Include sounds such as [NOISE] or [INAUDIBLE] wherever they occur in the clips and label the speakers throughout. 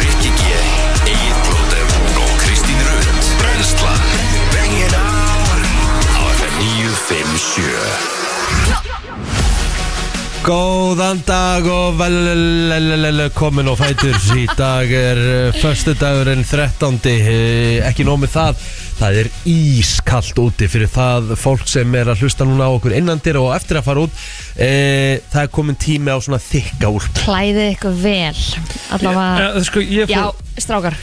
Speaker 1: Rikki G, Egil Blóter og Kristín Rund Brenslan Bengið án Á FM 957
Speaker 2: Góðan dag og vel komin og fætur Í dag er förstu dagurinn 13. eh, Ekki nóg með það Það er ískalt úti fyrir það fólk sem er að hlusta núna á okkur innandir og eftir að fara út e, Það er komin tími á svona þykka úr
Speaker 3: klæðið ykkur vel allavega,
Speaker 4: Eh, Sko, ég
Speaker 3: já,
Speaker 4: fór
Speaker 3: strákar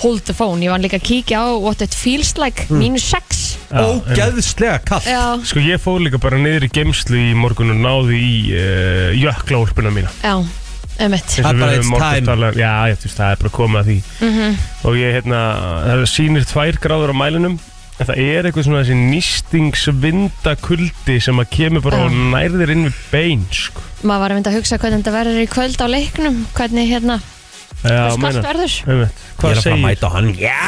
Speaker 3: hold the phone, ég var líka að kíkja á what it feels like,
Speaker 2: Hmm.
Speaker 3: mínus 6
Speaker 4: Já,
Speaker 2: Ógeðslega kalt
Speaker 3: já,
Speaker 4: Sko ég fór líka bara niður í geimslu í morgun og náði í uh, jöklaúlpuna mína
Speaker 3: já, einmitt
Speaker 4: Eins og
Speaker 2: Það er
Speaker 4: við
Speaker 2: bara
Speaker 4: höfum
Speaker 2: it's
Speaker 4: morgun
Speaker 2: time.
Speaker 4: talað- um- Já, ég, þú veist, það er bara komið að því
Speaker 3: Mhm.
Speaker 4: Og ég, hérna, það sýnir tvær gráður á mælinum En það er eitthvað svona þessi nýstingsvindakuldi sem að kemur bara
Speaker 3: Já.
Speaker 4: og nærðir inn við bein, sko
Speaker 3: maður var að mynda að hugsa hvernig þetta verður í kvöld á leiknum hvernig hérna,
Speaker 4: Já,
Speaker 3: skalt verður
Speaker 4: Einmitt.
Speaker 2: Ég
Speaker 4: Hvað
Speaker 2: er að fara að
Speaker 4: segir,
Speaker 2: mæta á hann Já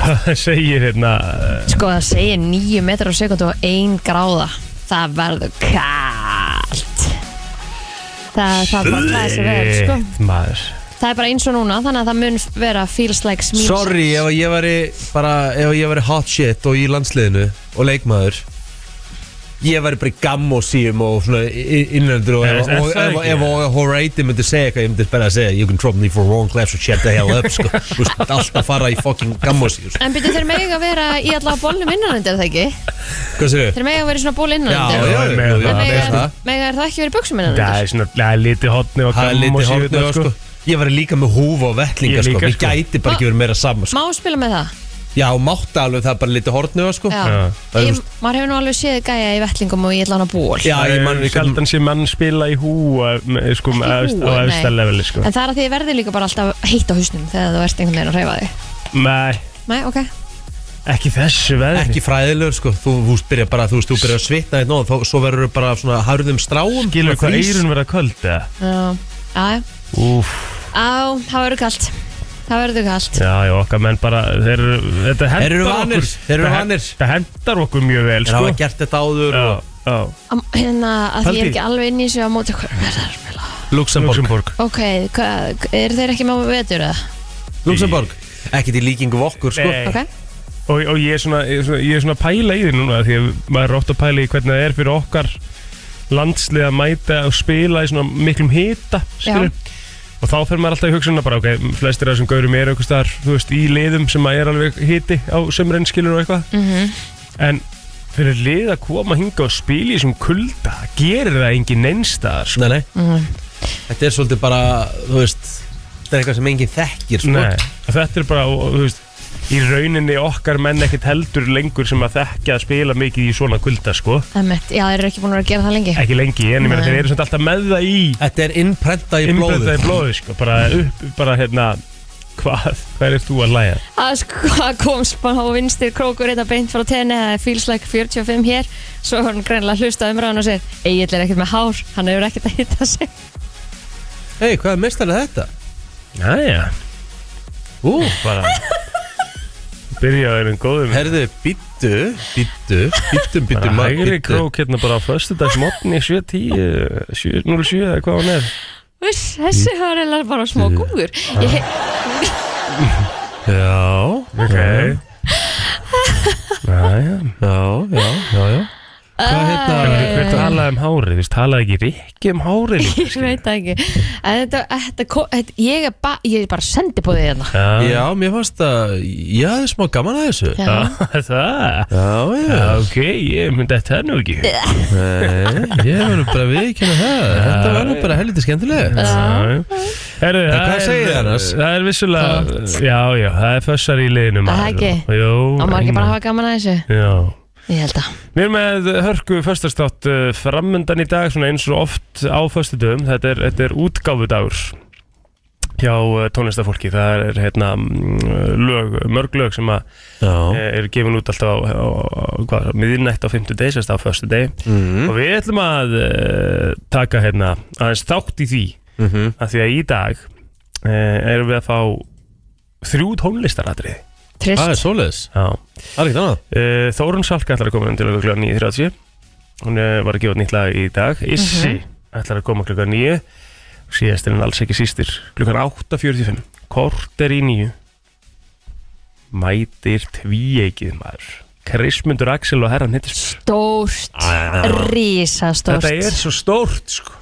Speaker 4: hvað segir hérna eh,
Speaker 3: sko það segir 9 metrar á sekundu og 1 gráða það verður kalt það, það er bara að klæða sig vel sko.
Speaker 2: Eh,
Speaker 4: Shit, maður
Speaker 3: það er bara eins og núna, þannig að það mun vera feels like mínus
Speaker 2: Sorry ef að ég væri bara, ef að ég væri hot shit og í landsliðinu og leikmaður ég væri bara í gamm og síum og svona í- í- innlendur og
Speaker 4: Er-
Speaker 2: ef
Speaker 4: er
Speaker 2: og-
Speaker 4: það
Speaker 2: ef-
Speaker 4: ekki?
Speaker 2: ef og Horaiti myndi segja eitthvað, ég myndi bara að segja you can drop me for wrong class or shut the hell up sko, Þú veist, alltaf fara í fucking gamm og síum sko.
Speaker 3: En byrju, þeir mega vera í allavega bólnum innanendir, það ekki?
Speaker 2: Hvað séu?
Speaker 3: Þeir mega vera í svona ból
Speaker 2: Já, já,
Speaker 3: innanendir
Speaker 2: já,
Speaker 4: En
Speaker 2: já, já,
Speaker 3: En
Speaker 2: já,
Speaker 3: mega,
Speaker 2: það.
Speaker 3: mega er það ekki verið í buksum
Speaker 4: Það
Speaker 3: innanendir?
Speaker 4: er svona, það er litið hotni og hérna,
Speaker 2: það er
Speaker 4: gamm og
Speaker 2: litið
Speaker 4: síðurnar,
Speaker 2: hórnið sko Ég væri líka með húfa og vettlinga
Speaker 4: Ég
Speaker 2: sko,
Speaker 4: líka,
Speaker 2: mér
Speaker 4: sko.
Speaker 2: gæti bara ekki verið meira saman sko.
Speaker 3: Má spila með það?
Speaker 2: Já, mátti alveg það bara litið hórnið sko
Speaker 3: Já.
Speaker 4: Já.
Speaker 2: Það er
Speaker 3: Ég,
Speaker 2: þú-
Speaker 3: maður hefur nú alveg séð gæja í vettlingum og ég ætla hann að ból.
Speaker 2: Já,
Speaker 4: Það
Speaker 2: ég man
Speaker 4: er
Speaker 2: ekki
Speaker 4: sjaldan sem mann spila í hú eh, með- sko,
Speaker 3: Ekki
Speaker 4: með efst-
Speaker 3: Eh, hú,
Speaker 4: á
Speaker 3: nei.
Speaker 4: efsta leveli sko.
Speaker 3: En það er að því þið verður líka bara alltaf heitt á húsnum þegar þú ert einhvern veginn að reyfa þig.
Speaker 4: Nei,
Speaker 3: Nei, ok.
Speaker 4: ekki þessu veðri
Speaker 2: ekki fræðilegur sko þú, þú veist, byrja bara, þú veist, þú byrja að svitna hérna og þó- svo verður þú bara svona harðum stráum
Speaker 4: Gilur
Speaker 2: svona
Speaker 4: hvað
Speaker 2: frís.
Speaker 4: eirun verða köld eða?
Speaker 3: Já, já.
Speaker 4: Úf,
Speaker 3: Á, það verður kalt. Það verður kalt.
Speaker 4: já, já, okkar menn bara þeir, Þetta
Speaker 2: Þeir
Speaker 4: hendar
Speaker 2: eru vanir,
Speaker 4: okkur
Speaker 2: þeir eru
Speaker 4: þetta hen-
Speaker 2: vanir.
Speaker 4: Þetta hendar okkur mjög vel
Speaker 2: en
Speaker 4: sko.
Speaker 2: hafa gert þetta áður
Speaker 4: já,
Speaker 2: og
Speaker 4: já.
Speaker 3: Am- Hérna, að því ég er
Speaker 4: Pældi.
Speaker 3: ekki alveg inn í sig á móti okkur.
Speaker 2: Luxemburg
Speaker 4: Luxemburg
Speaker 3: Ok, hvað, er þeir ekki með vetur eða?
Speaker 2: Luxemburg ekkert í líkingu við okkur sko
Speaker 4: Nei.
Speaker 3: Ok.
Speaker 4: og, og ég er svona, ég er svona, ég er svona að pæla í því núna Því að maður er oft að pæla í hvernig það er fyrir okkar landslið að mæta og spila í svona miklum hita
Speaker 3: Já.
Speaker 4: skilur. og þá fer maður alltaf í hugsunna bara ok, flestir af þessum gaurum eru eitthvað staðar þú veist, í liðum sem að er alveg hiti á sömurinn skilur og eitthvað -hmm. en fyrir lið að koma hinga og spila í þessum kulda það gerir það engin neinstaðar sko.
Speaker 2: nei, nei. þetta er svolítið bara þú veist þetta er eitthvað sem enginn þekkir sko
Speaker 4: Nei, og þetta er bara, og, þú veist í rauninni okkar menn ekkert heldur lengur sem að þekkja að spila mikið í svona kulda sko,
Speaker 3: Emmett, já, þeir eru ekki búin að vera að gera það lengi.
Speaker 4: ekki lengi en ég meina
Speaker 3: Nei.
Speaker 4: þeir eru samt alltaf með það í
Speaker 2: þetta er innprenta í blóðu
Speaker 4: innbyrða í blóðu sko, bara upp, bara hérna hvað, hvað er þú að læja?
Speaker 3: að sko að komst bara á vinstir krókur þetta beint frá tenni það er feels like 45 hér svo var hann greinlega hlusta umræðan og segir Egil er ekkert með hár, hann hefur ekkert að hitta sig
Speaker 2: hei, hvað er mestarlega þetta?
Speaker 4: Næja,
Speaker 2: ú,
Speaker 4: bara byrjaður en góðum
Speaker 2: herðu, býttu býttu, býttum,
Speaker 4: bara
Speaker 2: býttum
Speaker 4: hægri krók hérna bara á föstudagsmotni 7.10, 7.07 eða hvað hún er
Speaker 3: Viss, þessi var eða bara smá góður ég, he-
Speaker 2: já,
Speaker 4: ok Næja,
Speaker 2: já, já, já, já. hvað hérna
Speaker 4: við talaði um hárið, þú veist, talaði ekki Rikki um hárið
Speaker 2: [LAUGHS]
Speaker 4: líka,
Speaker 3: ég veit það ekki en þetta, þetta, ko- þetta, ég, er ba, ég er bara sendi på þig hérna
Speaker 4: Já,
Speaker 2: já, mér fannst að ég hafði smá gaman að þessu
Speaker 3: Já.
Speaker 4: Já, [LAUGHS] það
Speaker 2: Já,
Speaker 4: Já,
Speaker 2: já,
Speaker 4: ok, ég myndi þetta er nú ekki Já,
Speaker 2: nei, ég var nú bara viðkynna það Þetta var nú bara helviti skemmtilega
Speaker 4: já. Herru,
Speaker 2: En hvað
Speaker 4: er-
Speaker 2: segið þið annars?
Speaker 4: Það er vissulega, já, já, það er fössar í liðinu
Speaker 3: Það
Speaker 4: maður.
Speaker 3: ekki?
Speaker 4: Jú,
Speaker 3: og maður ekki bara að
Speaker 4: einmitt.
Speaker 3: hafa gaman að þessu
Speaker 4: Já
Speaker 3: ég held að
Speaker 4: Við erum með hörku föstarstátt framöndan í dag, svona eins og oft á föstudöfum, þetta er, þetta er útgáfudagur hjá uh, tónlistafólki, það er hérna mm, lög, mörg lög sem að
Speaker 2: Já,
Speaker 4: er gefin út alltaf á, á, á hvað, miðinætt á 50 degi, sérst á förstu degi
Speaker 2: Mhm.
Speaker 4: og við ætlum að uh, taka hérna aðeins þátt í því
Speaker 2: Mhm.
Speaker 4: að því að í dag uh, erum við að fá þrjú tónlistaratriði
Speaker 2: það
Speaker 3: trist
Speaker 2: er svoleiðis
Speaker 4: Já. Eh,
Speaker 2: Það er ekkert annað
Speaker 4: Uh, Þórun Salka ætlar að koma inn til okkur kl. 9.30 hún eh, var að gefa út nýtt lag í dag Issi
Speaker 3: Mhm.
Speaker 4: ætlar að koma klukkan 9 síðast er hann alls ekki sístir klukkan 8.45 kort er í 9 mætir tvíegið maður Krismundur Axel og herran hittis
Speaker 3: Stórt, rísastórt
Speaker 4: þetta er svo stórt sko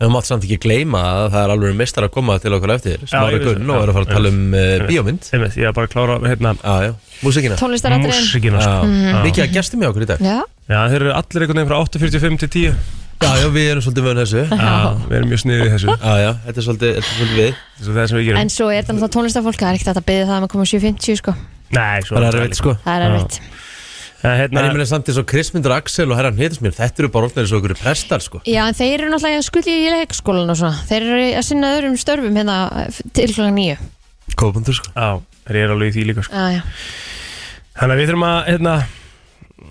Speaker 2: Við mátt samt ekki gleyma að það er alveg mistar að koma til okkur eftir Smári
Speaker 4: ég vissi
Speaker 2: Gunn
Speaker 4: það.
Speaker 2: og er að fara að
Speaker 4: Já,
Speaker 2: tala um uh,
Speaker 4: Einmitt.
Speaker 2: bíómynd
Speaker 4: Einmitt, ég var bara að klára hérna,
Speaker 2: Já, já, músikina
Speaker 3: Tónlistaratriðin
Speaker 4: músikina sko.
Speaker 2: Já. Mikið að gestum hjá okkur í dag
Speaker 3: Mhm. Já,
Speaker 4: Já, þeir eru allir einhvern veginn frá 8.45 til 10
Speaker 2: Já, já, við erum svolítið vöðin þessu
Speaker 4: Já, við erum mjög sniðið í þessu
Speaker 2: Já, já, þetta er svolítið, þetta er svolítið við
Speaker 4: Svo það sem við gerum
Speaker 3: en svo er þetta náttúrulega tónlistafólk Það er ekkert hægt að byggja það um að koma 7.50 sko
Speaker 4: Nei, svo
Speaker 2: Það er erfitt sko
Speaker 3: Það er
Speaker 4: Já.
Speaker 3: erfitt
Speaker 4: En
Speaker 2: En ég
Speaker 4: hérna,
Speaker 2: meina samt eins og Krismyndur Axel og herran Hittismir Þetta eru bara orðnir eins og okkur prestar sko
Speaker 3: Já, en þeir eru náttúrulega skuldi í leikskólan og svona Þeir eru að sinna öðrum störfum hérna eh, til klokkan nýju
Speaker 2: Kópundur sko
Speaker 4: á, þeir eru alveg í því líka sko
Speaker 3: Já, já,
Speaker 4: Þannig að við þurfum að, hérna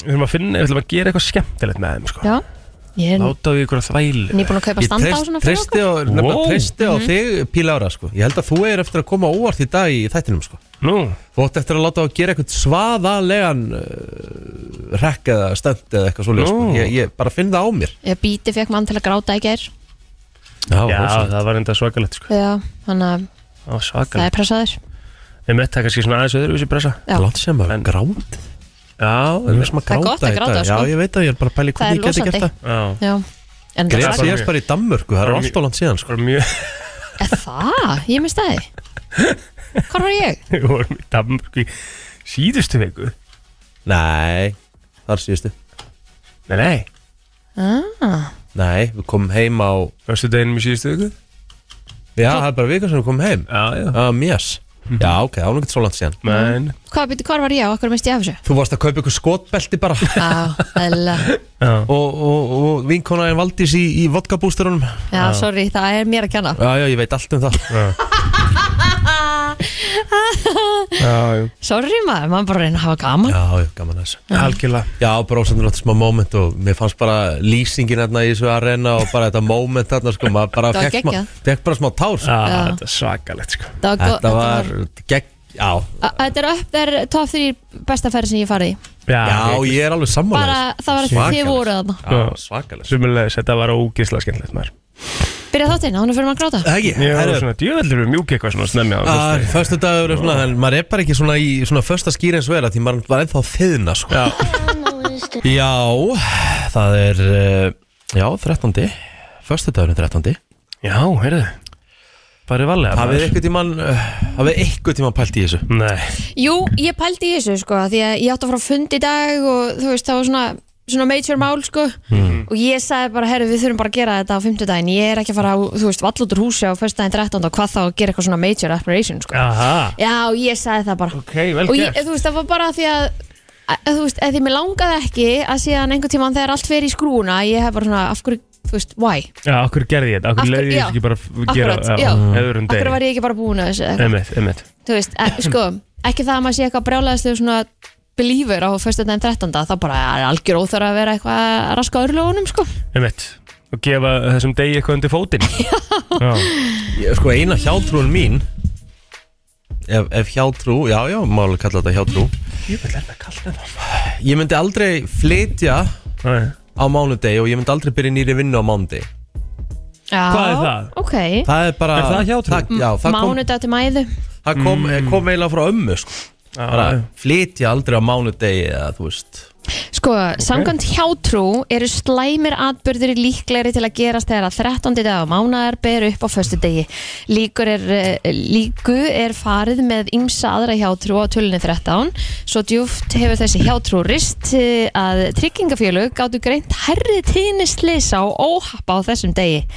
Speaker 4: Við þurfum að finna, við þurfum að gera eitthvað skemmtilegt með þeim sko
Speaker 3: já Ég er
Speaker 4: Láta við ykkur að þvæli
Speaker 3: nýbúin að kaupa
Speaker 2: Ég
Speaker 3: standa á svona fyrir
Speaker 2: treysti
Speaker 3: okkur Mhm.
Speaker 2: á, nefna,
Speaker 4: Wow.
Speaker 2: treysti á þig píla ára sko Ég held að þú er eftir að koma óvart í dag í þættinum sko
Speaker 4: Nú,
Speaker 2: Þú átt eftir að láta að gera eitthvað svaðalegan uh, rekk eða stönd eða eitthvað svoleið sko
Speaker 4: Nú.
Speaker 2: ég, ég bara finn það á mér
Speaker 3: Ég bíti fekk mann til að gráta í gær
Speaker 4: já,
Speaker 2: rosalegt.
Speaker 4: það var enda svakalegt sko
Speaker 3: Já, þannig að
Speaker 4: Það var
Speaker 3: það
Speaker 4: svakalegt
Speaker 3: er pressaður
Speaker 4: Við mitt það kannski svona aðeins öðruvísi pressa
Speaker 3: Já.
Speaker 2: Látt sem að
Speaker 4: En-
Speaker 2: grátt
Speaker 4: Já,
Speaker 2: Það er sem að
Speaker 3: Það er
Speaker 2: gráta
Speaker 3: gott að
Speaker 2: í dag.
Speaker 3: gráta, sko.
Speaker 2: Já, ég veit að ég er bara að pæli
Speaker 3: Það er
Speaker 2: hvernig ég geti gert
Speaker 3: losandi.
Speaker 2: það
Speaker 4: já
Speaker 3: Já, en
Speaker 4: Grét. er
Speaker 3: það
Speaker 2: Gref
Speaker 4: bara
Speaker 2: síðast
Speaker 4: mjög-
Speaker 2: bara í Danmörku, það er
Speaker 4: bara mjög-
Speaker 2: allt á land síðan sko
Speaker 4: Bara mjög,
Speaker 3: er það, ég misti það Hvar var ég?
Speaker 4: [LAUGHS] við vorum í Danmark í síðustu viku
Speaker 2: Nei, þar síðustu
Speaker 4: Nei, nei,
Speaker 3: Ah,
Speaker 2: Nei, við komum heim á
Speaker 4: fyrstu deginum í síðustu viku
Speaker 2: Já, það er bara vika sem við komum heim
Speaker 4: Já, já Mhm.
Speaker 2: Ah, mjöss Já, ok, það var nú ekkert svo langt síðan
Speaker 4: Men,
Speaker 3: hvað, byrju, hvar var ég og okkur misti ég af þessu?
Speaker 2: Þú varst að kaupa ykkur skotbelti bara og,
Speaker 3: Á, eðlilega
Speaker 4: já
Speaker 2: og, og vinkonaðin Valdís í, í vodkabústerunum Já,
Speaker 3: Já, sorry, það er mér að
Speaker 2: [LAUGHS]
Speaker 3: kenna
Speaker 2: já, ég veit allt um það
Speaker 4: Já, já,
Speaker 3: Sorry maður, maður bara að reyna að hafa gaman
Speaker 2: Já, já, gaman að þessu
Speaker 4: algjörlega
Speaker 2: Já, bara ásendur náttúrulega smá moment og mér fannst bara lýsingin hérna í þessu arena og bara þetta moment hérna sko, maður bara
Speaker 3: Það var
Speaker 2: fekk, smá,
Speaker 3: geggjað.
Speaker 2: fekk bara smá tár sko.
Speaker 4: Já,
Speaker 3: Já.
Speaker 4: þetta er svakalegt sko
Speaker 3: Það go-
Speaker 2: Þetta var gegg, já
Speaker 3: A- Þetta er upp þær top 3 besta ferð sem ég farið í
Speaker 2: Já, ég er alveg sammála
Speaker 3: Bara það var að þið
Speaker 2: Svakalegt.
Speaker 3: voru þarna
Speaker 2: Já, svakalega
Speaker 4: Sumulegis, þetta var ógeðslega skemmtilegt maður
Speaker 3: Byrja þáttinn, þannig fyrir maður að gráta
Speaker 2: Ekki,
Speaker 4: Ég var
Speaker 2: herru Ah.
Speaker 4: svona djöveldur við mjúk eitthvað svona snemmi á
Speaker 2: Það er förstu dagur og svona, en maður er bara ekki svona í svona första skýr eins og er að því maður var ennþá að þiðna sko. [LAUGHS] Já. það er, eh, já, 13. Förstu dagurinn 13.
Speaker 4: Já, heyrðu Bara í valega
Speaker 2: Hafið eitthvað tíman, hafið eitthvað tíman pælt í þessu?
Speaker 4: Nei,
Speaker 3: Jú, ég pældi í þessu sko Því að ég átti að fara á fund í dag Og þú veist, það var svona, svona major mál sko
Speaker 4: Mhm.
Speaker 3: Og ég sagði bara, herru, við þurfum bara að gera þetta á fimmtudaginn Ég er ekki að fara á, þú veist, vall út úr húsi á föstudaginn 13 og hvað þá að gera eitthvað svona major operation sko
Speaker 4: aha
Speaker 3: Já, ég sagði það bara
Speaker 4: Ok, vel
Speaker 3: og ég,
Speaker 4: gert
Speaker 3: þú veist, það var bara því að að, þú veist, að því mér langaði ekki að síðan einhvern tímann þegar allt fer í skrúna ég hef bara svona, af hverju, þú veist, why
Speaker 4: Já, okkur gerði ég þetta,
Speaker 3: Af
Speaker 4: okkur
Speaker 3: hverju-
Speaker 4: leiði
Speaker 3: já.
Speaker 4: ég ekki bara að gera
Speaker 3: Akkurat, já.
Speaker 2: um
Speaker 4: Öðrum
Speaker 3: af hverju
Speaker 4: degi
Speaker 3: var ég ekki bara búin að þessu eða eitthvað?
Speaker 4: Einmitt, einmitt
Speaker 3: þú veist, e, sko, ekki það að maður sé eitthvað brjálæðislega svona believer á föstudaginn 13. þá bara er algjör óþara að vera eitthvað að raska örlögunum, sko
Speaker 4: Einmitt Og gefa þessum degi eitthvað undir fótinn [LAUGHS] Já
Speaker 2: Ég, sko, eina hjátrúin mín, ef, ef hjátrú, já, já, máli kalla þetta hjátrú,
Speaker 4: Ég vil hérna kalla það
Speaker 2: ég myndi aldrei flytja
Speaker 4: Nei.
Speaker 2: á mánudegi og ég myndi aldrei byrja í nýri vinnu á mánudegi.
Speaker 3: Já,
Speaker 4: Hvað er það?
Speaker 3: Ok,
Speaker 2: Það er bara...
Speaker 4: Er það hjátrú? Mm.
Speaker 2: já, það kom,
Speaker 3: mánudag til mæðu
Speaker 2: það kom, kom eiginlega frá ömmu, sko.
Speaker 4: Já,
Speaker 2: bara
Speaker 4: já.
Speaker 2: flytja aldrei á mánudegi eða þú veist
Speaker 3: Sko, samkvæmt hjátrú eru slæmir atbyrðir líklegri til að gerast þegar að 13. dag á mánaðar ber upp á föstu degi. Líkur er, eh, líku er farið með ymsa aðra hjátrú á tölunni 13. Svo djúft hefur þessi hjátrú rist eh, að tryggingafélög gáttu greint herri tíðni slisa og óhappa á þessum degi.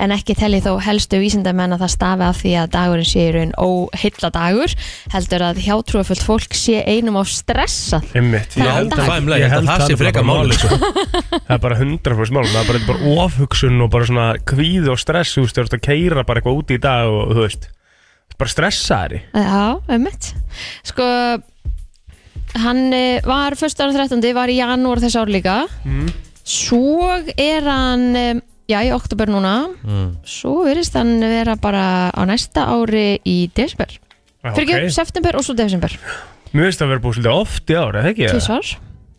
Speaker 3: En ekki telli þó helstu vísindamenn að það stafi af því að dagurinn sé í raun óheilla dagur heldur að hjátrúafullt fólk sé einum á stressað
Speaker 4: Einmitt, ég
Speaker 3: Það er
Speaker 4: held
Speaker 3: dag.
Speaker 4: að
Speaker 2: Væmlega, ég held að það sé
Speaker 4: bara
Speaker 2: frekar
Speaker 4: máli,
Speaker 2: máli,
Speaker 4: sko. Það er bara 100% málum, það er bara, þetta er bara ofhugsun og bara svona kvíð og stress Þú veist, þú ert að keira bara eitthvað úti í dag og þú veist Bara stressaðari
Speaker 3: Já, ömmit Sko Hann eh, var 1. ára 13. var í janúar þess ár líka
Speaker 2: Mm.
Speaker 3: Svo er hann eh, Já, í oktober núna Svo verðist hann vera bara á næsta ári í desember
Speaker 4: Já,
Speaker 3: Fyrir
Speaker 4: Ah, ok.
Speaker 3: ekki, september og svo desember
Speaker 4: Mér veist að vera búið svolítið oft í ára, eða ekki?
Speaker 3: Tvísvar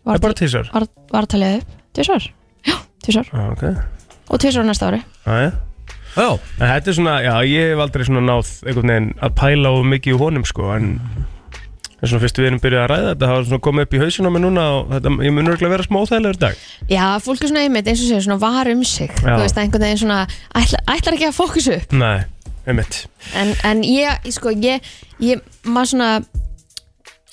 Speaker 4: Það er bara tísar
Speaker 3: Var var að talja upp Tvísvar tvisar
Speaker 4: Já, Ah, ok
Speaker 3: og tvisar næsta ári
Speaker 4: Aðja
Speaker 2: Já,
Speaker 4: En þetta er svona, já, ég hef aldrei svona náð einhvern veginn að pæla og mikið í honum sko, en en svona fyrst við erum byrjuð að ræða þetta, það var svona komið upp í hausinu á mig núna og þetta, ég mun örgulega vera smá óþægilegur í dag.
Speaker 3: Já, fólk er svona einmitt eins og segir svona var um sig
Speaker 4: Já.
Speaker 3: þú veist, einhvern veginn svona ætla, ætlar ekki að fókusu upp
Speaker 4: Nei, einmitt.
Speaker 3: en, en ég, ég, sko, ég, ég maður svona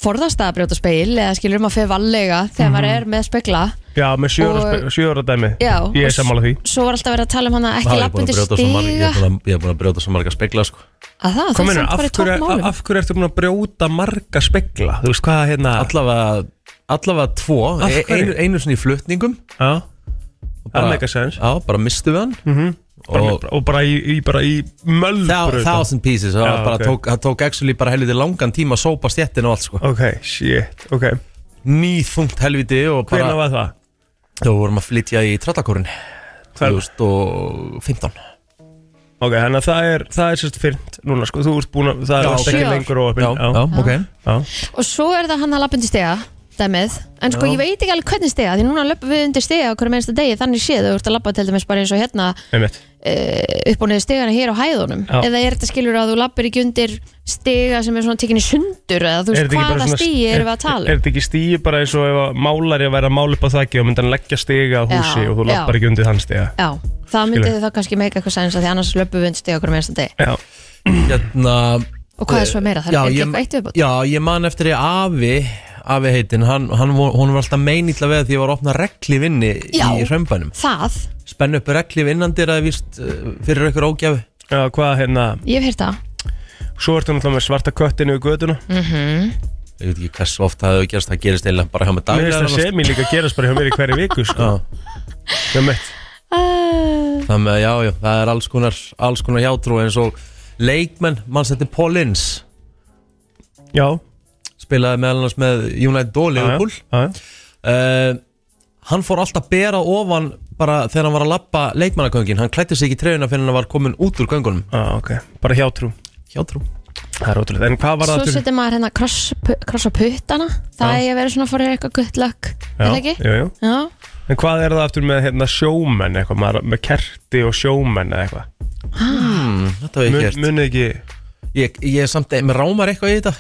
Speaker 3: forðast að brjóta speil eða skilur um maður fyrir vallega þegar
Speaker 4: Mhm.
Speaker 3: maður er með spegla
Speaker 4: Já, með sjö ára,
Speaker 3: Og-
Speaker 4: spe- sjö ára dæmi.
Speaker 3: Já,
Speaker 4: Ég
Speaker 3: og
Speaker 4: er
Speaker 3: s-
Speaker 4: sammála því.
Speaker 3: svo var alltaf verið að tala um hana
Speaker 2: Ha, ég
Speaker 3: ekki
Speaker 2: er búin
Speaker 3: lappandi
Speaker 2: að brjóta svo marga- ég
Speaker 3: stiga
Speaker 2: er búin að- ég er búin að brjóta svo marga spegla sko.
Speaker 3: að það,
Speaker 4: Hvað
Speaker 3: það er
Speaker 4: meina, af
Speaker 3: samt bara í
Speaker 4: hverju,
Speaker 3: tókmálum
Speaker 4: af hverju ertu búin að brjóta marga spegla? Þú veist hvað, hérna,
Speaker 2: Allavega, allavega tvo
Speaker 4: Af
Speaker 2: E-
Speaker 4: hverju?
Speaker 2: einu, einu svona í flutningum
Speaker 4: já,
Speaker 2: og
Speaker 4: það make a sense. Mhm.
Speaker 2: Já, bara mistu við hann
Speaker 4: Bara,
Speaker 2: og
Speaker 4: og bara í, í, bara í möll
Speaker 2: Thou- thousand pieces það
Speaker 4: Já,
Speaker 2: var bara
Speaker 4: ok.
Speaker 2: tók, það tók actually bara helviti langan tíma að sópa stjettin og allt sko
Speaker 4: Ok, shit, ok.
Speaker 2: nýþungt helviti og
Speaker 4: Hvernig
Speaker 2: bara
Speaker 4: var það?
Speaker 2: þá vorum að flytja í tröllakorin 2015
Speaker 4: Ok, þannig að það er, það er sérst fyrnt núna, sko, þú ert búin að, það
Speaker 2: Já,
Speaker 4: er varst ekki
Speaker 3: sjö ár.
Speaker 4: lengur og
Speaker 2: já, já, ok
Speaker 4: já.
Speaker 3: og svo er það hann að lappandi stiga dæmið, en sko
Speaker 2: Já.
Speaker 3: ég veit ekki alveg hvernig stiga því núna löpum við undir stiga á hverju mennsta degi þannig séð þú ert að lappa til dæmis bara eins og hérna
Speaker 4: einmitt.
Speaker 3: uh, upp og niður stigana hér á hæðunum
Speaker 4: Já.
Speaker 3: eða er þetta skilur að þú lappir ekki undir stiga sem er svona tekinni sundur eða þú
Speaker 4: Er þetta
Speaker 3: veist
Speaker 4: ekki bara
Speaker 3: hvaða
Speaker 4: svona-
Speaker 3: stigi
Speaker 4: er-
Speaker 3: erum við að tala
Speaker 4: Er
Speaker 3: um
Speaker 4: þetta ekki stíi bara eins og ef að málari að vera að mála upp á þakki og mynda hann leggja stiga á húsi
Speaker 3: Já,
Speaker 4: og þú
Speaker 3: já.
Speaker 4: lappar ekki undir þann stiga
Speaker 3: Já, það myndi
Speaker 4: Skilur.
Speaker 3: þið þá kannski meika eitthvað sæns að því annars löpum við undir stiga okkur meðast að degi
Speaker 4: Já, Eh,
Speaker 2: hérna
Speaker 3: og hvað er svo meira, það
Speaker 2: já,
Speaker 3: er ekki
Speaker 2: ég,
Speaker 3: eitthvað eitt viðbútt
Speaker 2: já, ég man eftir því afi afi heitin, hann, hann, vo- hún var alltaf meinilla við því ég var að opna reglif inni
Speaker 3: Já.
Speaker 2: í römbænum
Speaker 3: Það,
Speaker 2: spenn upp reglif innandir að víst uh, fyrir ykkur ógjafi
Speaker 4: já hvað hérna
Speaker 3: ég hef heyrt það
Speaker 4: Svo ertu náttúrulega með svarta köttinu í göduna Mhm.
Speaker 2: ég veit ekki hversu oft það hefur gerst það gerist eiginlega bara hjá með
Speaker 4: Mér finnst það
Speaker 2: dag
Speaker 4: semi líka að gerast bara hjá mér í hverju viku sko. Já, mitt Ah.
Speaker 3: uh,
Speaker 2: þannig að já, já, það er alls konar alls konar hjátrú eins og leikmenn, mannsætti Paulins
Speaker 4: Já,
Speaker 2: spilaði meðal annars með United og Liverpool
Speaker 4: já, já.
Speaker 2: uh, hann fór alltaf að bera ofan bara þegar hann var að lappa leikmannaköngin hann klætti sig ekki í trefuna fyrir hann var komin út úr göngunum
Speaker 4: Já, Ah, ok, bara hjátrú
Speaker 2: hjátrú
Speaker 4: Það er ótrúlega, en hvað var það
Speaker 3: Svo
Speaker 4: aftur?
Speaker 3: setur maður hérna kross, krossa puttana Það
Speaker 4: Já.
Speaker 3: er að vera svona fyrir eitthvað good luck Er
Speaker 4: Já,
Speaker 3: það ekki?
Speaker 4: jú, jú.
Speaker 3: Já,
Speaker 4: En hvað er það aftur með hérna, sjómenn eitthvað, maður- með kerti og sjómenn eða eitthvað?
Speaker 2: hmm, þetta hef ég
Speaker 4: Mun-
Speaker 2: gert
Speaker 4: Munið ekki,
Speaker 2: ég, ég er samt, eh, mér rámar eitthvað í þetta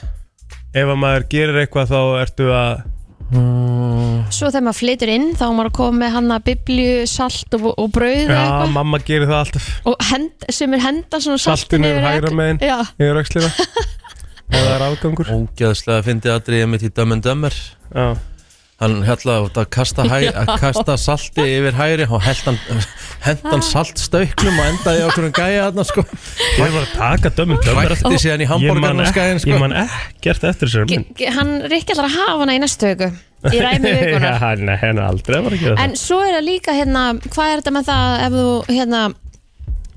Speaker 4: ef að maður gerir eitthvað þá ertu að
Speaker 2: Hmm.
Speaker 3: Svo þegar maður flytur inn þá á maður að koma með hana biblju, salt og, og brauð eða
Speaker 4: Já,
Speaker 3: eitthvað
Speaker 4: mamma gerir það alltaf
Speaker 3: og hend, sem er henda svona saltinu
Speaker 4: Saltinu
Speaker 3: yfir
Speaker 4: hægra
Speaker 3: öll-
Speaker 4: megin.
Speaker 3: já,
Speaker 4: yfir öxlina Ef það er afgangur
Speaker 2: ógeðslega fyndi aðriðið mitt í dömmen dömmer
Speaker 4: Já,
Speaker 2: hann hella út að kasta, hæ, að kasta salti yfir hæri og held hann, hent hann saltstöklum og endaði okkur um gæja þarna sko
Speaker 4: ég var að taka dömum dömur
Speaker 2: hrætti síðan í hambúrgarnaskæðin
Speaker 4: Ég
Speaker 2: sko
Speaker 4: man ekkert eftir þessari mynd
Speaker 3: [LAUGHS] G- g- hann Rikki ætlar að hafa hana í næstu viku í ræmi vikunar
Speaker 4: [LAUGHS] Já, nei, henni aldrei var ekki það
Speaker 3: en svo er það líka hérna hvað er þetta með það ef þú hérna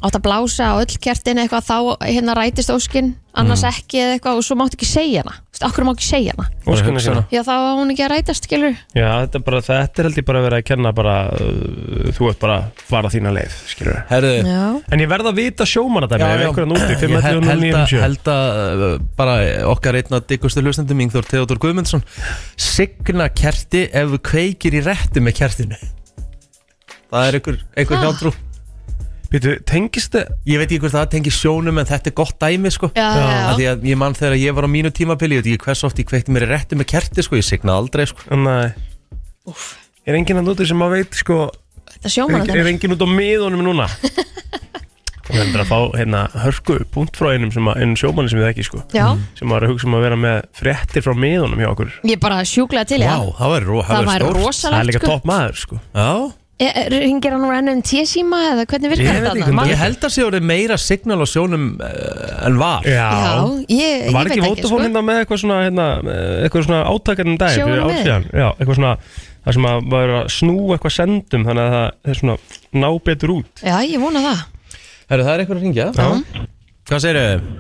Speaker 3: átt að blása á öll kertin eitthvað þá hérna rætist óskin annars ekki eða eitthvað og svo máttu ekki segja hana Þú veist, okkur má ekki segja hana
Speaker 4: Óskana
Speaker 2: Hugsa
Speaker 4: sína
Speaker 2: hana.
Speaker 3: já þá á hún ekki að rætast skilur
Speaker 4: Já, þetta er bara, þetta er held ég bara að vera að kenna bara uh, Þú ert bara að fara þína leið, skilur
Speaker 2: herðu
Speaker 3: já,
Speaker 4: En ég verð að vita sjómanna dæmi Ef einhverjan úti,
Speaker 2: Ég hel-
Speaker 4: 511
Speaker 2: held að-
Speaker 4: 957
Speaker 2: held að uh, bara okkar einn að diggustu hlustendum Ingþór Theodor Guðmundsson signa kerti ef þú kveikir í rétti með kertinu það er einhver, einhver
Speaker 3: Ha?
Speaker 2: hjátrú
Speaker 4: Býtu, tengist þið
Speaker 2: ég veit ekki hvort það tengir sjónum en þetta er gott dæmi sko
Speaker 3: já,
Speaker 2: Af
Speaker 3: já,
Speaker 2: því að ég man þegar ég var á mínu tímabili ég veit ekki hvers oft ég kveikti mér í rétti með kerti sko ég signa aldrei sko
Speaker 4: Nei Er enginn að núti sem að veit, sko
Speaker 3: þetta sjóman
Speaker 4: er, er enginn út á miðunum
Speaker 3: [LAUGHS]
Speaker 4: núna Hún heldur að fá hérna hörku punkt frá einum, sem að, einum sjómanni sem við ekki sko
Speaker 3: já,
Speaker 4: sem var að hugsa um að vera með fréttir frá miðunum hjá okkur
Speaker 3: ég bara sjúklaði til
Speaker 2: Vá,
Speaker 3: já,
Speaker 2: það var, ro- var
Speaker 3: það var
Speaker 4: Það
Speaker 2: stórt
Speaker 4: er
Speaker 3: rosalegt
Speaker 4: líka
Speaker 3: sko.
Speaker 4: topp maður sko
Speaker 2: Já,
Speaker 3: E- e- ringir hann úr ennum tísíma eða hvernig virkar
Speaker 4: Ég veit
Speaker 3: þetta
Speaker 4: ekki um
Speaker 3: þarna?
Speaker 2: ég held að sé orðið meira signal á sjónum uh, en var
Speaker 3: Já, ég, ég
Speaker 4: Var
Speaker 3: veit
Speaker 4: ekki
Speaker 3: ekki sko.
Speaker 4: Vodafone hérna með eitthvað svona, hérna, eh, eitthvað svona átakarnum dag
Speaker 3: Sjónum
Speaker 4: fyrir ár
Speaker 3: við.
Speaker 4: síðan? Já, eitthvað svona Það sem að var að snúa eitthvað sendum Þannig að það er svona ná betur út
Speaker 3: Já, ég vona það
Speaker 2: Herru, það er einhver að ringja
Speaker 4: Já.
Speaker 2: Hvað segirðu?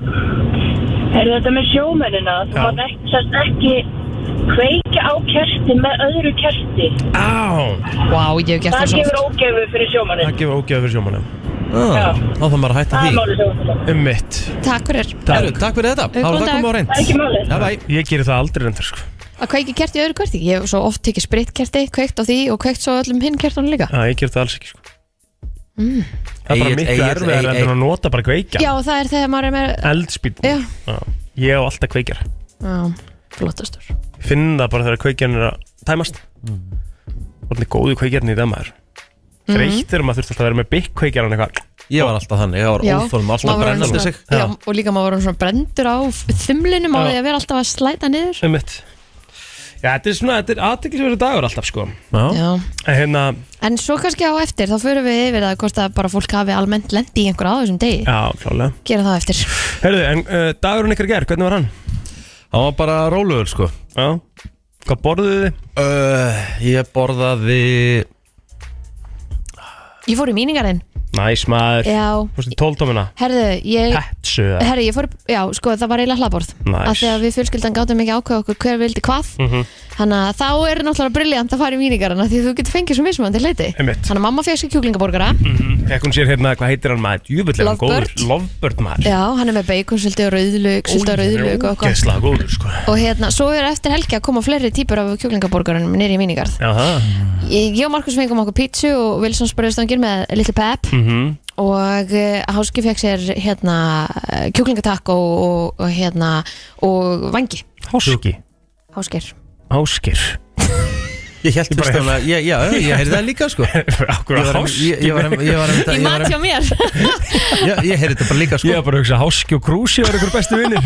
Speaker 5: Er þetta með sjómennina? Þú
Speaker 4: Já.
Speaker 5: mátt ekki, sérst ekki kveika á kerti með öðru kerti.
Speaker 4: Á,
Speaker 3: Vá, ég hef gert það
Speaker 5: Það
Speaker 3: svo
Speaker 5: gefur
Speaker 3: oft
Speaker 5: ógefu fyrir sjómennin.
Speaker 4: það gefur ógjöð fyrir sjómanum
Speaker 2: Ah, Þá þarf maður að hætta
Speaker 5: Það er
Speaker 2: því
Speaker 5: málið sjómennin.
Speaker 4: Um mitt
Speaker 3: Takk fyrir
Speaker 2: Herru, takk fyrir þetta
Speaker 3: Góðan
Speaker 2: Þá er það
Speaker 3: dag.
Speaker 2: komið á reynd
Speaker 5: Það er ekki málið.
Speaker 2: Já, bæ
Speaker 4: Ég geri það aldrei reyndar sko
Speaker 3: að kveiki kerti í öðru kerti ég hef svo oft tekið spritkerti, kveikt á því og kveikt svo öllum hinn kertunum líka
Speaker 4: Já, ég ger það alls ekki sko. Það er bara
Speaker 2: Egill,
Speaker 4: miklu
Speaker 2: Egill,
Speaker 4: erfiðar
Speaker 2: Egill,
Speaker 4: en að nota bara
Speaker 3: Mm. já,
Speaker 4: kveikja
Speaker 3: það er þegar maður er með
Speaker 4: Eldspýtn
Speaker 3: Já.
Speaker 4: Já. Ég á alltaf kveikjar
Speaker 3: já, flottastur
Speaker 4: Ég Finn það bara þegar kveikjarn er að tæmast
Speaker 2: Mm.
Speaker 4: Og það er góðu kveikjarn í dag maður
Speaker 3: Mhm.
Speaker 4: Þreytt er maður þurft alltaf að vera með bygg kveikjarn eitthvað
Speaker 2: Ég var alltaf þannig, ég var
Speaker 3: Já,
Speaker 2: óþólum alltaf
Speaker 3: maður var
Speaker 2: brennandi
Speaker 3: svona-
Speaker 2: sig
Speaker 3: já, og líka maður var svona brendur á þumlinum á
Speaker 4: Já.
Speaker 3: því að vera alltaf að slæta niður
Speaker 4: Einmitt. Já, þetta er svona, þetta er aðteklisverið dagur alltaf sko
Speaker 2: Já,
Speaker 3: já.
Speaker 4: En hérna,
Speaker 3: en svo kannski á eftir, þá fyrir við yfir það hvort að bara fólk hafi almennt lendi í einhver á þessum degi
Speaker 4: já, klálega
Speaker 3: gera það á eftir
Speaker 4: Herðu, en uh, dagurinn ykkar ger, hvernig var hann?
Speaker 2: það var bara rólugur sko
Speaker 4: Já Hvað borðuðu þið?
Speaker 2: uh,
Speaker 4: Eh,
Speaker 2: Ég borðaði
Speaker 3: ég fór í míningarinn,
Speaker 4: Næs maður
Speaker 3: já,
Speaker 4: Fórstu 12 tómina
Speaker 3: herðu ég,
Speaker 4: Petsu eða?
Speaker 3: herðu, ég fór já, sko, það var eiginlega hlaðborð
Speaker 4: Nice.
Speaker 3: af því að við fjölskyldan gátum ekki ákveða okkur hver vildi hvað
Speaker 4: Mhm.
Speaker 3: þannig að þá er náttúrulega briljant að fara í míningarinn af því að þú getur fengið svo mismunandi hluti
Speaker 4: Einmitt.
Speaker 3: þannig að mamma fegst í kjúklingaborgara
Speaker 4: Fekk hún sér hérna, hvað heitir hann maður? Júbill er hann góður
Speaker 3: Lovebird.
Speaker 4: Lovebird maður
Speaker 3: já, hann er með beikonsulti og rauðlug sulta rauðlug og eitthvað
Speaker 4: Gæsla góður sko
Speaker 3: og hérna, svo er eftir helgi að koma fleiri típur af kjúklingaborgarunum nýri í míningarð
Speaker 4: Jaha
Speaker 2: Mm.
Speaker 3: ég, ég og Markus fengum okkur pítsu og Wilson spurðustangir með little pep
Speaker 4: mm
Speaker 3: og uh, Háski fekk sér hérna eh, kjúklingatakk og, og, og hérna og vangi
Speaker 4: Háski
Speaker 3: Háskir
Speaker 4: Háskir
Speaker 2: Ég held
Speaker 4: bara
Speaker 2: fyrst að ég, já, ég heyrði það
Speaker 4: [LAUGHS]
Speaker 2: líka sko Ég
Speaker 4: Akkur að
Speaker 2: var einmitt-
Speaker 4: háski
Speaker 2: ég- ég var einmitt- ég var einmitt-
Speaker 3: Í
Speaker 2: ég var
Speaker 3: mat hjá mér
Speaker 2: einmitt- já, Ég heyrði þetta bara líka
Speaker 4: Ég
Speaker 2: sko
Speaker 4: var bara að hugsa háski og krúsi var ykkur
Speaker 2: [LAUGHS]
Speaker 4: bestu vinnir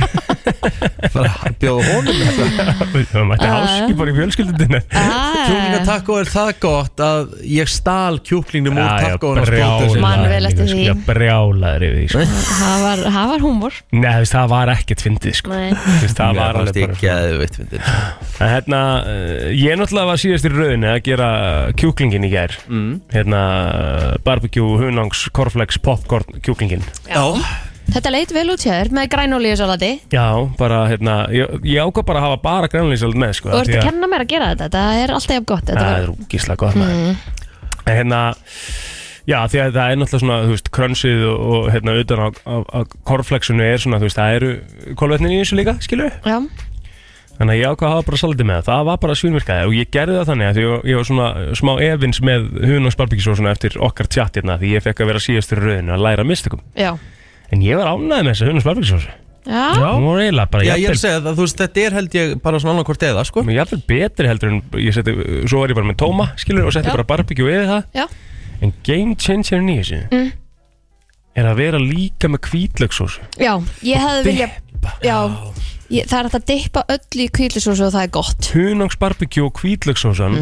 Speaker 2: Bara bjóð honum þetta
Speaker 4: Það mætti háski bara í fjölskyldundinu
Speaker 3: ah,
Speaker 2: Kjúklingatakko er það gott að ég stál kjúklingnum úr takkóin að spóta
Speaker 4: brjálaður
Speaker 2: sér
Speaker 3: Man vel eftir
Speaker 4: yfir því, sko.
Speaker 3: því.
Speaker 4: Ég brjálaður yfir því sko.
Speaker 2: [LAUGHS]
Speaker 3: Það var, það var húmor
Speaker 4: Nei, þú veist, það var ekkert fyndið sko.
Speaker 3: Nei.
Speaker 4: Þú veist, Það var
Speaker 2: alveg
Speaker 4: alveg bara
Speaker 2: bara geðveitt fyndin
Speaker 4: En hérna, eh, ég náttúrulega var síðast í rauðinni að gera kjúklingin í gær mm. Hérna, eh, barbecue, hunangs, korflex, popcorn, kjúklingin
Speaker 2: Já,
Speaker 3: Þetta leit vel út hjá þér með grænolíusalati
Speaker 4: Já, bara, hérna, ég, ég ákvað bara að hafa bara grænlýsald með, sko
Speaker 3: og
Speaker 4: af
Speaker 3: ertu
Speaker 4: því
Speaker 3: að
Speaker 4: að-
Speaker 3: kenna mér að gera þetta Það er alltaf jafn gott Þetta
Speaker 4: Það
Speaker 3: var Mm.
Speaker 4: er úkislega gott maður En hérna Já, því að það er náttúrulega svona, þú veist, krönsið og, og hérna, utan á, á, á korflexinu er svona, þú veist, það eru kolvetnin í þessu líka, skilur
Speaker 3: Já,
Speaker 4: Þannig að ég ákvað að hafa bara saldið með það, það var bara svínvirkaði og ég gerði það þannig að því ég, ég var svona smá evins með hunans barbíkisósuna eftir okkar tjatt hérna því ég fekk að vera síðastur í rauðinu að læra mistökum.
Speaker 3: já,
Speaker 4: En ég var ánægð með þessa hunans barbíkisósu.
Speaker 3: já.
Speaker 4: Hún var eiginlega bara,
Speaker 2: já ég er að
Speaker 4: jafnvel-
Speaker 2: segja það, þú veist, þetta er held ég bara svona annað hvort eða sko
Speaker 4: hún var jafnvel betri heldur en ég seti, svo var ég bara með tóma, skilur, og setti
Speaker 3: Já.
Speaker 4: bara barbíkjú yfir það.
Speaker 3: Já.
Speaker 4: En game changer í þessu er að vera líka með kvítlöksósu.
Speaker 3: já Ég hefði vilja Já, ég, það er hægt að dippa öllu í kvílisósu og það er gott
Speaker 4: Hunans barbíkjú og kvítlöksósan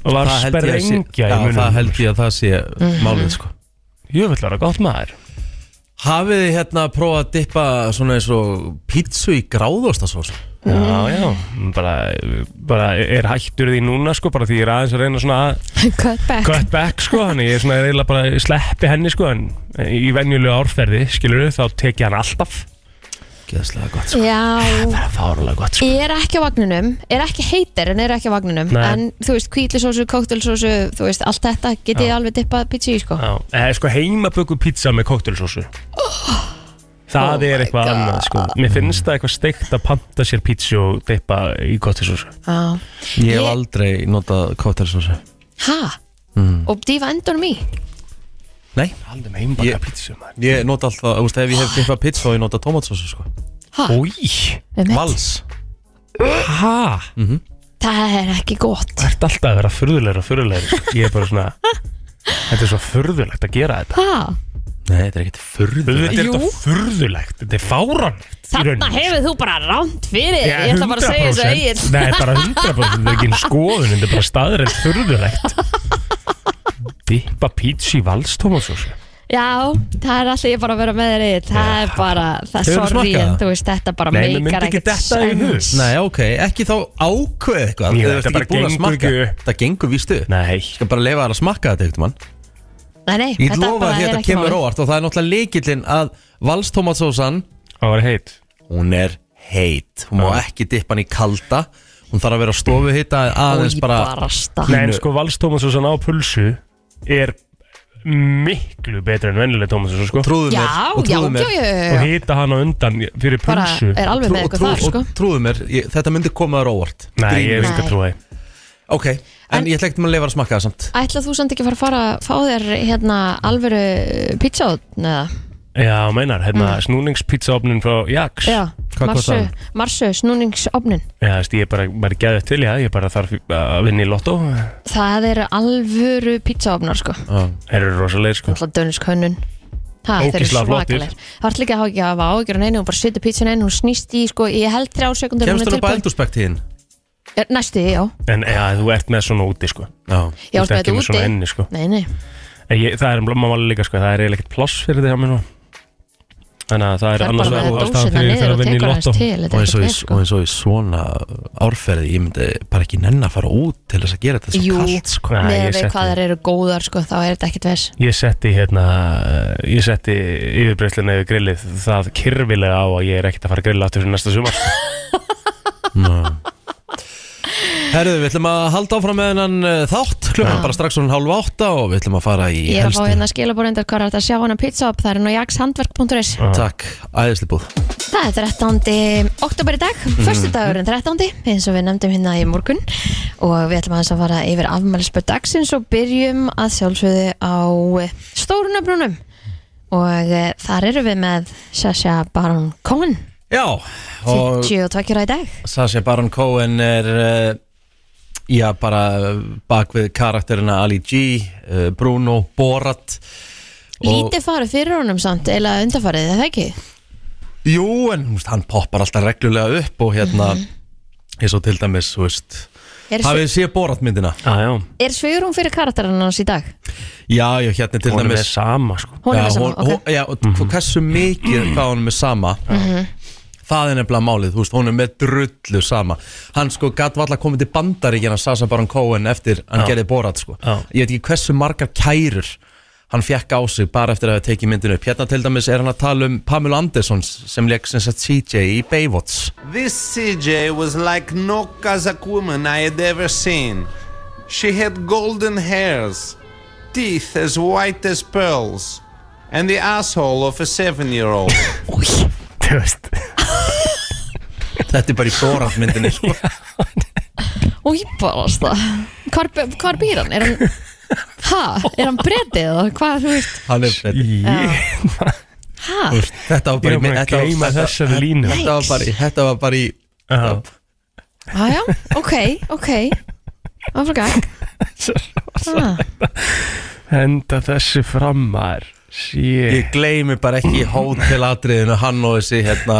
Speaker 4: var
Speaker 2: Það held ég að sé-
Speaker 4: sprengja í
Speaker 2: Já, það
Speaker 4: munum.
Speaker 2: held ég að það sé
Speaker 3: Mhm.
Speaker 2: málið sko
Speaker 4: Jöfnvel var það gott maður.
Speaker 2: Hafið þið hérna prófað að dippa svona eins og pítsu í gráðostasós?
Speaker 4: Já, já, bara, bara er hættur því núna sko, bara því ég er aðeins að reyna svona að
Speaker 3: Cut back
Speaker 4: cut back sko, þannig ég er svona reyla bara sleppi henni sko, en í venjulegu árferði, skilur þá tek ég hann alltaf.
Speaker 2: Geðslega gott
Speaker 3: Já,
Speaker 4: Sko, Það er fárulega gott sko.
Speaker 3: Ég er ekki á vagninum, er ekki heitir en er ekki á vagninum
Speaker 4: Nei.
Speaker 3: En þú veist, kvílisósu, kóktelsósu, þú veist, allt þetta get ég alveg dippað pizza í sko
Speaker 4: Já, eða sko heimaböku pizza með kóktelsósu. Það er
Speaker 3: Oh my
Speaker 4: eitthvað
Speaker 3: God.
Speaker 4: annað sko. Mér finnst það eitthvað steikt að panta sér pizza og dippa í kóktelsósu.
Speaker 3: Já.
Speaker 2: Ég hef
Speaker 3: Ég-
Speaker 2: aldrei notað kóttelsósu
Speaker 3: Ha?
Speaker 4: Mm.
Speaker 3: Og dýfa endunum í?
Speaker 2: Nei,
Speaker 4: Aldrei með heimaböka
Speaker 2: Ég-
Speaker 4: pizza maður. Ah.
Speaker 2: ég nota alltaf, þú veist, ef ég hef dippað pítsu þá ég nota tomatsósu sko
Speaker 3: Ha?
Speaker 4: Új,
Speaker 3: Einmitt.
Speaker 2: Vals
Speaker 4: hæ?
Speaker 2: Mhm.
Speaker 3: Það er ekki gott
Speaker 4: Það ert alltaf að vera furðulegur og furðulegur sko. Ég er bara svona Þetta er svo furðulegt að gera þetta
Speaker 3: Ha?
Speaker 2: Nei, þetta er ekkert furðu
Speaker 4: Þetta er
Speaker 3: Jú.
Speaker 4: þetta furðulegt Þetta er fáranlegt í
Speaker 3: Þarna
Speaker 4: rauninni.
Speaker 3: hefur þú bara ránt fyrir þér Ég ætla bara að segja þessu
Speaker 4: 100%.
Speaker 3: eigin
Speaker 4: Nei, bara 100% Þetta er ekki en skoðun Þetta er bara staðrætt furðulegt Dippa pítsi í valstómasósu
Speaker 3: Já, það er alltaf ég bara að vera með þér eigin Það er bara, það
Speaker 2: Hefurðu
Speaker 3: sorry
Speaker 2: smakkað
Speaker 3: en
Speaker 2: það?
Speaker 3: þú veist, þetta bara
Speaker 4: Nei, mér
Speaker 3: meikar
Speaker 4: myndi ekki
Speaker 3: ekkert
Speaker 4: detta í hug
Speaker 3: sens.
Speaker 2: Nei, ok, ekki þá ákveð eitthvað
Speaker 4: Jú,
Speaker 2: Þú
Speaker 4: þetta
Speaker 2: ert
Speaker 4: bara
Speaker 2: ekki búin að
Speaker 4: gengur
Speaker 2: smakka
Speaker 4: ekki upp.
Speaker 2: Það gengur víst upp
Speaker 4: Nei
Speaker 2: Ég skal bara leifa þær að smakka þetta eitthvað mann
Speaker 3: Nei, nei,
Speaker 2: Ég
Speaker 3: þetta
Speaker 2: lofa
Speaker 3: bara
Speaker 2: að
Speaker 3: er
Speaker 2: þetta
Speaker 3: ekki
Speaker 2: kemur
Speaker 3: málið.
Speaker 2: óvart og það er náttúrulega leikillinn að valstomatsósan
Speaker 4: Það var heit
Speaker 2: hún er heit hún má
Speaker 4: Já.
Speaker 2: ekki dippa hann í kalda hún þarf að vera á stofu hitta
Speaker 3: Og
Speaker 2: aðeins
Speaker 3: ég
Speaker 2: bara
Speaker 4: sko,
Speaker 3: barasta.
Speaker 4: Nei, en sko valstómasósan á pulsu Er miklu betra en vennileg tómatsósa sko.
Speaker 2: Trúðu
Speaker 3: Já,
Speaker 2: mér og
Speaker 3: já,
Speaker 2: trúðu
Speaker 3: já,
Speaker 2: mér
Speaker 3: já, já,
Speaker 4: og
Speaker 3: já.
Speaker 4: hita hana undan fyrir
Speaker 3: Bara
Speaker 4: pulsu
Speaker 3: er alveg með
Speaker 2: og
Speaker 3: eitthvað þar,
Speaker 2: trú-
Speaker 3: sko
Speaker 2: og trúðu mér, ég, þetta myndi koma þér óvart
Speaker 4: Nei, ég hef
Speaker 3: Nei.
Speaker 4: ekki að trúa því
Speaker 2: Ok, en,
Speaker 3: En-
Speaker 2: ég ætla ekkert maður að leifa að smakka það samt
Speaker 3: Ætla þú samt ekki að fara að fara að fá þér hérna alvöru eh, pizza neða?
Speaker 4: Já, meinar, hérna mm. snúningspizzaofnin frá Jax
Speaker 3: Já,
Speaker 2: Hvað
Speaker 3: marsu,
Speaker 2: kostar hann?
Speaker 3: marsu, snúningsopnin
Speaker 4: Já, þú veist, ég er bara, bara gæðið til, já, ég bara þarf að vinna í lottó Það
Speaker 3: Það eru alvöru pizzaofnar sko
Speaker 4: eru rosalegir sko
Speaker 3: Alltaf dönsk hönnun Ha, þeir eru
Speaker 4: Ógeðslega flottir.
Speaker 3: svakalegir. Það var líka að hafa ekki að hafa ágjörun einu, hún bara setur pizzan einu, hún snýst í, sko, ég held þrjá sekundum
Speaker 2: Kemst hann upp að eldurspektíðin?
Speaker 3: Næstu, já,
Speaker 4: En já, þú ert með svona úti sko
Speaker 2: Já
Speaker 3: já,
Speaker 4: Þú
Speaker 3: ert
Speaker 4: ert ekki
Speaker 3: með þetta
Speaker 4: með
Speaker 3: úti
Speaker 4: svona inni sko
Speaker 3: Nei, nei,
Speaker 4: En ég, það er máli líka sko, það er eiginlega ekkert pláss fyrir því á mér nú Þannig að það er
Speaker 3: það er
Speaker 4: annars
Speaker 3: bara með
Speaker 4: vegar ástæðan
Speaker 3: dósina
Speaker 4: fyrir ég fer að
Speaker 3: niður og
Speaker 4: vinna í
Speaker 3: tekur aðeins
Speaker 4: lottó
Speaker 2: Og
Speaker 3: til Þetta
Speaker 2: eins og,
Speaker 3: er
Speaker 2: í,
Speaker 3: ekki
Speaker 2: og
Speaker 3: sko
Speaker 2: eins og í svona árferði, ég myndi bara ekki nenn að fara út til þess að gera þetta
Speaker 3: Jú.
Speaker 2: svo kallt sko.
Speaker 4: Nei,
Speaker 3: Með
Speaker 4: ég
Speaker 3: við
Speaker 4: setti-
Speaker 3: hvað þær eru góðar, sko, þá er þetta ekkit vers
Speaker 4: Ég setti hérna, ég setti yfirbreysluna yfir grillið það kyrfilega á að ég er ekkert að fara að grilla aftur fyrir næsta sumar sko.
Speaker 2: Herðu, við ætlum að halda áfram með hennan uh, þátt Klukkan
Speaker 3: Já.
Speaker 2: bara strax um hálf átta og við ætlum að fara í
Speaker 3: Ég er að fá
Speaker 2: helstu-
Speaker 3: hérna skilabórendar hvað er þetta að sjá hana pizza upp, það er nú jakshandverk.is
Speaker 2: Takk, æðisli búð
Speaker 3: Það er 13. oktober í dag, mm. förstu dagurinn 13. eins og við nefndum hérna í morgun og við ætlum aðeins að fara yfir afmælisbörn dagsins og byrjum að sjálfsögðu á stórunöfnunum og eh, þar eru við með Sasha Baron Cohen,
Speaker 2: Já, og
Speaker 3: 52 ára í dag.
Speaker 2: Sasha Baron Cohen er uh, já, bara eh, bak við karakterina Ali G, uh, Bruno, Borat og-
Speaker 3: Lítið farið fyrir honum samt, eða undarfarið, er það ekki?
Speaker 2: Jú, en þú veist, hann poppar alltaf reglulega upp og hérna eins og til dæmis, þú veist
Speaker 3: Mhm. Er,
Speaker 2: Hafið
Speaker 3: Hafi...
Speaker 2: þið séð Borat-myndina?
Speaker 4: ah, já,
Speaker 3: er svigurum fyrir karakterinn hans í dag?
Speaker 2: Já, já, hérna er til
Speaker 4: hún er
Speaker 2: dæmis
Speaker 4: sama sko. Mhm.
Speaker 3: Hún
Speaker 2: Já,
Speaker 3: er með saman,
Speaker 2: hún,
Speaker 3: ok.
Speaker 2: já, og hversu mikið
Speaker 3: [CLEARS THROAT]
Speaker 2: hvað hún er með sama
Speaker 3: Mhm.
Speaker 2: það er nefnilega málið, þú veist, hún er með drullu sama, hann sko gatt valla komið til bandaríkina Sasa Baron um Cohen eftir hann gerði borat sko,
Speaker 4: Já.
Speaker 2: ég veit ekki hversu margar kærur hann fekk á sig bara eftir að hafa tekið myndinu upp, hérna til dæmis er hann að tala um Pamela Anderson sem leik sem sagt CJ í Baywatch
Speaker 6: This CJ was like no Kazakh woman I had ever seen. She had golden hairs, teeth as white as pearls, and the asshole of a seven year old.
Speaker 4: Þú veist,
Speaker 2: þetta er bara í borat myndinu sko.
Speaker 3: Og ég barast það. Hvar, hvar býr hann? Er [LAUGHS] hann... Ha? Er hann bretið eða hvað, þú veist?
Speaker 2: hann er þetta
Speaker 4: ég
Speaker 3: Ha?
Speaker 2: var
Speaker 4: ég
Speaker 2: bara
Speaker 4: er búin að gleyma
Speaker 2: þetta-
Speaker 4: þessari línu
Speaker 2: þetta var bara í þetta var bara í
Speaker 4: Já.
Speaker 3: Jájá, Ah, ok, ok Áfram gang ah,
Speaker 4: Henda þessu fram maður Shit
Speaker 2: Ég gleymi bara ekki hótelatriðinu hann og þessi hérna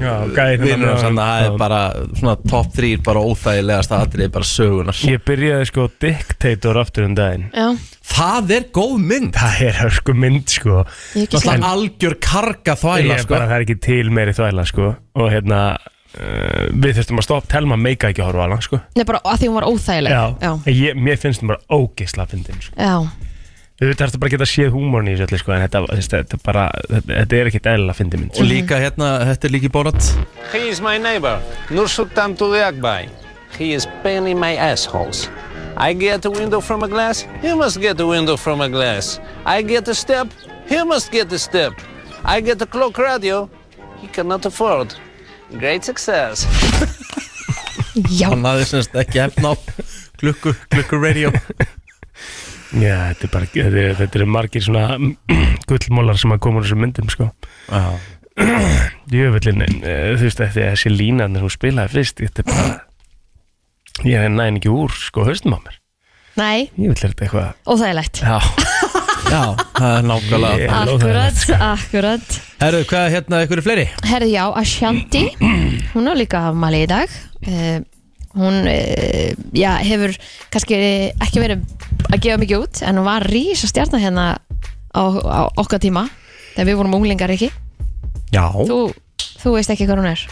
Speaker 4: Já, gæinn hérna
Speaker 2: vinnur hans hann,
Speaker 4: með-
Speaker 2: það
Speaker 4: já.
Speaker 2: er bara svona top 3 bara óþægilegasta atriði bara sögunar
Speaker 4: Ég byrjaði sko á Dictator aftur um daginn
Speaker 3: Já,
Speaker 2: Það er góð mynd
Speaker 4: Það er hörku mynd sko
Speaker 3: ég er ekki
Speaker 2: Það
Speaker 3: slæm
Speaker 2: er algjör karga
Speaker 4: Ég
Speaker 2: þvæla
Speaker 4: er
Speaker 2: sko
Speaker 4: bara, það er ekki til meiri þvæla sko Og hérna uh, Við þurftum að stoppa, Telma meika ekki að horfa á hana sko
Speaker 3: Nei, bara að því hún var óþægileg
Speaker 4: Já,
Speaker 3: já,
Speaker 4: En Ég, Mér finnst hún bara ógisla fyndin sko.
Speaker 3: já.
Speaker 4: Þú veit, þarfst bara að geta séð húmórn í þessu öllu sko En þetta, þetta, þetta, er bara, þetta, þetta er ekkit eðla fyndin mynd
Speaker 2: Og
Speaker 4: sko.
Speaker 2: líka hérna, þetta er líka í bórat
Speaker 6: he is my neighbor, Nursultan Tuliakbai. He is pain in my assholes. I get a window from a glass, he must get a window from a glass. I get a step, he must get a step. I get a clock radio, he cannot afford. Great success.
Speaker 3: já,
Speaker 2: Hann hafði semst ekki efna á klukku, klukku
Speaker 4: [LAUGHS]
Speaker 2: radio
Speaker 4: Já, þetta er bara, þetta er, þetta er margir svona [CLEARS THROAT] Gullmólar sem að koma úr þessum myndum sko [CLEARS THROAT]
Speaker 2: Já.
Speaker 4: Jöfullin, eh, þú veist að því að þessi línan hún spilaði fyrst, þetta er bara ég næði ekki úr sko höstum á mér,
Speaker 3: nei,
Speaker 4: jöfull er þetta eitthvað
Speaker 3: óþægilegt [LAUGHS]
Speaker 4: já,
Speaker 2: Já, það er nákvæmlega
Speaker 4: Ég-
Speaker 2: yeah.
Speaker 4: er
Speaker 3: Akkurat, akkurat
Speaker 2: Herru, hvað hérna, ykkur er fleiri?
Speaker 3: Herði já,
Speaker 2: [CLEARS THROAT]
Speaker 3: Ashanti Hún á líka afmæli í dag uh, Hún uh, já, hefur kannski ekki verið að gefa mikið út en hún var rísa stjarnar hérna á, á okkar tíma þegar við vorum unglingar ekki
Speaker 2: Já
Speaker 3: Þú, þú veist ekki hvað hún er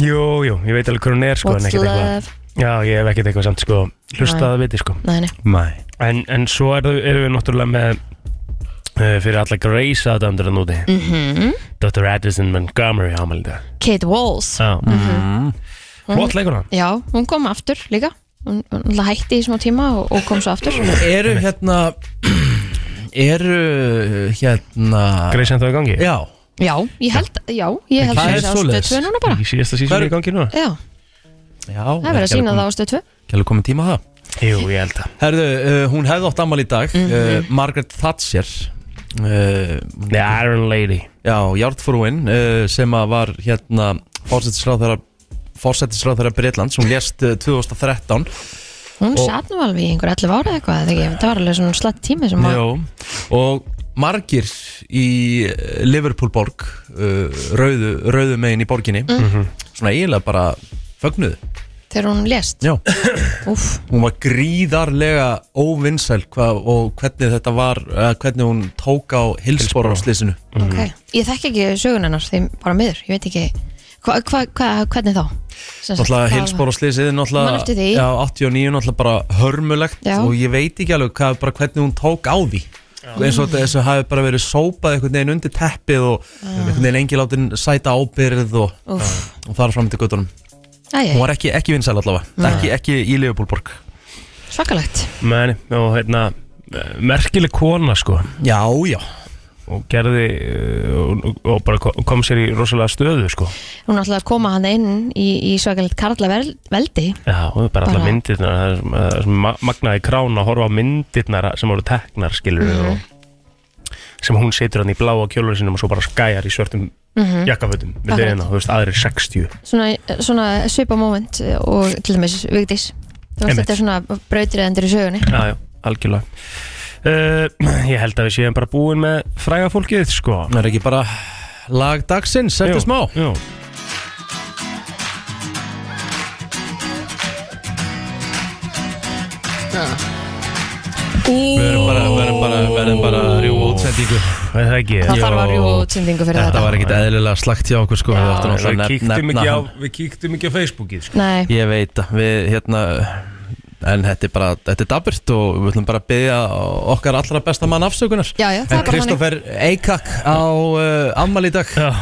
Speaker 4: jú, jú, ég veit alveg hvað hún er sko, en
Speaker 3: What's
Speaker 4: ekkert eitthvað,
Speaker 3: love
Speaker 4: já, ég hef ekkert eitthvað samt sko, hlustað að viti sko
Speaker 3: Nei, nei.
Speaker 2: Mæ
Speaker 4: en, en svo er, erum við náttúrulega með uh, fyrir alla Grace aðdæmdur en úti mm
Speaker 2: Mhm.
Speaker 4: -hmm. Dr. Addison Montgomery ámældi
Speaker 3: Kate Walls
Speaker 4: já, mm
Speaker 2: Mm-hmm.
Speaker 3: Mm.
Speaker 4: what leikur hann?
Speaker 3: Já, hún kom aftur líka Hún, hún náttúrulega hætti í smá tíma og, og kom svo aftur
Speaker 2: Eru hérna eru hérna
Speaker 4: Grey's Anatomy í gangi?
Speaker 2: Já,
Speaker 3: Já, ég held, já, ég held
Speaker 2: Það
Speaker 3: að
Speaker 2: er
Speaker 3: það er á stöð
Speaker 2: svoleiðis.
Speaker 3: 2 núna bara
Speaker 4: Í síðasta sísón
Speaker 2: Hver-
Speaker 4: í gangi núna?
Speaker 3: Já,
Speaker 2: já
Speaker 3: það er verið að sína það á stöð 2
Speaker 2: Kjælu komin tíma á það
Speaker 4: Jú, ég held að
Speaker 2: Herðu, uh, hún hefði átt ammali í dag
Speaker 3: Mhm.
Speaker 2: uh, Margaret Thatcher uh,
Speaker 4: The Iron Lady
Speaker 2: Já, Jártfrúin uh, sem að var hérna fórsetisráðherra fórsetisráðherra Breitland sem lést uh, 2013
Speaker 3: Hún
Speaker 2: Og-
Speaker 3: satt nú alveg í einhver 11 ára eða eitthvað eða ekki, það var alveg svona slett tími sem að
Speaker 2: Jó, og margir í eh, Liverpool borg uh, rauðu, rauðu megin í borginni
Speaker 3: Mhm.
Speaker 2: svona eiginlega bara fögnuðu
Speaker 3: þegar hún lést
Speaker 2: Já,
Speaker 3: Úff,
Speaker 2: hún var gríðarlega óvinsæl hva, og hvernig þetta var uh, hvernig hún tók á hilsborgarslisinu
Speaker 3: ok
Speaker 2: Mm.
Speaker 3: Ég þekki ekki sögun hennar því bara miður, ég veit ekki hva, hva, hva, hvernig þá? Sem sagt,
Speaker 2: Náttúrulega
Speaker 3: hvað-
Speaker 2: hilsborgarslisið
Speaker 3: Man eftir því.
Speaker 2: náttúrulega já, 89 náttúrulega bara hörmulegt
Speaker 3: Já.
Speaker 2: og ég veit ekki alveg hvað, bara hvernig hún tók á því eins og þetta- þessu hafi bara verið sópað einhvern veginn undir teppið og einhvern veginn engi látin sæta ábyrð og
Speaker 3: Úff,
Speaker 2: og þar fram til göttunum hún
Speaker 3: æj,
Speaker 2: var ekki, ekki vinsæl allavega ekki, ekki í Leopoldborg
Speaker 3: svakalegt
Speaker 4: Men, og hérna eh, merkileg kona sko
Speaker 2: já, já,
Speaker 4: og gerði eh, og, og- og bara ko- kom sér í rosalega stöðu sko
Speaker 3: Hún ætlaði að koma hann inn í, í svakalegt Karla vel- veldi
Speaker 4: Já, og bara allar
Speaker 3: Bara-
Speaker 4: myndirnar það er- það er ma- magnaði krán að horfa á myndirnar sem voru teknar skilur
Speaker 3: Mhm.
Speaker 4: og sem hún setur hann í bláa kjólur sinum og svo bara skæjar í svörtum jakkafötum við
Speaker 3: Mhm. Akkurat.
Speaker 4: þeirina, þú veist, aðrir 60
Speaker 3: svona, svona svipa moment og til dæmis Vigdís Þú veist
Speaker 4: Einmitt.
Speaker 3: þetta er svona brautriðendur í sögunni
Speaker 4: Já, já, algjörlega uh, Ég held að við séum bara búin með fræga fólkið, sko
Speaker 2: það er ekki bara lag dagsins
Speaker 4: Jú,
Speaker 2: eftir smá
Speaker 4: jú.
Speaker 2: verðum bara, verðum bara, verðum bara að rjúfa útsendingu
Speaker 4: Er Það ekki
Speaker 3: Það þarf að
Speaker 2: Jó.
Speaker 3: rjúa útsendingu fyrir
Speaker 2: þetta
Speaker 3: þetta
Speaker 2: var ekkit eðlilega slagt hjá okkur sko við áttum alltaf
Speaker 4: Við
Speaker 2: að nef-
Speaker 4: kíktum
Speaker 2: nefna
Speaker 4: ekki á,
Speaker 2: hann.
Speaker 4: við kíktum ekki á Facebookið, sko
Speaker 3: Nei,
Speaker 2: ég veit að við hérna en þetta er bara, þetta er daburt og við ætlum bara að byggja okkar allra besta mann afsökunar
Speaker 3: Já, já, það er
Speaker 2: en
Speaker 3: bara
Speaker 2: Kristoffer Eikak á uh, ammali í dag
Speaker 4: Já,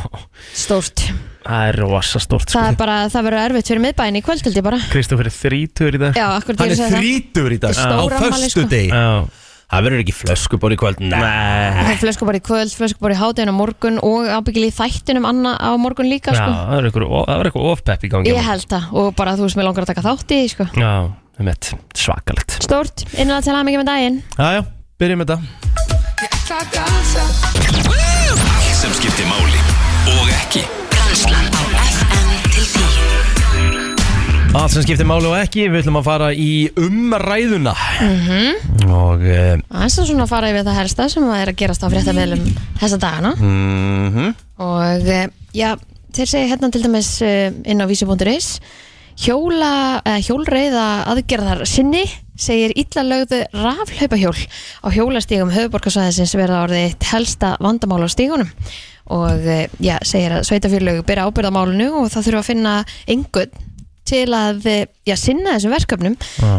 Speaker 3: stórt
Speaker 4: það er rosa stort,
Speaker 3: Það
Speaker 4: sko
Speaker 3: er bara, það verður erfitt fyrir miðbæin í kvöld held ég bara
Speaker 4: Kristoffer er þrítur í dag
Speaker 3: Já, akkur
Speaker 2: hann
Speaker 3: til
Speaker 2: er
Speaker 3: að segja
Speaker 2: þrítur í dag
Speaker 3: Þetta er
Speaker 2: á
Speaker 3: stór afmæli, sko.
Speaker 2: förstu degi
Speaker 4: Já,
Speaker 2: það verður ekki flöskubor í kvöld nei
Speaker 3: það Flöskubor í kvöld, flöskubor í hádeginu á morgun og ábyggilega í þættinum anna á morgun líka
Speaker 4: Já,
Speaker 3: sko.
Speaker 4: það var einhver, það var einhver ofpepp í gangi
Speaker 3: Ég held það og bara þú veist mér langar að taka þátt í því, sko.
Speaker 4: Já, það er mitt, svakalegt
Speaker 3: Stórt, innlega til aðmyggja með daginn
Speaker 2: Jájá, byrjum þetta
Speaker 1: Allt sem skiptir máli og ekki
Speaker 7: Brænslan á FM til 10
Speaker 2: Allt sem skiptir máli og ekki, við ætlum að fara í umræðuna -hmm. Og uh,
Speaker 4: eh,
Speaker 3: Það er svona að fara yfir það helsta sem að er að gerast á fréttameðlum þessa dagana
Speaker 2: mm
Speaker 4: Mm-hmm.
Speaker 3: og eh, já, þeir segja hérna til dæmis eh, inn á vísi.is hjóla, eh, hjólreiða aðgerðar sinni segir illa lögðu rafhlaupahjól á hjólastígum höfuborgarsvæðisins verða orðið eitt helsta vandamál á stígunum og eh, já, segir að sveitafjörlögu byrja ábyrðamálinu og það þurfa að finna einhvern til að eh, já, sinna þessum verkefnum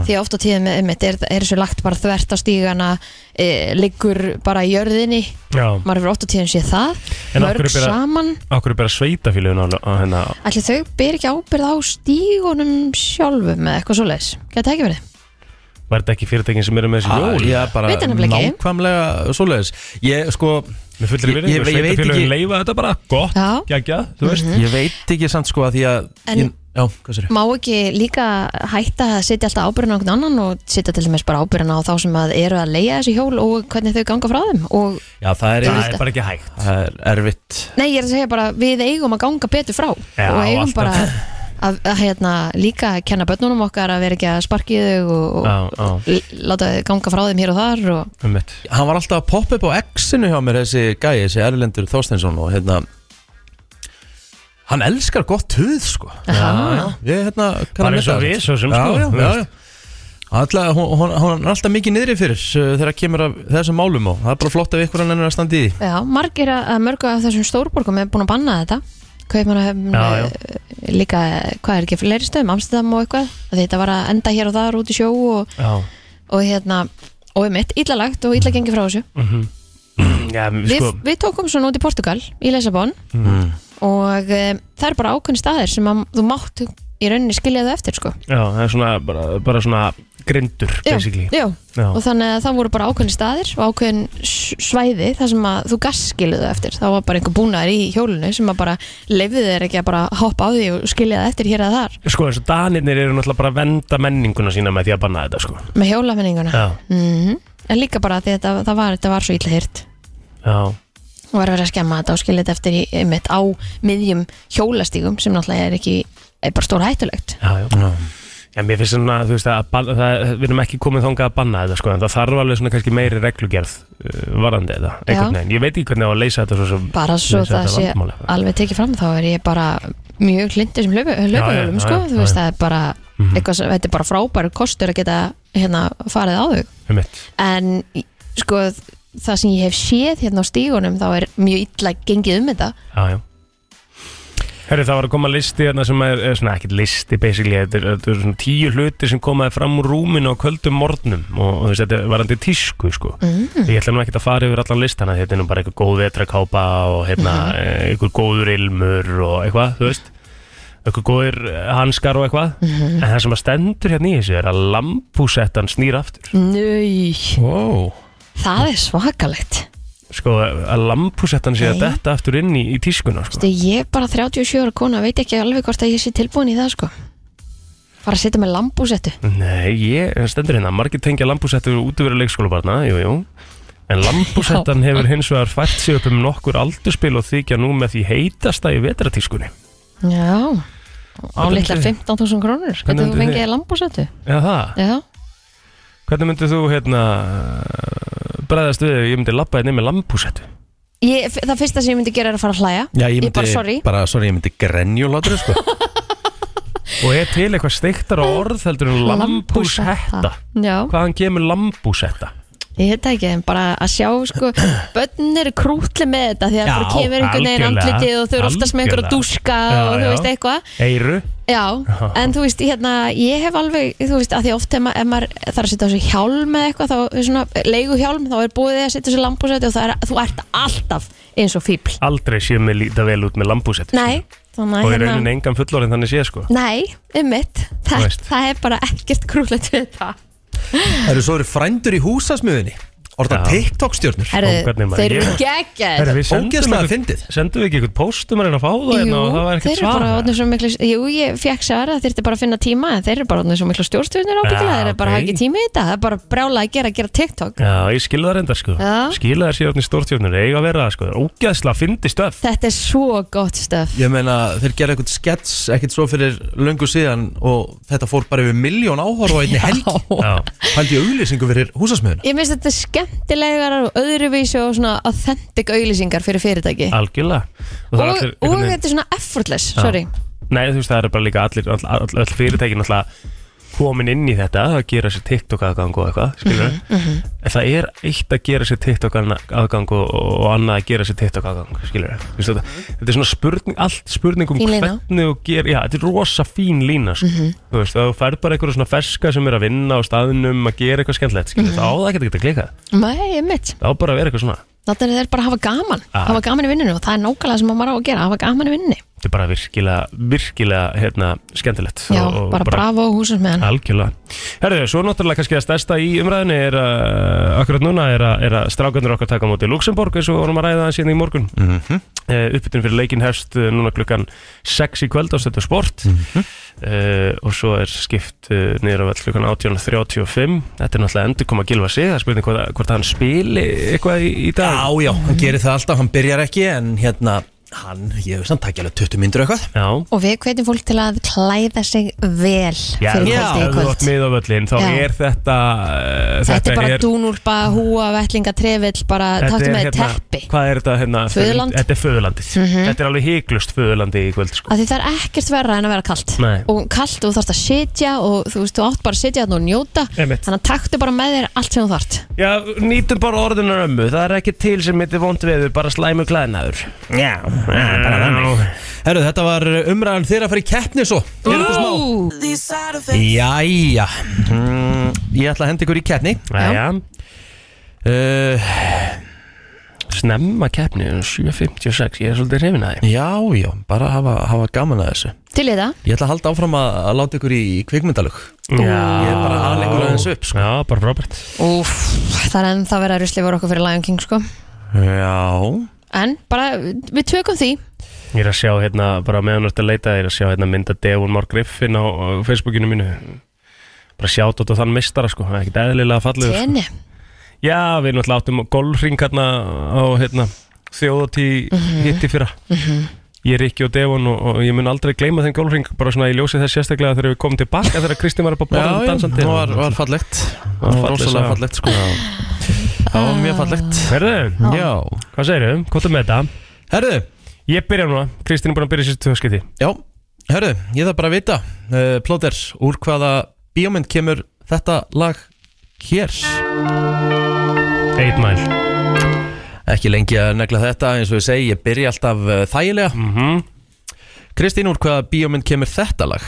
Speaker 3: því að oft á tíðum um, er, er þessu lagt bara þvert á stígana e, liggur bara í jörðinni
Speaker 4: Já,
Speaker 3: maður hefur 8 og 10 séð það
Speaker 4: En af
Speaker 3: mörg
Speaker 4: hverju byrja-
Speaker 3: saman,
Speaker 4: okkur er bara sveitafíluðin á, á hérna- hennar
Speaker 3: allir þau ber ekki ábyrð á stígunum sjálfum eða eitthvað svoleiðis, geta ekki verið
Speaker 4: Var þetta ekki fyrirtækin sem eru með þessi jól?
Speaker 2: Ah, Já, bara
Speaker 3: Veit það nefnilega ekki.
Speaker 2: nákvæmlega svoleiðis Ég sko,
Speaker 4: Með fullri
Speaker 2: Ég-
Speaker 4: virðingu,
Speaker 2: ég- ég veit
Speaker 4: sveitarfélögin
Speaker 2: ekki-
Speaker 4: leyfa þetta bara, gott,
Speaker 3: Já. Mhm.
Speaker 4: geggja, þú veist
Speaker 2: ég veit ekki samt sko að því að
Speaker 3: En-
Speaker 2: ég, Já, hvað sér
Speaker 3: má ekki líka hætta að setja alltaf ábyrðin á einhvern annan og setja til dæmis bara ábyrðin á þá sem að eru að leiða þessi hjól og hvernig þau ganga frá þeim og
Speaker 2: Já, það er,
Speaker 4: Það
Speaker 2: það er,
Speaker 4: er bara ekki hægt
Speaker 2: erfitt
Speaker 3: nei, ég er að segja bara við eigum að ganga betur frá
Speaker 4: Já,
Speaker 3: og eigum
Speaker 4: alltaf.
Speaker 3: bara að, að, hérna, líka að kenna börnunum okkar að vera ekki að sparki þau og, og
Speaker 4: Já, já,
Speaker 3: l- láta þau ganga frá þeim hér og þar og
Speaker 4: um mitt
Speaker 2: Hann var alltaf að poppa upp á X-inu hjá mér þessi gæi, þessi Erlendur Þorsteinsson og hérna Hann elskar gott huð sko
Speaker 3: Aha.
Speaker 2: Ég hérna kann
Speaker 4: Bara
Speaker 2: að
Speaker 4: eins
Speaker 2: meta
Speaker 4: og
Speaker 2: það.
Speaker 4: við, svo sem,
Speaker 2: já,
Speaker 4: sko,
Speaker 2: já,
Speaker 4: þú
Speaker 2: já,
Speaker 4: veist.
Speaker 2: já. Alla, hún, hún, hún er alltaf mikið niðri fyrir uh, þegar kemur af þessum málum og það er bara flott ef ykkur hann er að standa í því
Speaker 3: Já, margir að að mörgu af þessum stórborgum er búin að banna þetta Kaupmannahöfn
Speaker 4: Já, já.
Speaker 3: eh, líka, eh, hvað er ekki fleiri stöðum, Amstæðam og eitthvað Af því Þetta var að enda hér og þar út í sjó og,
Speaker 4: Já,
Speaker 3: og hérna, og um mitt, illa lagt og illa gengið frá þessu
Speaker 4: Mhm.
Speaker 2: Mm.
Speaker 4: já
Speaker 3: við,
Speaker 4: sko,
Speaker 3: við tókum svona út í Portugal, í Lesabon
Speaker 2: Mm.
Speaker 3: og e, það er bara ákveðin staðir sem að þú mátt í rauninni skilja þau eftir sko
Speaker 4: já, það er svona, bara, bara svona grindur,
Speaker 3: Já,
Speaker 4: basically.
Speaker 3: já.
Speaker 4: Já.
Speaker 3: og þannig að það voru bara ákveðin staðir og ákveðin s- svæði þar sem að þú gaskiluðu eftir, þá var bara einhver búnaður í hjólinu sem að bara leifði þér ekki að bara hoppa á því og skilja það eftir hér að þar
Speaker 4: Sko, eins og danirnir eru náttúrulega bara að venda menninguna sína með því að banna þetta, sko.
Speaker 3: með hjólafenninguna
Speaker 4: Já,
Speaker 3: en líka bara því að þetta, það var, þetta var svo illa hýrt
Speaker 4: já.
Speaker 3: og var verið að skemma þetta og skilja þetta eftir í, einmitt á miðjum hjólastígum sem náttúrulega er ekki er bara stór hættulegt
Speaker 4: Já, já. Já, mér finnst svona, þú veist, að banna, það, við erum ekki komið þangað að banna þetta, sko, en það þarf alveg svona kannski meiri reglugerð uh, varandi þetta, einhvern
Speaker 3: Já.
Speaker 4: veginn. Ég veit ekki hvernig á að leysa þetta svo sem...
Speaker 3: bara svo
Speaker 4: leysa
Speaker 3: það
Speaker 4: þetta
Speaker 3: sé
Speaker 4: vandamál eitthvað.
Speaker 3: alveg tekið fram þá er ég bara mjög hlindur sem
Speaker 4: Já, já,
Speaker 3: hlaupahjólum
Speaker 4: já,
Speaker 3: sko,
Speaker 4: já,
Speaker 3: þú veist
Speaker 4: já. Mhm.
Speaker 3: það er bara eitthvað sem, þetta er bara frábæru kostur að geta hérna farið á þau
Speaker 4: Einmitt.
Speaker 3: en í- sko það sem ég hef séð hérna á stígunum þá er mjög illa gengið um þetta
Speaker 4: Já, já Herri, það var að koma listi hérna sem er, er svona ekkert listi basically, þetta er, þetta er svona tíu hluti sem komaði fram úr rúminu á köldum morgnum og, og þessi, þetta varandi tísku sko. mm. ég ætla nú ekkert að fara yfir allan listana þetta er nú bara eitthvað góð vetrakápa og hérna, mm. eitthvað góður ilmur og eitthvað, þú veist eitthvað góðir eh, hanskar og eitthvað en það sem að stendur hérna í þessu er að lampúsettan snýr aftur
Speaker 3: Nei,
Speaker 2: Wow
Speaker 3: það er svakalegt
Speaker 4: sko, að lampúsettan sé að
Speaker 3: Nei.
Speaker 4: detta aftur inn í, í tískuna sko.
Speaker 3: Þú veist, ég er bara 37 ára kona veit ekki alveg hvort að ég sé tilbúin í það sko fara að setja með lambúsettu
Speaker 4: Nei, ég það stendur hérna Margir tengja lambúsettur út yfir leikskólabarna Jú, jú En lambúsettan hefur hins vegar fært sig upp um nokkur aldurspil og þykja nú með því heitasta í vetratískunni
Speaker 3: Já, á
Speaker 4: Hvernig
Speaker 3: litla
Speaker 4: myndi-
Speaker 3: 15.000
Speaker 4: Hvernig
Speaker 3: krónur Hvernig þú
Speaker 4: myndi
Speaker 3: fengið
Speaker 4: þið-
Speaker 3: lambúsettu?
Speaker 4: Já, það
Speaker 3: Já,
Speaker 4: Hvernig myndið þú, hérna bregðast við ef ég myndi labba hérna með lambúsettu
Speaker 3: ég, það fyrsta sem ég myndi gera er að fara að hlæja
Speaker 2: Já, ég
Speaker 3: Ég
Speaker 2: myndi,
Speaker 3: bara, sorry.
Speaker 4: Ah,
Speaker 2: bara, sorry, ég myndi grenjulátur sko. [LAUGHS]
Speaker 4: Og er til eitthvað steiktar á orð heldur en lambúsetta
Speaker 3: Já,
Speaker 4: Hvaðan kemur lambúsetta?
Speaker 3: ég heit ekki, en bara að sjá
Speaker 4: [CLEARS THROAT]
Speaker 3: sko, börn eru krútli með þetta því að
Speaker 4: Já,
Speaker 3: það kemur einhvern veginn
Speaker 4: algjörlega,
Speaker 3: andlitið og þau eru oftast með einhverja
Speaker 4: algjörlega.
Speaker 3: dúska
Speaker 4: Já,
Speaker 3: og þú
Speaker 4: já.
Speaker 3: veist eitthvað
Speaker 4: Eiru?
Speaker 3: Já, en þú veist, hérna, ég hef alveg, þú veist, að því oft ef ma- ef maður þarf að setja á sig hjálm eða eitthvað, þá er svona leigu hjálm, þá er búið þig að setja á sig lambúsæti og það er, þú ert alltaf eins og fíbl.
Speaker 4: Aldrei séu mig líta vel út með lambúsettu
Speaker 3: Nei,
Speaker 4: Og
Speaker 3: þannig að hérna-
Speaker 4: er raunin engan fullorinn þannig sé sko
Speaker 3: Nei, um mitt,
Speaker 4: Þú
Speaker 3: það,
Speaker 4: veist.
Speaker 3: það er bara ekkert krúlegt við þetta.
Speaker 2: Það eru svo eru frændur í húsasmiðunni Orða
Speaker 4: Já.
Speaker 2: TikTok stjórnur
Speaker 4: Herðu, Ó, hvernig
Speaker 3: Herðu,
Speaker 4: maður-
Speaker 3: þeir eru
Speaker 4: ég-
Speaker 3: geggjað.
Speaker 4: við
Speaker 2: Ógeðslega fyndið
Speaker 4: Sendum við ekki eitthvað póstum að reyna að fá það hérna og það var
Speaker 3: þeir
Speaker 4: ekkert
Speaker 3: eru bara
Speaker 4: svara
Speaker 3: orðnir svo miklu, jú, ég fekk sér að þyrfti bara að finna tíma, en þeir eru bara orðnir svo miklu stjórnstöðnir ábyggilega,
Speaker 4: Já,
Speaker 3: þeir eru bara
Speaker 4: ok.
Speaker 3: okay. ekki tími í þetta, það er bara brjála að gera, að gera TikTok.
Speaker 4: Já, ég skilði það reyndar sko
Speaker 3: Já.
Speaker 4: Skilði það síðan í stórtjörnur, eiga að vera það sko Það er Ógæðslega fyndi stöf
Speaker 3: Þetta er svo gott stöf.
Speaker 2: Ég meina þeir gera eitthvað skets ekkert svo fyrir löngu síðan og þetta fór bara yfir miljón áhorfa einni helgi
Speaker 4: Já,
Speaker 2: Hældi ég auglýsingu fyrir húsasmiðuna
Speaker 3: Ég finnst þetta skemmtilegar og öðruvísi og svona authentic auglýsingar fyrir fyrirtæki
Speaker 4: algjörlega Og,
Speaker 3: Og,
Speaker 4: það er
Speaker 3: og,
Speaker 4: allir einhvern veginn-
Speaker 3: þetta er svona effortless, sorry
Speaker 4: Nei, þú veist, það eru bara líka allir All, all, all fyrirtækin alltaf komin inn í þetta að gera sér TikTok aðgang og eitthvað, skilur
Speaker 3: Mhm,
Speaker 4: En það er eitt að gera sér TikTok anna- aðgang og, og annað að gera sér TikTok aðgang, skilur við þetta, þetta er svona spurning, allt spurning um
Speaker 3: Mhm. Fín lína. Mhm.
Speaker 4: hvernig þú ger, já, þetta er rosa fín lína sko. Þú veist, þá færð bara einhverja svona ferska sem er að vinna á staðnum að gera eitthvað skemmtilegt, skilur
Speaker 3: Mhm.
Speaker 4: þá á það ekki að geta klikað,
Speaker 3: Nei, ég mitt,
Speaker 4: það á bara að vera eitthvað svona
Speaker 3: þetta er þeir bara að hafa gaman
Speaker 4: Ah.
Speaker 3: Hafa gaman í vinninu og það er nákvæmlega sem maður á að gera Hafa gaman í vinninu
Speaker 4: þetta er bara virkilega, virkilega hérna, skemmtilegt
Speaker 3: Já,
Speaker 4: og, og
Speaker 3: bara bravo húsins með hann
Speaker 4: Algjörlega. Herðu, svo náttúrulega kannski að stærsta í umræðinni er að, akkurat núna er að, er að strákanur okkar taka á móti Luxemburg eins og við vorum að ræða það síðan í morgun. Mm -hmm. Uppbytun fyrir leikin hefst eh, núna klukkan 6 í kvöld á stöðu sport Eh, og svo er skipt uh, niður á vell klukkan 18.35. Þetta er náttúrulega endur koma að gilfa sig, það er spurning hvort, hvort hann spili eitthvað í, í dag.
Speaker 2: Já, já, hann gerir það alltaf, hann byrjar ekki en hérna, hann, ég veist hann takk alveg 20 myndur eitthvað
Speaker 4: Já.
Speaker 3: Og við hvetjum fólk til að klæða sig vel
Speaker 4: Já,
Speaker 3: Fyrir
Speaker 2: já,
Speaker 3: kvöldi í
Speaker 4: ef þú átt
Speaker 3: kvöld
Speaker 4: mið á völlin, þá
Speaker 3: Já.
Speaker 4: er þetta, eh,
Speaker 3: Þetta er bara dúnúlpa, húa, vellinga, trefill Bara
Speaker 4: Þetta
Speaker 3: taktum
Speaker 4: er,
Speaker 3: með
Speaker 4: hérna,
Speaker 3: teppi
Speaker 4: Hvað er þetta hérna?
Speaker 3: Föðurland?
Speaker 4: Þetta er föðurlandið Þetta er alveg heiklust föðurlandi í kvöld sko.
Speaker 3: að því það er ekkert verra en að vera kalt
Speaker 4: Nei.
Speaker 3: og kalt og þú þarfst að sitja og þú veist, þú átt bara að sitja þarna og njóta
Speaker 4: Einmitt.
Speaker 3: þannig að taktu bara með þér allt sem þú þarft
Speaker 4: Já, nýtum bara orðunar ömmu Það er ekki til sem heitir vond veður Bara slæmu glæðnaður Já, bara þannig
Speaker 2: Herru, þetta var umræðan þeirra að fara í keppni svo Hér eftir smá
Speaker 3: Ú,
Speaker 2: Jæja, mm, ég ætla að henda ykkur í keppni
Speaker 4: Já, já
Speaker 2: uh,
Speaker 4: Eh, snemma keppni 7.56, ég er svolítið hrifin að því
Speaker 2: Já, já, bara hafa, hafa gaman að þessu
Speaker 3: Til í það
Speaker 2: Ég ætla að halda áfram að, að láta ykkur í kvikmyndalug Ég er bara aðal ykkur aðeins upp sko.
Speaker 4: Já, bara frábært
Speaker 3: Úf, það er ennþá verið að rusli voru okkur fyrir Lion King sko
Speaker 2: Já,
Speaker 3: En bara, við tökum því
Speaker 4: Ég er að sjá hérna, bara meðan þetta leita Ég er að sjá hérna mynda Devon Mark Griffin á, á Facebookinu mínu Bara sjátt á þann mistara sko, ekkert eðlilega fallegur sko.
Speaker 3: Tjeni
Speaker 4: Já, við náttúrulega áttum golfring hérna á hérna, þjóðatí hitti fyrra Ég er ekki og Devon og, og ég mun aldrei gleyma þeim golfring bara svona ég ljósi þess sérstaklega þegar við komum tilbaka þegar Kristín var upp á
Speaker 2: já,
Speaker 4: borðum
Speaker 2: já,
Speaker 4: dansandi
Speaker 2: það var, var fallegt Það var
Speaker 4: falleg
Speaker 2: rosalega
Speaker 4: saga.
Speaker 2: fallegt sko Það var mjög fallegt
Speaker 4: Herðu,
Speaker 2: Já,
Speaker 4: hvað segirðu? Hvað er með þetta?
Speaker 2: herðu,
Speaker 4: Ég byrja núna, Kristín er búin að byrja sér tvöskiti
Speaker 2: já, herðu Ég þarf bara að vita, uh, plóter Úr hvaða bíómynd kemur þetta lag hér?
Speaker 4: Eitt mæl
Speaker 2: Ekki lengi að negla þetta eins og ég segi, ég byrja alltaf uh, þægilega
Speaker 4: mm
Speaker 2: Kristín, úr hvaða bíómynd kemur þetta lag?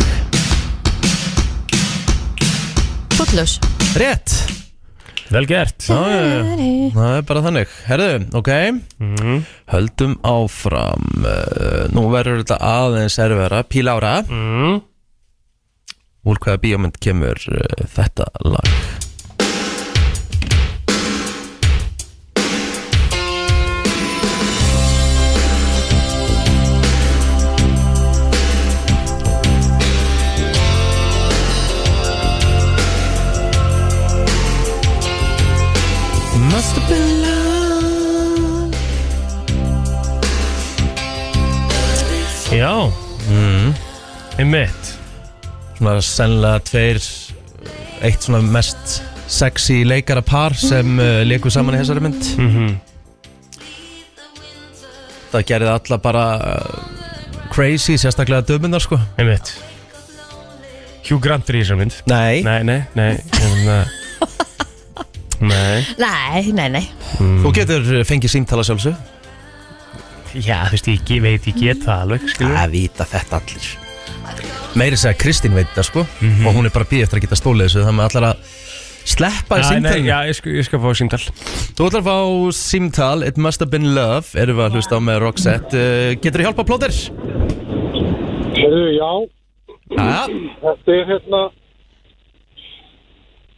Speaker 3: Footloose
Speaker 2: Rétt,
Speaker 4: Vel gert
Speaker 2: já, já, já. það er bara þannig Herðu, ok
Speaker 4: mm.
Speaker 2: Höldum áfram uh, Nú verður þetta aðeins erfara Pílára
Speaker 4: Mm.
Speaker 2: Úr hvaða bíómynd kemur uh, þetta lag? Must have been love
Speaker 4: Já Einmitt
Speaker 2: Mhm. Svona sennilega tveir Eitt svona mest sexy leikara par sem uh, leiku saman í þessari mynd
Speaker 4: mm
Speaker 2: Það gerði alla bara uh, crazy, sérstaklega dömyndar sko
Speaker 4: Einmitt Hugh Grant er í þessar mynd
Speaker 2: Nei,
Speaker 4: Nei, nei, nei hérna, Nei Mm.
Speaker 3: Nei, nei, nei
Speaker 4: Hmm.
Speaker 2: þú getur eh, fengið símtala sjálfsög
Speaker 4: Já, þú veist, ég ge- veit, ég get það alveg, skilur
Speaker 2: Það vita þetta allir Meiri segja Kristín veit þetta sko
Speaker 4: Mhm.
Speaker 2: Og hún er bara býð eftir að geta stólið þessu Þannig að allar að sleppa í
Speaker 4: nei,
Speaker 2: símtalinu
Speaker 4: já, ég, sk ég skal fá símtal
Speaker 2: Þú ætlar að fá símtal It must have been love Erum við að hlusta á með Roxette uh, Getur þú hjálpa plóðir?
Speaker 8: Herru, já,
Speaker 2: Já,
Speaker 8: þetta er hérna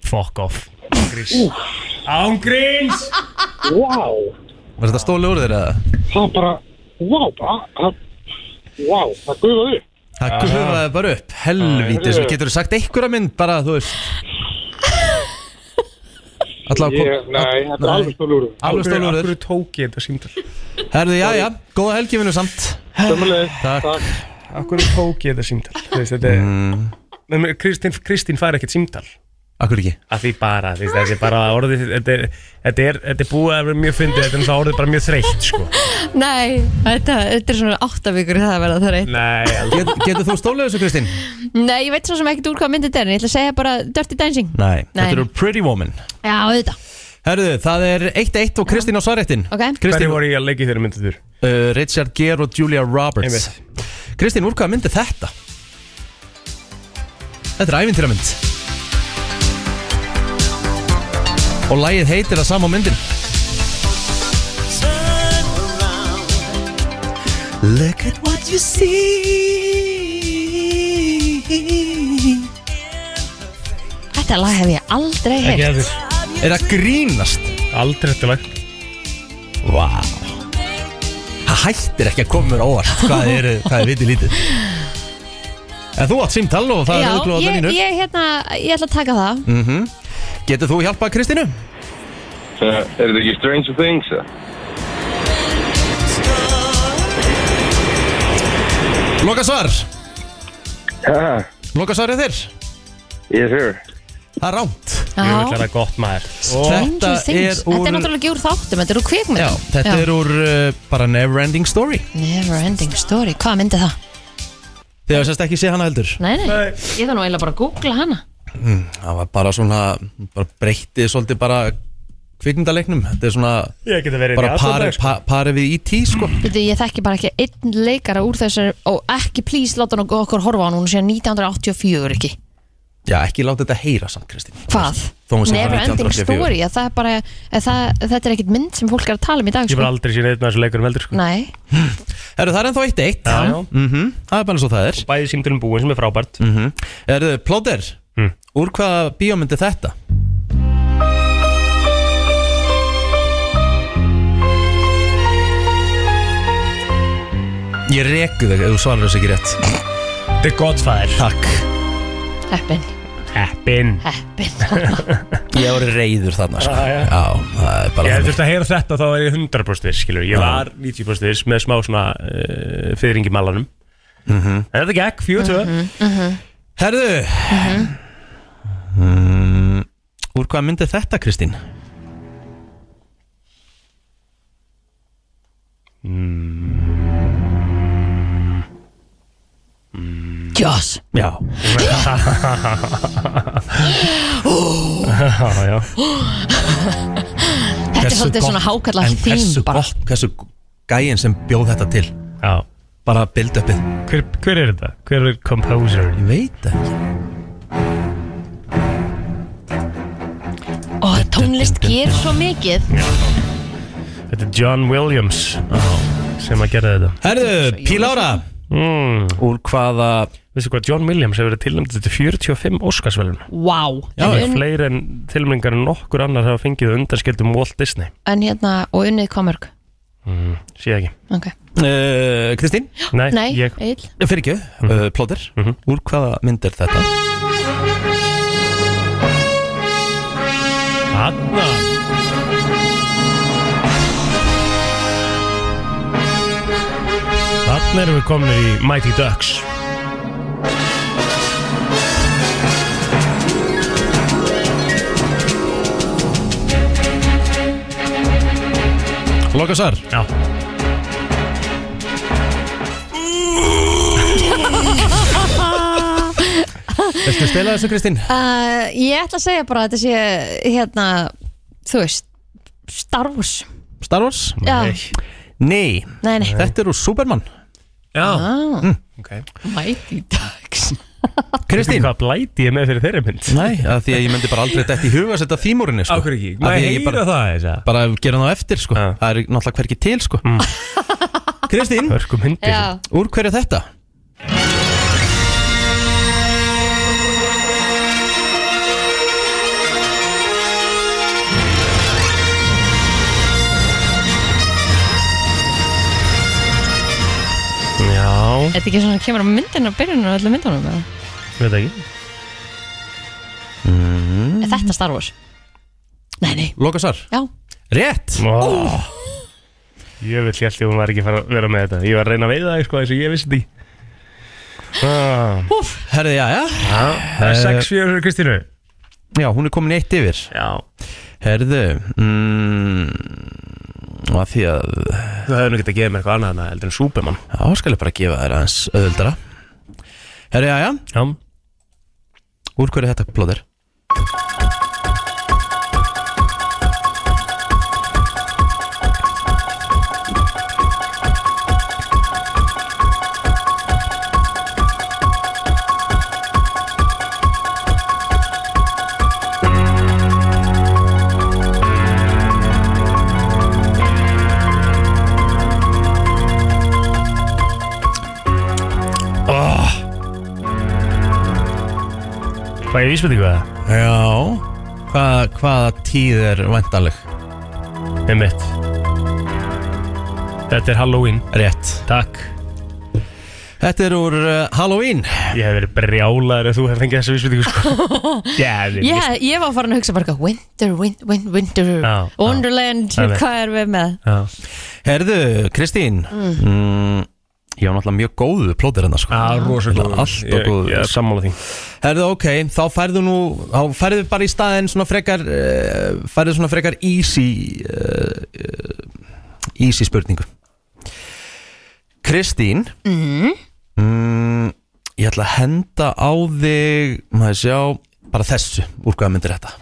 Speaker 4: Fuck off Ángríns Ángríns
Speaker 8: Vá,
Speaker 2: var þetta stólið úr þér eða?
Speaker 8: það bara Vá, bara það- Vá, það guðaði
Speaker 2: Það gufaði bara upp Helvítis
Speaker 8: Heyrðu.
Speaker 2: Getur þú sagt einhverja mynd bara þú veist Alla
Speaker 8: Ég, nei, þetta er alveg stólur
Speaker 2: Alveg stólið úr
Speaker 4: Af
Speaker 2: þér
Speaker 4: hverju tók ég þetta símtal?
Speaker 2: Herðu, já, já Góða helgifinu samt
Speaker 8: Sjömmulegis,
Speaker 2: Takk.
Speaker 8: takk
Speaker 4: Af hverju tók ég þetta símtal? Þú veist, þetta er
Speaker 2: mm,
Speaker 4: Nei, men Kristín, Kristín fær ekkert símtal
Speaker 2: Akkur ekki
Speaker 4: að því bara, því, þessi bara orðið þetta er, þetta er, þetta er búið að vera mjög fyndið þetta er náttúrulega orðið bara mjög þreytt sko.
Speaker 3: Nei, þetta, þetta er svona áttavíkur það að verða það reynd
Speaker 4: Nei, alveg
Speaker 2: Get, Getur þú stólið þessu Kristín?
Speaker 3: Nei, ég veit svo sem ekkert úr hvað myndið er en ég ætla að segja bara Dirty Dancing
Speaker 2: Nei,
Speaker 3: Nei.
Speaker 2: þetta eru Pretty Woman
Speaker 3: Já, auðvitað
Speaker 2: Herðu, það er 1-1 og Kristín á svarréttin
Speaker 3: Ok.
Speaker 4: hverju
Speaker 2: Kristín,
Speaker 4: voru ég að leggja þeirra myndið þurr
Speaker 2: uh, Richard Gere og Julia Roberts Kristín, úr hvaða mynd er þetta? Þetta er ævintýramynd Og lagið heitir það sama á myndin Look at what you
Speaker 3: [GASPS]
Speaker 2: see
Speaker 3: Þetta lag hef ég aldrei
Speaker 4: ekki að
Speaker 3: heyrt
Speaker 4: þurr,
Speaker 2: Er það grínast?
Speaker 4: aldrei þetta lag
Speaker 2: Vá Það hættir ekki að koma mér á óvart Hvað er, hvað er viti lítið En þú átt símtal og það
Speaker 3: Já,
Speaker 2: er auðvitað á
Speaker 3: ég,
Speaker 2: nynnu
Speaker 3: ég, hérna, ég ætla að taka það
Speaker 2: Mhm. Getur þú hjálpað Kristínu?
Speaker 9: Eh, Er þetta ekki Stranger Things?
Speaker 2: Loka svar
Speaker 9: Ha,
Speaker 2: Loka svarið þér
Speaker 9: yes sir
Speaker 2: Það er rámt
Speaker 4: ég vil
Speaker 3: Já,
Speaker 4: það gott maður
Speaker 2: Þetta
Speaker 3: Stranger
Speaker 2: er
Speaker 3: Things. Þetta
Speaker 2: úr-
Speaker 3: er náttúrulega ekki úr þáttum, þetta er úr kvikmynd
Speaker 2: Já, þetta er úr uh, bara Neverending Story
Speaker 3: Never ending story, hvað myndi það?
Speaker 2: Þegar sérst ekki sé hana heldur
Speaker 3: Nei, nei, ég þarf nú eiginlega bara að googla hana
Speaker 2: Mm, Það var bara svona bara breyttið svolítið bara kvikmyndaleiknum Þetta er svona
Speaker 4: ég geta verið
Speaker 2: bara pari,
Speaker 4: pa
Speaker 2: pa, pari við IT sko
Speaker 3: Veitu, ég þekki bara ekki einn leikara úr þessar og ekki please láta hann okkur horfa á hann hún sé 1984 ekki
Speaker 2: Já, ekki láta þetta heyra samt, Kristín
Speaker 3: Hvað?
Speaker 2: Þó hún sé
Speaker 3: Never
Speaker 2: frá
Speaker 3: ending
Speaker 2: 1984.
Speaker 3: story að það er bara, að það, Þetta er ekkit mynd sem fólk er að tala um í dag
Speaker 4: Ég
Speaker 3: sko.
Speaker 4: var aldrei sér einn af þessu leikurum heldur sko.
Speaker 3: Nei,
Speaker 2: Herru, það er ennþá eitt eitt
Speaker 4: Já, já.
Speaker 2: Það er bara eins og það er
Speaker 4: Mm.
Speaker 2: Mhm.
Speaker 4: Bæði símtölum búin sem er frábært
Speaker 2: Herru, plóter
Speaker 4: Mm.
Speaker 2: Úr hvaða bíómynd er þetta? Ég reku þig ef þú svarar þessu ekki rétt
Speaker 4: The Godfather
Speaker 2: Takk
Speaker 3: heppin,
Speaker 4: Heppin
Speaker 3: heppin [LAUGHS]
Speaker 2: Ég voru reyður þarna sko.
Speaker 4: Já, já.
Speaker 2: það er
Speaker 4: Ég
Speaker 2: bara
Speaker 4: hef
Speaker 2: þannig.
Speaker 4: þurft að heyra þetta þá er ég 100% viss skilur Ég var 90% viss með smá svona uh, fyrring í malanum
Speaker 2: Mhm.
Speaker 4: En þetta gekk, 42
Speaker 2: Herðu mm, Úr hvaða mynd er þetta, Kristín?
Speaker 3: Joss
Speaker 4: [LAUGHS]
Speaker 2: Já
Speaker 4: Já, já
Speaker 3: Þetta er svolítið svona hákallar
Speaker 2: En hversu
Speaker 3: þým [LAUGHS] bara
Speaker 2: gott, hversu gæin sem bjóð þetta til
Speaker 4: Já
Speaker 2: Bara build upið
Speaker 4: Hver, hver er þetta? Hver er composer?
Speaker 2: Ég veit ekki
Speaker 3: Ó, tónlist gerir svo mikið
Speaker 4: Þetta er John Williams sem að gera þetta
Speaker 2: Herðu, Pílára
Speaker 4: mm.
Speaker 2: Úr hvaða
Speaker 4: Vissu hvað, John Williams hefur verið tilnæmt þetta 45 Óskarsvelun
Speaker 3: Vá
Speaker 2: Já,
Speaker 3: en,
Speaker 4: Það er
Speaker 3: unn,
Speaker 4: fleiri en tilmyngar en nokkur annar hafa fengið undarskildum Walt Disney
Speaker 3: en hérna, og unnið
Speaker 4: [LAUGHS]
Speaker 3: komörg
Speaker 4: Sér ekki
Speaker 3: Ok,
Speaker 2: Uh, Mm. Kristín,
Speaker 4: Nei,
Speaker 3: nei,
Speaker 4: ég Mhm.
Speaker 3: Egill.
Speaker 2: fyrir ekki, uh, plóter Úr hvaða mynd er þetta?
Speaker 4: Hanna Þannig erum við komin í Mighty Ducks
Speaker 2: Lokasar
Speaker 4: Já
Speaker 2: Viltu stela þessu Kristín?
Speaker 3: Uh, Ég ætla að segja bara að þetta sé hérna, þú veist Star Wars
Speaker 2: Star Wars?
Speaker 3: Já,
Speaker 2: Nei,
Speaker 3: nei, nei
Speaker 2: þetta er úr Superman
Speaker 4: Já
Speaker 3: ah,
Speaker 4: Ok
Speaker 3: Mighty Ducks
Speaker 2: Kristín?
Speaker 4: Hvað blæti ég með fyrir þeirri mynd?
Speaker 2: Nei, að því að ég myndi bara aldrei þetta í huga að setja þýmúrinni sko. Af því að ég bara,
Speaker 4: það þess að
Speaker 2: bara gera það á eftir sko.
Speaker 4: Já.
Speaker 2: Það er náttúrulega hverki til sko. [LAUGHS] Kristín,
Speaker 4: Mm. Hörkum myndir
Speaker 3: Já,
Speaker 2: úr hverju er þetta?
Speaker 4: Já
Speaker 3: er þetta ekki svona kemur á myndinu og byrjunum og öllum myndunum eða?
Speaker 4: Veit ekki
Speaker 2: Mm.
Speaker 4: Mm.
Speaker 3: Er þetta Star Wars? Nei, nei,
Speaker 2: Lokasar?
Speaker 3: já
Speaker 4: [LAUGHS]
Speaker 2: Rétt!
Speaker 4: oh. Ég vil hljálti hún var ekki fara að vera með þetta Ég var að reyna að veiða það sko eins og ég vissi því ah.
Speaker 2: Herði, já, já
Speaker 4: Það er 6-4 fyrir Kristínu
Speaker 2: Já, hún er komin í eitt yfir
Speaker 4: Já
Speaker 2: Herðu mm, Og að því að
Speaker 4: Þú hefur nú getað að gefa mér eitthvað annað en að heldur en Superman
Speaker 2: Já, skal ég bara gefa þér aðeins öðuldara Herðu, já, já
Speaker 4: Já
Speaker 2: Úr hverju er þetta plóðir?
Speaker 4: Ah. Hvað ég vísbyrði hvað?
Speaker 2: Já Hvað, Hvaða tíð er væntanleg?
Speaker 4: Með mitt Þetta er Halloween
Speaker 2: Rétt
Speaker 4: Takk
Speaker 2: Þetta er úr uh, Halloween
Speaker 4: Ég hef verið brjálaður ef þú hef fengið þessu vísbyrði
Speaker 2: [LAUGHS]
Speaker 4: sko Já,
Speaker 3: Ég, ég var farin að hugsa bara eitthvað, Winter, win, win, winter
Speaker 4: Já, já.
Speaker 3: Wonderland,
Speaker 4: Nei, nei.
Speaker 3: hvað er við með?
Speaker 4: Já
Speaker 2: Herðu, Kristín mm. Ég var náttúrulega mjög góðu plóðir hennar sko
Speaker 4: Já, rosa
Speaker 2: Þetta er allt og góður.
Speaker 4: Ég er sammála því
Speaker 2: Herðu, ok, þá færðu nú Þá færðu bara í staðinn svona frekar uh, Færðu svona frekar easy uh, uh, Easy spurningu Kristín mm. Ég ætla að henda á þig Maður sjá Bara þessu, úr hvaða myndir þetta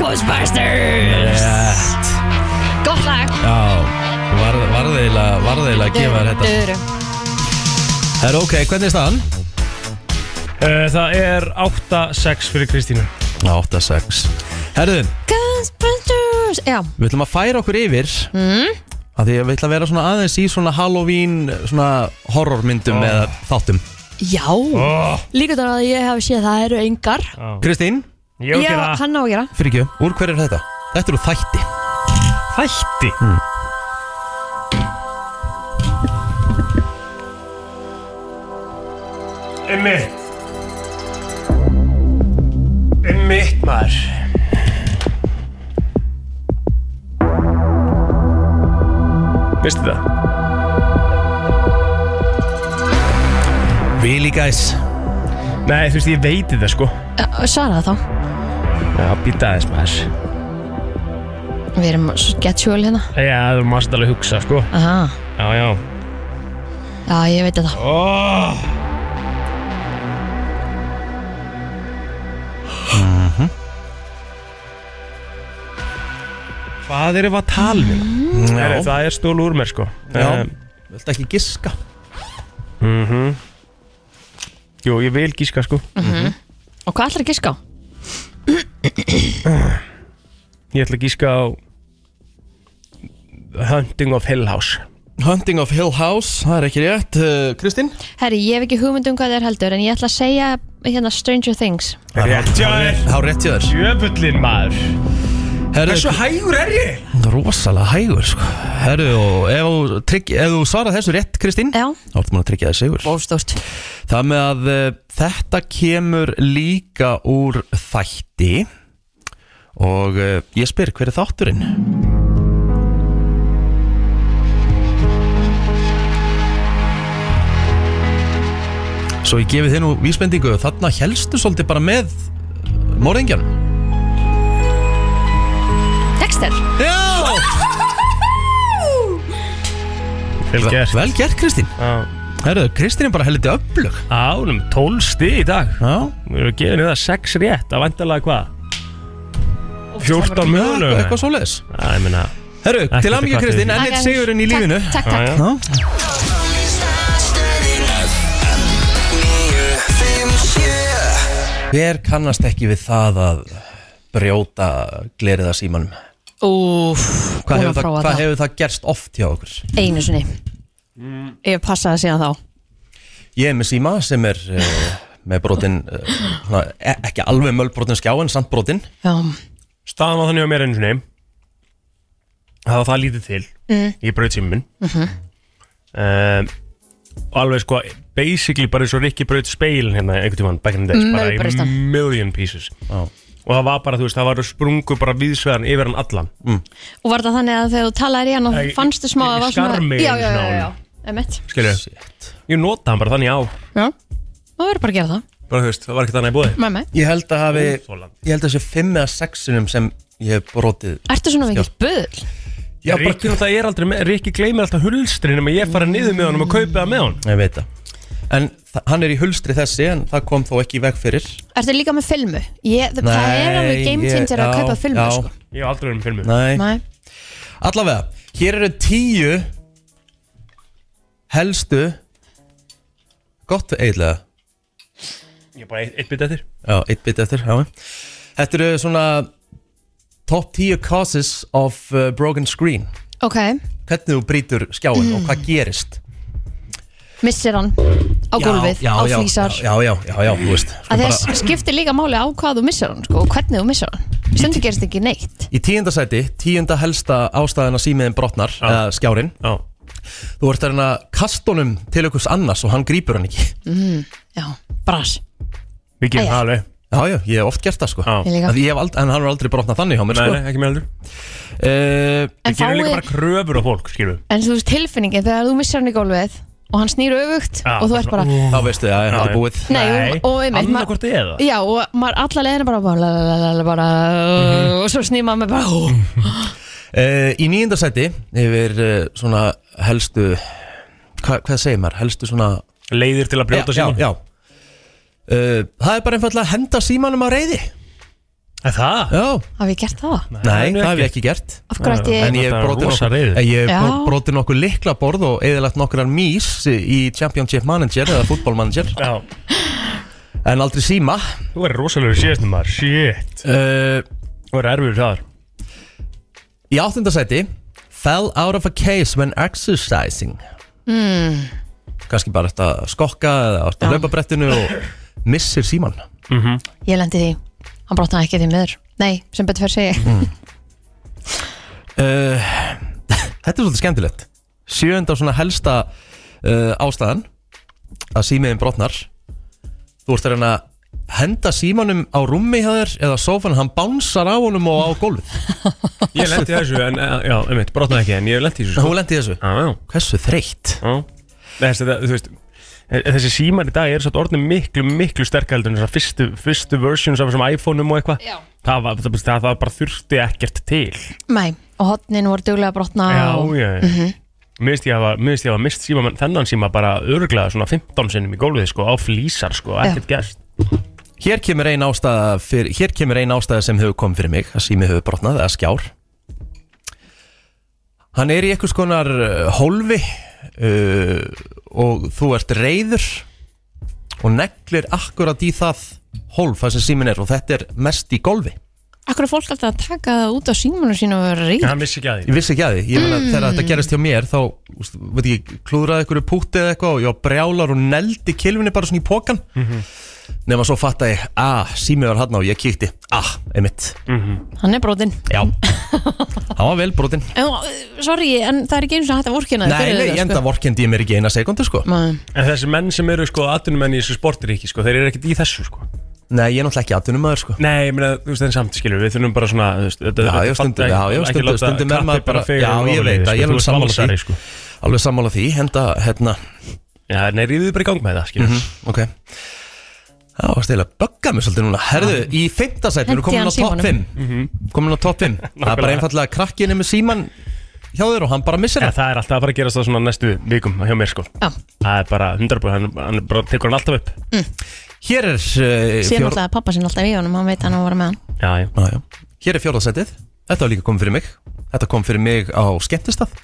Speaker 3: Ghostbusters
Speaker 2: Rétt
Speaker 3: Gott lag
Speaker 2: Já, varðeila var að gefa þér þetta
Speaker 3: Dörum.
Speaker 2: Herru, ok, hvernig er staðan?
Speaker 4: Uh, það er 8-6 fyrir Kristínu
Speaker 2: 8-6 Herðin,
Speaker 3: Ghostbusters Já, Hmm.
Speaker 2: við ætlum að færa okkur yfir mm. að Því að við ætlum að vera svona aðeins í svona Halloween svona horrormyndum eða þáttum
Speaker 3: já
Speaker 4: oh,
Speaker 3: Líka þannig að ég hef séð það eru engar
Speaker 2: Kristín,
Speaker 4: Ég
Speaker 3: Já,
Speaker 4: okkar að
Speaker 3: hann á að gera
Speaker 2: fyrir ekki, úr hver er þetta? Þetta eru þætti Hmm.
Speaker 4: þætti Einmitt Einmitt maður Veistu það?
Speaker 2: Really guys
Speaker 4: Nei, þú veist, ég veiti það sko
Speaker 3: Já, Svara það þá,
Speaker 4: Já, býta aðeins maður
Speaker 3: við erum sketsjúal hérna
Speaker 4: Já, þú mást alveg hugsa sko
Speaker 3: Aha.
Speaker 4: Já, já
Speaker 3: Já, ég veit þetta
Speaker 4: oh. Hvað erum við að tala um hérna? Herri,
Speaker 2: Já,
Speaker 4: Það er stól úr mér sko
Speaker 2: já
Speaker 4: um,
Speaker 2: Viltu ekki giska?
Speaker 4: mhm. Jú, ég vil gíska sko
Speaker 2: Mhm.
Speaker 3: Mhm. Og hvað ætlar
Speaker 2: [COUGHS]
Speaker 3: að giska á?
Speaker 4: Ég ætla að gíska á Hunting of Hill House
Speaker 2: Hunting of Hill House, það er ekki rétt Uh, Kristín?
Speaker 3: Herri, ég hef ekki hugmynd um hvað það er heldur En ég ætla að segja hérna Stranger Things
Speaker 4: Rétt hjá þér
Speaker 2: Há rétt hjá þér
Speaker 4: Jöfullin maður
Speaker 2: Herðu,
Speaker 4: Hversu hægur er ég?
Speaker 2: rosalega hægur sko. Herðu, og ef þú, trygg, ef þú svarað þessu rétt, Kristín
Speaker 3: Já,
Speaker 2: Þá ertu maður að tryggja þér sigur
Speaker 3: bóðstórt
Speaker 2: Það með að uh, þetta kemur líka úr þætti Og uh, ég spyr, hver er þátturinn? Svo ég gefi þér nú vísbendingu Þarna helstu svolítið bara með eh, Morðingjan
Speaker 3: Dexter
Speaker 2: Já!
Speaker 4: Vel gert
Speaker 2: Vel gert, Kristín
Speaker 4: Já.
Speaker 2: Herðu, Kristín er bara heldur öflug
Speaker 4: Ánum 12 stið í dag
Speaker 2: Já,
Speaker 4: Við erum gefinu það 6 rétt að vandalega hvað? 14
Speaker 2: eitthvað,
Speaker 4: mögulegum
Speaker 2: eitthvað svoleiðis
Speaker 4: Já, ég meina
Speaker 2: Herru,
Speaker 4: Ekki
Speaker 2: til aðmyggja
Speaker 4: til
Speaker 2: Kristín,
Speaker 4: kvartir.
Speaker 2: enn eitt sigurinn í
Speaker 3: Takk,
Speaker 2: lífinu
Speaker 3: Takk, takk,
Speaker 4: Já, já.
Speaker 2: Já. Hver kannast ekki við það að brjóta glerið að símanum?
Speaker 3: Úf,
Speaker 2: Hvað
Speaker 3: búin
Speaker 2: hefur
Speaker 3: að
Speaker 2: það,
Speaker 3: prófa
Speaker 2: hvað
Speaker 3: það
Speaker 2: hefur það gerst oft hjá okkur?
Speaker 3: Einu sinni
Speaker 2: Mm.
Speaker 3: Ég passa það síðan þá
Speaker 2: Ég er með síma sem er uh, með brotin, uh, svona, e- ekki alveg mölbrotin skjá en samt brotin
Speaker 3: Já,
Speaker 4: Staðan var þannig á mér einu sinni Það var það lítið til mm. Ég braut símum minn
Speaker 3: Mhm.
Speaker 4: um, Og alveg sko Basically bara eins og Rikki braut speil Hérna einhvern tímann back in the days
Speaker 3: Mm,
Speaker 4: Bara í
Speaker 3: Nautbraust hann.
Speaker 4: million pieces
Speaker 2: Já.
Speaker 4: Og það var bara, þú veist, það var sprungu bara viðsveðan Yfir hann allan
Speaker 2: Mm.
Speaker 3: og var það þannig að þegar þú talaðir í hann og
Speaker 4: Æ,
Speaker 3: fannstu smá
Speaker 4: ég
Speaker 3: að var svona
Speaker 4: skarmi
Speaker 3: Já,
Speaker 4: einu
Speaker 3: já, já,
Speaker 4: sinni á
Speaker 3: já,
Speaker 4: honum.
Speaker 3: já, emitt
Speaker 4: Skilju, ég nota hann bara þannig á
Speaker 3: Já, það verður bara að gera það
Speaker 4: Bara, þú veist, það var ekkert annað í búði
Speaker 3: Mæ, mæ
Speaker 2: Ég held að hafi,
Speaker 4: Óþolandi.
Speaker 2: ég held að sé fimm eða sexinum sem ég hef brotið
Speaker 3: Ertu svona mikill bull?
Speaker 2: Já, bara,
Speaker 4: Rikki náttúrulega er aldrei með Rikki gleymir alltaf hulstrin Nefnum ég fara niður með honum og kaupi það með honum
Speaker 2: ég veit það En þa- hann er í hulstri þessi en það kom þó ekki í veg fyrir
Speaker 3: Ertu líka með filmu? Ég, það það er alveg game
Speaker 2: ég-
Speaker 3: changer að
Speaker 2: já,
Speaker 3: kaupa filmu
Speaker 2: já,
Speaker 3: sko.
Speaker 4: Ég hef aldrei verið með filmu
Speaker 2: Nei,
Speaker 3: Nei.
Speaker 2: Allavega, hér eru tíu helstu gott eiginlega
Speaker 4: Ég er bara eitt, eitt bit eftir
Speaker 2: Já, eitt bit eftir, já Þetta eru svona top 10 causes of uh, broken screen
Speaker 3: Ok,
Speaker 2: Hvernig þú brýtur skjáin og hvað gerist
Speaker 3: missir hann Mm. á gólfið,
Speaker 2: já,
Speaker 3: á
Speaker 2: já,
Speaker 3: flýsar
Speaker 2: Já, já, já, já, þú veist
Speaker 3: að
Speaker 2: Skulum
Speaker 3: þess
Speaker 2: bara,
Speaker 3: skiptir líka máli á hvað þú missir hann sko, og hvernig þú missir hann stundu gerist ekki neitt
Speaker 2: Í tíundasæti, tíunda helsta ástæðan að símiðin brotnar eða skjárin
Speaker 4: Já
Speaker 2: Þú ert að reyna að kasta honum til einhvers annars og hann grípur hann ekki
Speaker 3: Mm, já, bras,
Speaker 4: Við gerum
Speaker 3: Æja.
Speaker 4: það alveg
Speaker 2: Já, já, ég hef oft gert það sko
Speaker 4: Já.
Speaker 3: Ég líka.
Speaker 2: En ég hef aldrei, En hann er aldrei brotnað þannig hjá mér
Speaker 4: Nei,
Speaker 2: sko
Speaker 4: nei, ekki með heldur
Speaker 2: uh,
Speaker 3: en,
Speaker 4: Við gerum líka
Speaker 3: fáið,
Speaker 4: bara kröfur á fólk, skilju
Speaker 3: en þú veist tilfinningin þegar þú missir hann í gólfið og hann snýr öfugt
Speaker 4: Já,
Speaker 3: og þú
Speaker 4: það
Speaker 3: ert
Speaker 4: er
Speaker 3: bara
Speaker 2: Þá veistu, já, þetta
Speaker 4: já.
Speaker 2: er búið
Speaker 3: Nei, og- og einmitt,
Speaker 4: Annað
Speaker 3: maður-
Speaker 4: hvort eða
Speaker 3: já, og maður alla leiðina bara, bara, lalalala, bara og svo snýr maður með bara ó.
Speaker 2: uh, Í nýjöndasæti yfir uh, svona helstu hva, Hvað segir maður? Helstu svona
Speaker 4: Leiðir til að brjóta
Speaker 2: Já,
Speaker 4: síman
Speaker 2: já, já. Uh, Það er bara einfallega að henda símanum á reyði
Speaker 4: Það?
Speaker 2: Já,
Speaker 3: haf ég gert það?
Speaker 2: nei,
Speaker 4: það er nú
Speaker 2: það hef
Speaker 4: ekki.
Speaker 2: ég ekki gert
Speaker 3: af hverju ætti
Speaker 2: En
Speaker 3: ég
Speaker 2: ég hef
Speaker 4: Þetta er
Speaker 2: brotið
Speaker 4: rosa
Speaker 2: nokkur,
Speaker 4: reiði.
Speaker 2: ég hef
Speaker 3: Já.
Speaker 2: bro- brotið nokkur likla borð og eðilagt nokkrar mís í Championship Manager eða Football Manager
Speaker 4: Já
Speaker 2: En aldrei síma
Speaker 4: Þú verður rosalegur síðastum maður, shit
Speaker 2: uh,
Speaker 4: Þú verður erfiður þar
Speaker 2: Í áttundasæti Fell out of a case when exercising
Speaker 3: mm.
Speaker 2: Kanski bara eftir að skokka eða eftir
Speaker 3: Já.
Speaker 2: að löpa brettinu og missir síman mm
Speaker 4: Mhm.
Speaker 2: -hmm.
Speaker 3: Ég lendi því, hann brotnaði ekki því miður Nei, sem betur fyrir segi
Speaker 2: Mm. uh, [LAUGHS] Þetta er svolítið skemmtilegt Sjönd á svona helsta uh, ástæðan að símiðin brotnar Þú ert að reyna að henda símanum á rúmi hjá þér eða sófan, hann bánsar á honum og á gólfið
Speaker 4: Ég lendi þessu, en, eh, já, einmitt, brotnaði ekki, en ég lendi þessu sko.
Speaker 2: Þú lendi þessu?
Speaker 4: Já, já
Speaker 2: Hversu þreytt?
Speaker 4: Já Þessi, það, þú veist, eh, þessi símar í dag er satt orðin miklu, miklu sterkaldur en þessar fyrstu, fyrstu versions af þessum iPhone-um og eitthvað
Speaker 3: Já.
Speaker 4: Það var, það, það, það bara þurfti ekkert til
Speaker 3: Nei, og hotnin voru duglega að brotna og...
Speaker 4: Já, já, já
Speaker 3: Mhm.
Speaker 4: Mér finnst ég hafa- mér finnst ég hafa mist síma, menn þennan síma bara örglega svona 15 sinnum í gólfið sko, á flýsar sko, ekkert gerst
Speaker 2: Hér kemur ein ástæða, fyr, hér kemur ein ástæða sem hefur komið fyrir mig að sími hefur brotnað eða skjár Hann er í einhvers konar uh, hólfi uh, og þú ert reyður og neglir akkurat í það hólf það sem símin er og þetta er mest í gólfi
Speaker 3: Akkur er fólk alltaf að taka það út á símanu sínu og vera reyð
Speaker 4: vissi ekki að
Speaker 2: Ég vissi ekki að því, ég meina
Speaker 3: Mm.
Speaker 2: þegar þetta gerist hjá mér þá, úst, veit ekki, klúðraði einhverju púti eða eitthvað og ég var brjálar og neldi kilfinni bara svona í pókan nema svo fatta ég, ah, sími var hann og ég kíkti, ah, einmitt
Speaker 3: Hann er brotinn
Speaker 2: Já, það var vel brotin
Speaker 3: En, uh, Sorry, en það er ekki eins og hægt að vorkina
Speaker 2: Nei, nei,
Speaker 3: sko.
Speaker 2: ég enda vorkendi ég mér ekki eina sekundu sko
Speaker 3: Nei.
Speaker 4: En þessi menn sem eru sko atvinnumenn í þessu sportiríki sko, þeir eru ekkert í þessu sko
Speaker 2: Nei, ég er náttúrulega ekki atvinnumöður sko
Speaker 4: Nei, ég meina, þú veist, en samt skilur, við þurfum bara svona, þú veist, þetta
Speaker 2: Já, já, stundum, já, já, stundum, stundum er maður bara Já, ég veit það, ég er alveg sammála því
Speaker 4: sko.
Speaker 2: Alveg sammála því, henda, hérna
Speaker 4: Já, nei, ríðið bara í gang með það, skilur
Speaker 2: Mhm, Ok Það var stila að bögga mig svolítið núna Herðu, í fimmtasæti, við erum
Speaker 4: Henti
Speaker 2: komin
Speaker 4: hann
Speaker 2: á topp
Speaker 4: símanum.
Speaker 2: 5 Komin á topp
Speaker 4: [LAUGHS]
Speaker 2: 5 Það er bara
Speaker 4: Nákvæmlega.
Speaker 2: einfallega krakkinni með síman hjá þér og hann bara missir
Speaker 4: það Það er alltaf að fara að gerast það svona næstu vikum hjá mér sko
Speaker 3: Já.
Speaker 4: Það er bara 100% hann, hann bara tekur hann alltaf upp
Speaker 2: Hér er uh,
Speaker 3: Sér náttúrulega pappa sinn alltaf í honum, hann veit að hann var með hann
Speaker 4: Já, já.
Speaker 2: já. Hér er fjórðasætið Þetta var líka komið fyrir mig Þetta kom fyrir mig á skemmtistað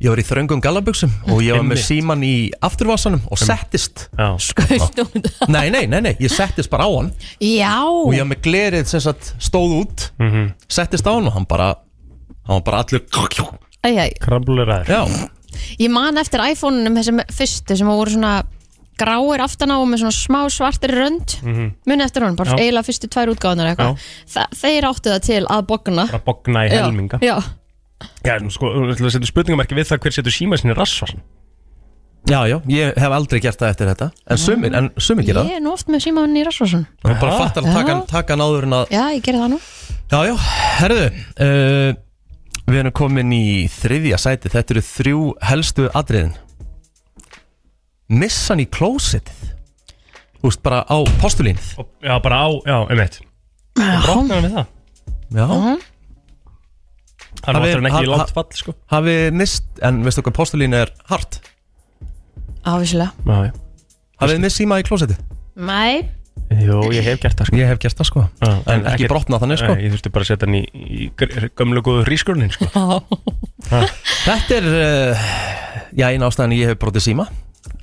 Speaker 2: Ég var í þröngum gallabuxum og ég var með
Speaker 4: Einmitt.
Speaker 2: síman í afturvásanum og settist
Speaker 3: Skaust út
Speaker 2: Nei, nei, nei, nei, ég settist bara á hann
Speaker 3: Já
Speaker 2: og ég var með glerið sem sagt stóð út
Speaker 4: Mhm.
Speaker 2: settist á hann og hann bara hann var bara allur
Speaker 3: Æ, æ,
Speaker 4: Kramblulir aður
Speaker 2: Já,
Speaker 3: Ég man eftir iPhone-unum þessum fyrstu sem voru svona gráir aftan á og með svona smá svartir rönd muni eftir honum, bara
Speaker 4: Mhm. Já.
Speaker 3: eiginlega fyrstu tvær
Speaker 4: Já.
Speaker 3: útgáðunar eitthvað Þa, þeir áttu það til að bogna
Speaker 4: Bara bogna í
Speaker 3: Já,
Speaker 4: helminga
Speaker 3: já.
Speaker 4: Já, en sko, þú ætlum að setja spurningamarki við það hver setur síma sinni rassvarsan
Speaker 2: já, já, ég hef aldrei gert það eftir þetta En sumir, en sumir gera
Speaker 3: Ég er nú oft með símaðunni í Rassvarsson
Speaker 2: það Hann bara fattar að taka
Speaker 3: Já.
Speaker 2: hann, taka hann áður en að
Speaker 3: Já, ég gerði það nú
Speaker 2: Já, já, herðu uh, Við erum komin í þriðja sæti Þetta eru þrjú helstu atriðin Missan í klósitið Þú veist, bara á postulínið
Speaker 4: Já, bara á, já, einmitt Brotnar hann við það?
Speaker 2: Já
Speaker 4: Hann
Speaker 2: Hafið-
Speaker 4: áttur hann ekki í
Speaker 2: ha-
Speaker 4: langt
Speaker 2: ha-
Speaker 4: fall, sko
Speaker 2: Hafið mist, en veistu hvað postulín er hart
Speaker 3: Ávísilega
Speaker 4: Já, já
Speaker 2: Hafið þið mist síma í klósitið?
Speaker 3: Nei,
Speaker 4: Jó, ég hef gert það, sko
Speaker 2: Ég hef gert það, sko En ekki brotnað þannig, sko
Speaker 4: Nei, Ég þurfti bara að setja hann í, í gr- gömlu góðu rískurnin, sko ah.
Speaker 2: Þetta er, uh, já, eina ástæðan ég hef brotið síma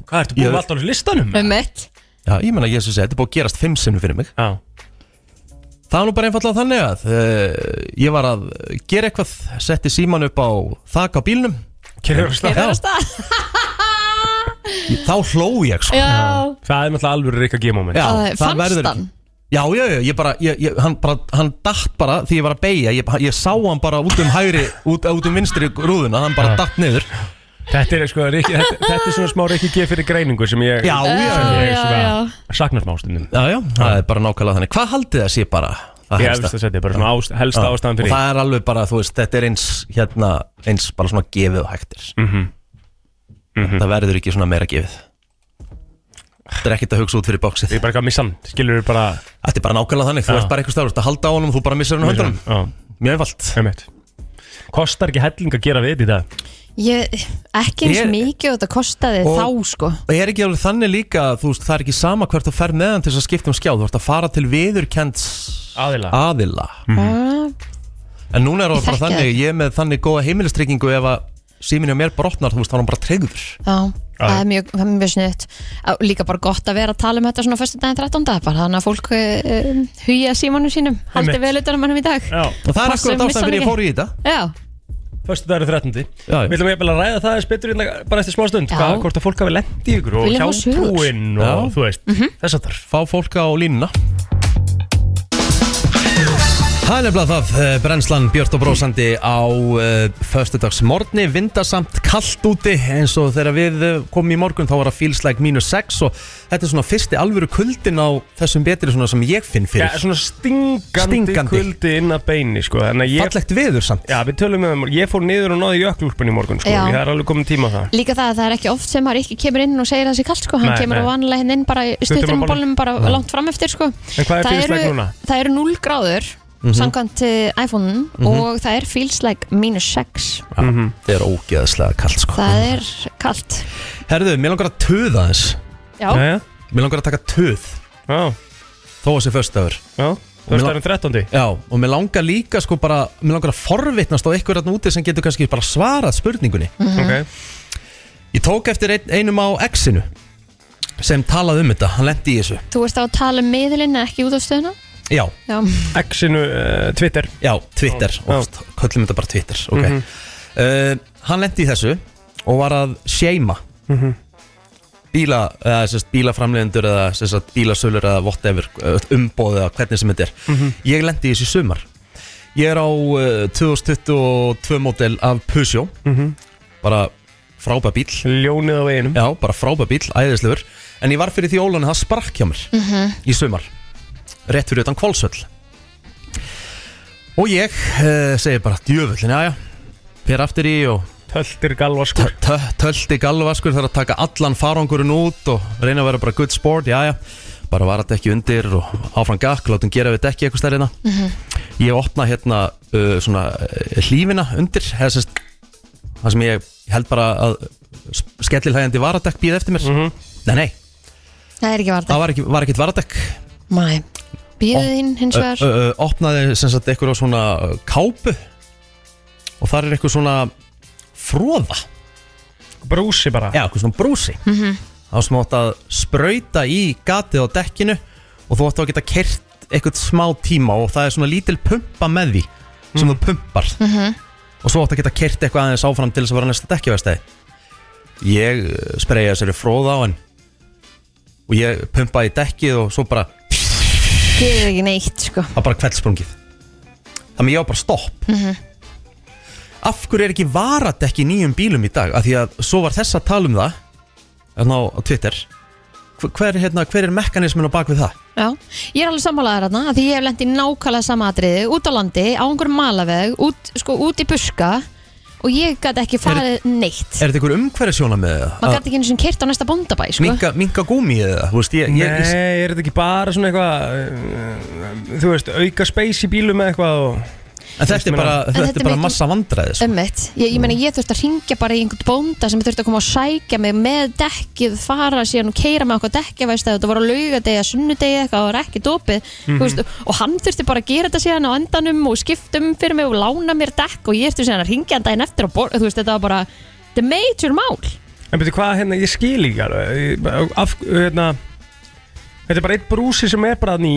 Speaker 4: Hvað, ertu búin með allt á þessu listanum?
Speaker 3: með mitt
Speaker 2: Já, ég menna, ég sem segi, þetta er búið að gerast fimm sinnum fyrir mig
Speaker 4: Já
Speaker 2: Það var nú bara einfallega þannig að uh, ég var að gera eitthvað, setti síman upp á þak á bílnum
Speaker 4: Keyrðir af stað.
Speaker 2: Já,
Speaker 3: stað
Speaker 2: ég- Þá hló ég sko
Speaker 3: Já.
Speaker 4: Það er náttúrulega alveg reyka G-moment
Speaker 2: Já,
Speaker 3: Það- fannst
Speaker 2: verður
Speaker 3: hann?
Speaker 2: Já, já, já, ég bara, ég, ég, hann, bara, hann datt bara því ég var að beigja, ég, ég sá hann bara út um hægri, út, út um vinstri rúðuna, hann bara datt niður
Speaker 4: Þetta er, sko, Rikki, þetta, þetta er svona smá reyki G fyrir greiningu sem ég
Speaker 2: Já,
Speaker 3: Eh.
Speaker 2: já,
Speaker 4: sem ég
Speaker 2: já,
Speaker 4: svona
Speaker 2: já.
Speaker 4: Saknar smá stundum
Speaker 2: Já, já, það er bara nákvæmlega þannig, hvað haldið það sé bara? það
Speaker 4: Ég
Speaker 2: helsta?
Speaker 4: efst að setja bara svona ást- helsta
Speaker 2: Já,
Speaker 4: ástæðan fyrir
Speaker 2: Og það er alveg bara, þú veist, þetta er eins, hérna, eins bara svona gefið og hægtir
Speaker 4: Mhm.
Speaker 2: Það verður ekki svona meira gefið Þetta er ekkert að hugsa út fyrir bóksið
Speaker 4: Ég bara gaf missan, skilur við bara
Speaker 2: Þetta er bara nákvæmlega þannig, þú
Speaker 4: Já.
Speaker 2: ert bara eitthvað stafur Þetta halda á honum og þú bara missar hann
Speaker 4: Missir
Speaker 2: höndunum
Speaker 4: hann,
Speaker 2: Mjög einfalt
Speaker 4: Einmitt. Kostar ekki helling að gera við þetta í dag
Speaker 3: Ég, ekki eins
Speaker 2: Ég-
Speaker 3: mikið og þetta kostaði
Speaker 2: Og-
Speaker 3: þá sko
Speaker 2: Og er ekki alveg þannig líka, að, þú veist, það er ekki sama hvert þú fer meðan til þess að skipta um skjá Þú ert að fara til viðurkend
Speaker 4: Aðila. Mhm.
Speaker 2: aðila.
Speaker 3: mm.
Speaker 2: En núna er það bara
Speaker 3: þekki
Speaker 2: þannig,
Speaker 3: það.
Speaker 2: ég er með þannig góða heimilistryggingu ef að síminn hjá mér brotnar, þú veist, þá er hann bara treyður
Speaker 3: Já, það er mjög, það er mjög snitt líka bara gott að vera að tala um þetta svona fyrstu daginn 13. bara þannig að fólk uh, hugja símanum sínum, haldi
Speaker 4: Einmitt.
Speaker 3: vel utan um hannum í dag
Speaker 4: Já.
Speaker 2: Og það er akkurat
Speaker 3: Passum,
Speaker 2: ástæðan
Speaker 3: missa hann
Speaker 2: fyrir ég
Speaker 3: ekki.
Speaker 2: fór í þetta
Speaker 3: Já,
Speaker 4: Föstu dagur er 13.
Speaker 2: já.
Speaker 4: Við viljum jafnvel að ræða það eins betur hérna bara eftir smá stund
Speaker 3: Já.
Speaker 4: Hvað, hvort að fólk hafi lent í ykkur og
Speaker 3: Viljum fá sögur. Mhm.
Speaker 4: hjátrúinn og
Speaker 2: Já.
Speaker 4: þú veist Þess að þar
Speaker 2: Fá fólk á línuna Það er nefnilega það, eh, brennslan Björn og Brósandi á uh, föstudagsmorni, vindasamt, kallt úti eins og þegar við eh, komum í morgun þá var það fílslæk mínus 6 og þetta er svona fyrsti alvöru kuldin á þessum betri svona sem ég finn
Speaker 4: Já,
Speaker 2: fyrir.
Speaker 4: svona stingandi,
Speaker 2: Stingandi.
Speaker 4: kuldi inn að beini sko Þannig að ég,
Speaker 2: Fallegt veður samt.
Speaker 4: já við tölum um það Ég fór niður og náði jökulúlpunni í morgun sko
Speaker 3: Já.
Speaker 4: Ég er alveg komin tíma á það
Speaker 3: líka það að það er ekki oft sem maður ekki kemur inn og segir þessi kallt sko, hann
Speaker 4: Nei,
Speaker 3: kemur
Speaker 4: nei.
Speaker 3: á vanlega hinn inn bara í stuttum
Speaker 4: á bolnum.
Speaker 3: bólum bara langt fram eftir sko
Speaker 4: En hvað er
Speaker 3: það,
Speaker 4: feels like
Speaker 3: eru,
Speaker 4: núna?
Speaker 3: það eru 0 gráður
Speaker 2: Mhm.
Speaker 3: samkvæmt uh, iPhone-un og það er feels like minus 6
Speaker 4: Mhm.
Speaker 2: Þetta er ógeðslega kallt sko.
Speaker 3: það er kallt
Speaker 2: Herðu, mér langar að töða þess.
Speaker 3: já,
Speaker 4: Já, já,
Speaker 2: Mér langar að taka töð
Speaker 4: já,
Speaker 2: þó að sé föstudagur.
Speaker 4: já Föstu dagur 13.
Speaker 2: Já, og mér langar líka sko bara, mér langar að forvitnast á einhverjarn úti sem getur kannski bara svarað spurningunni.
Speaker 4: Ok
Speaker 2: Ég tók eftir ein, einum á X-inu sem talaði um þetta, hann lendi í þessu.
Speaker 3: þú ert á að tala um miðlinn en ekki út af stöðuna
Speaker 2: Já,
Speaker 3: já,
Speaker 4: X-inu uh, Twitter
Speaker 2: já, Twitter,
Speaker 4: Já. Mhm.
Speaker 2: oft, köllum þetta bara Twitter, ok. uh, hann lendi í þessu og var að seima Mhm. bíla, eða, sérst, bílaframlegendur eða sérst, bílasölur eða whatever, umbóðið eða hvernig sem þetta er.
Speaker 4: Mhm.
Speaker 2: Ég lendi í þessu í sumar. Ég er á uh, 2022 mótel af Peugeot,
Speaker 4: Mhm.
Speaker 2: bara frábæð bíl.
Speaker 4: Ljónið á veginum
Speaker 2: Já, bara frábæð bíl, æðislegur En ég var fyrir því ólan að það sprakk hjá mér
Speaker 10: Mhm.
Speaker 2: Í sumar Rétt fyrir utan kvalsöll Og ég uh, segi bara Djöfullin, já já Fyrir aftur í og
Speaker 4: Töltir galvaskur
Speaker 2: tö- tö- tölti galvaskur Þarf að taka allan farangurinn út Og reyna að vera bara good sport, já já Bara var þetta ekki undir og áfram gakk Látum gera við dekki eitthvað stærðina mm -hmm. Ég opna hérna uh, svona uh, Hlífina undir eða sem sagt, Það sem ég ég held bara að Skellilhægjandi varadekk býð eftir mér
Speaker 4: Mhm.
Speaker 2: Nei, nei,
Speaker 3: það er ekki varða
Speaker 2: það var, ekki, var ekkit varadekk
Speaker 3: mæ, bíðið þín hins
Speaker 2: Ö,
Speaker 3: vegar
Speaker 2: ö, ö, Opnaði sem sagt eitthvað svona ö, kápu Og þar er eitthvað svona Fróða
Speaker 4: Brúsi bara
Speaker 2: Já, eitthvað svona brúsi mm -hmm. Það var sem þú átt að sprauta í gatið á dekkinu Og þú átt að geta kert eitthvað smá tíma Og það er svona lítil pumpa með því Sem þú pumpar -hmm. Og svo átt að geta kert eitthvað aðeins áfram Til þess að vera næsta dekkjavegstæði Ég ö, spreyja þessari fróða á henn Og ég pumpaði í dekkið Og svo bara
Speaker 3: gerir ekki neitt sko
Speaker 2: það var bara kveldsprungið þannig ég var bara stopp
Speaker 3: Mhm.
Speaker 2: af hverju er ekki varadekki í nýjum bílum í dag af því að svo var þess að tala um það hérna á, á Twitter Hver- hver, er, hérna, hver er mekanismin á bak við það
Speaker 3: já. ég er alveg sammálaður þarna af því ég hef lent í nákvæmlega sama atriði út á landi, á einhverjum malaveg út, sko, út í buska og ég gæti ekki farið neitt
Speaker 2: er þetta einhver umhverfisjóna með
Speaker 3: maður
Speaker 2: það
Speaker 3: gæti ekki einu sinni kyrt á næsta bóndabæ sko.
Speaker 2: minka, minka gúmi eða þú veist, ég,
Speaker 4: Nei,
Speaker 2: ég, ég,
Speaker 4: er þetta ekki bara svona eitthvað uh, Þú veist, auka space í bílum eða eitthvað og...
Speaker 2: en þetta er
Speaker 4: meina-
Speaker 2: bara,
Speaker 3: En
Speaker 2: þetta er
Speaker 3: þetta er
Speaker 2: bara
Speaker 3: miklu-
Speaker 2: massa vandræði sko.
Speaker 3: Ömmit, ég, ég meina ég þurfti að ringja bara í einhvern bónda sem þurfti að koma og sækja mig með dekkið, fara síðan og keira með okkur dekkja, veist að þetta voru á laugadegi að sunnudegi eitthvað, það var ekki dopið
Speaker 2: Mhm.
Speaker 3: mm veist, og hann þurfti bara að gera þetta síðan á endanum og skiptum fyrir mig og lána mér dekk og ég þurfti síðan að ringja hann daginn eftir og bor, þú veist, þetta var bara the major mál
Speaker 4: En betur hvað, hérna, ég skil ekki alveg Ég- af, hérna, Þetta er bara eitt brúsi sem er bara ný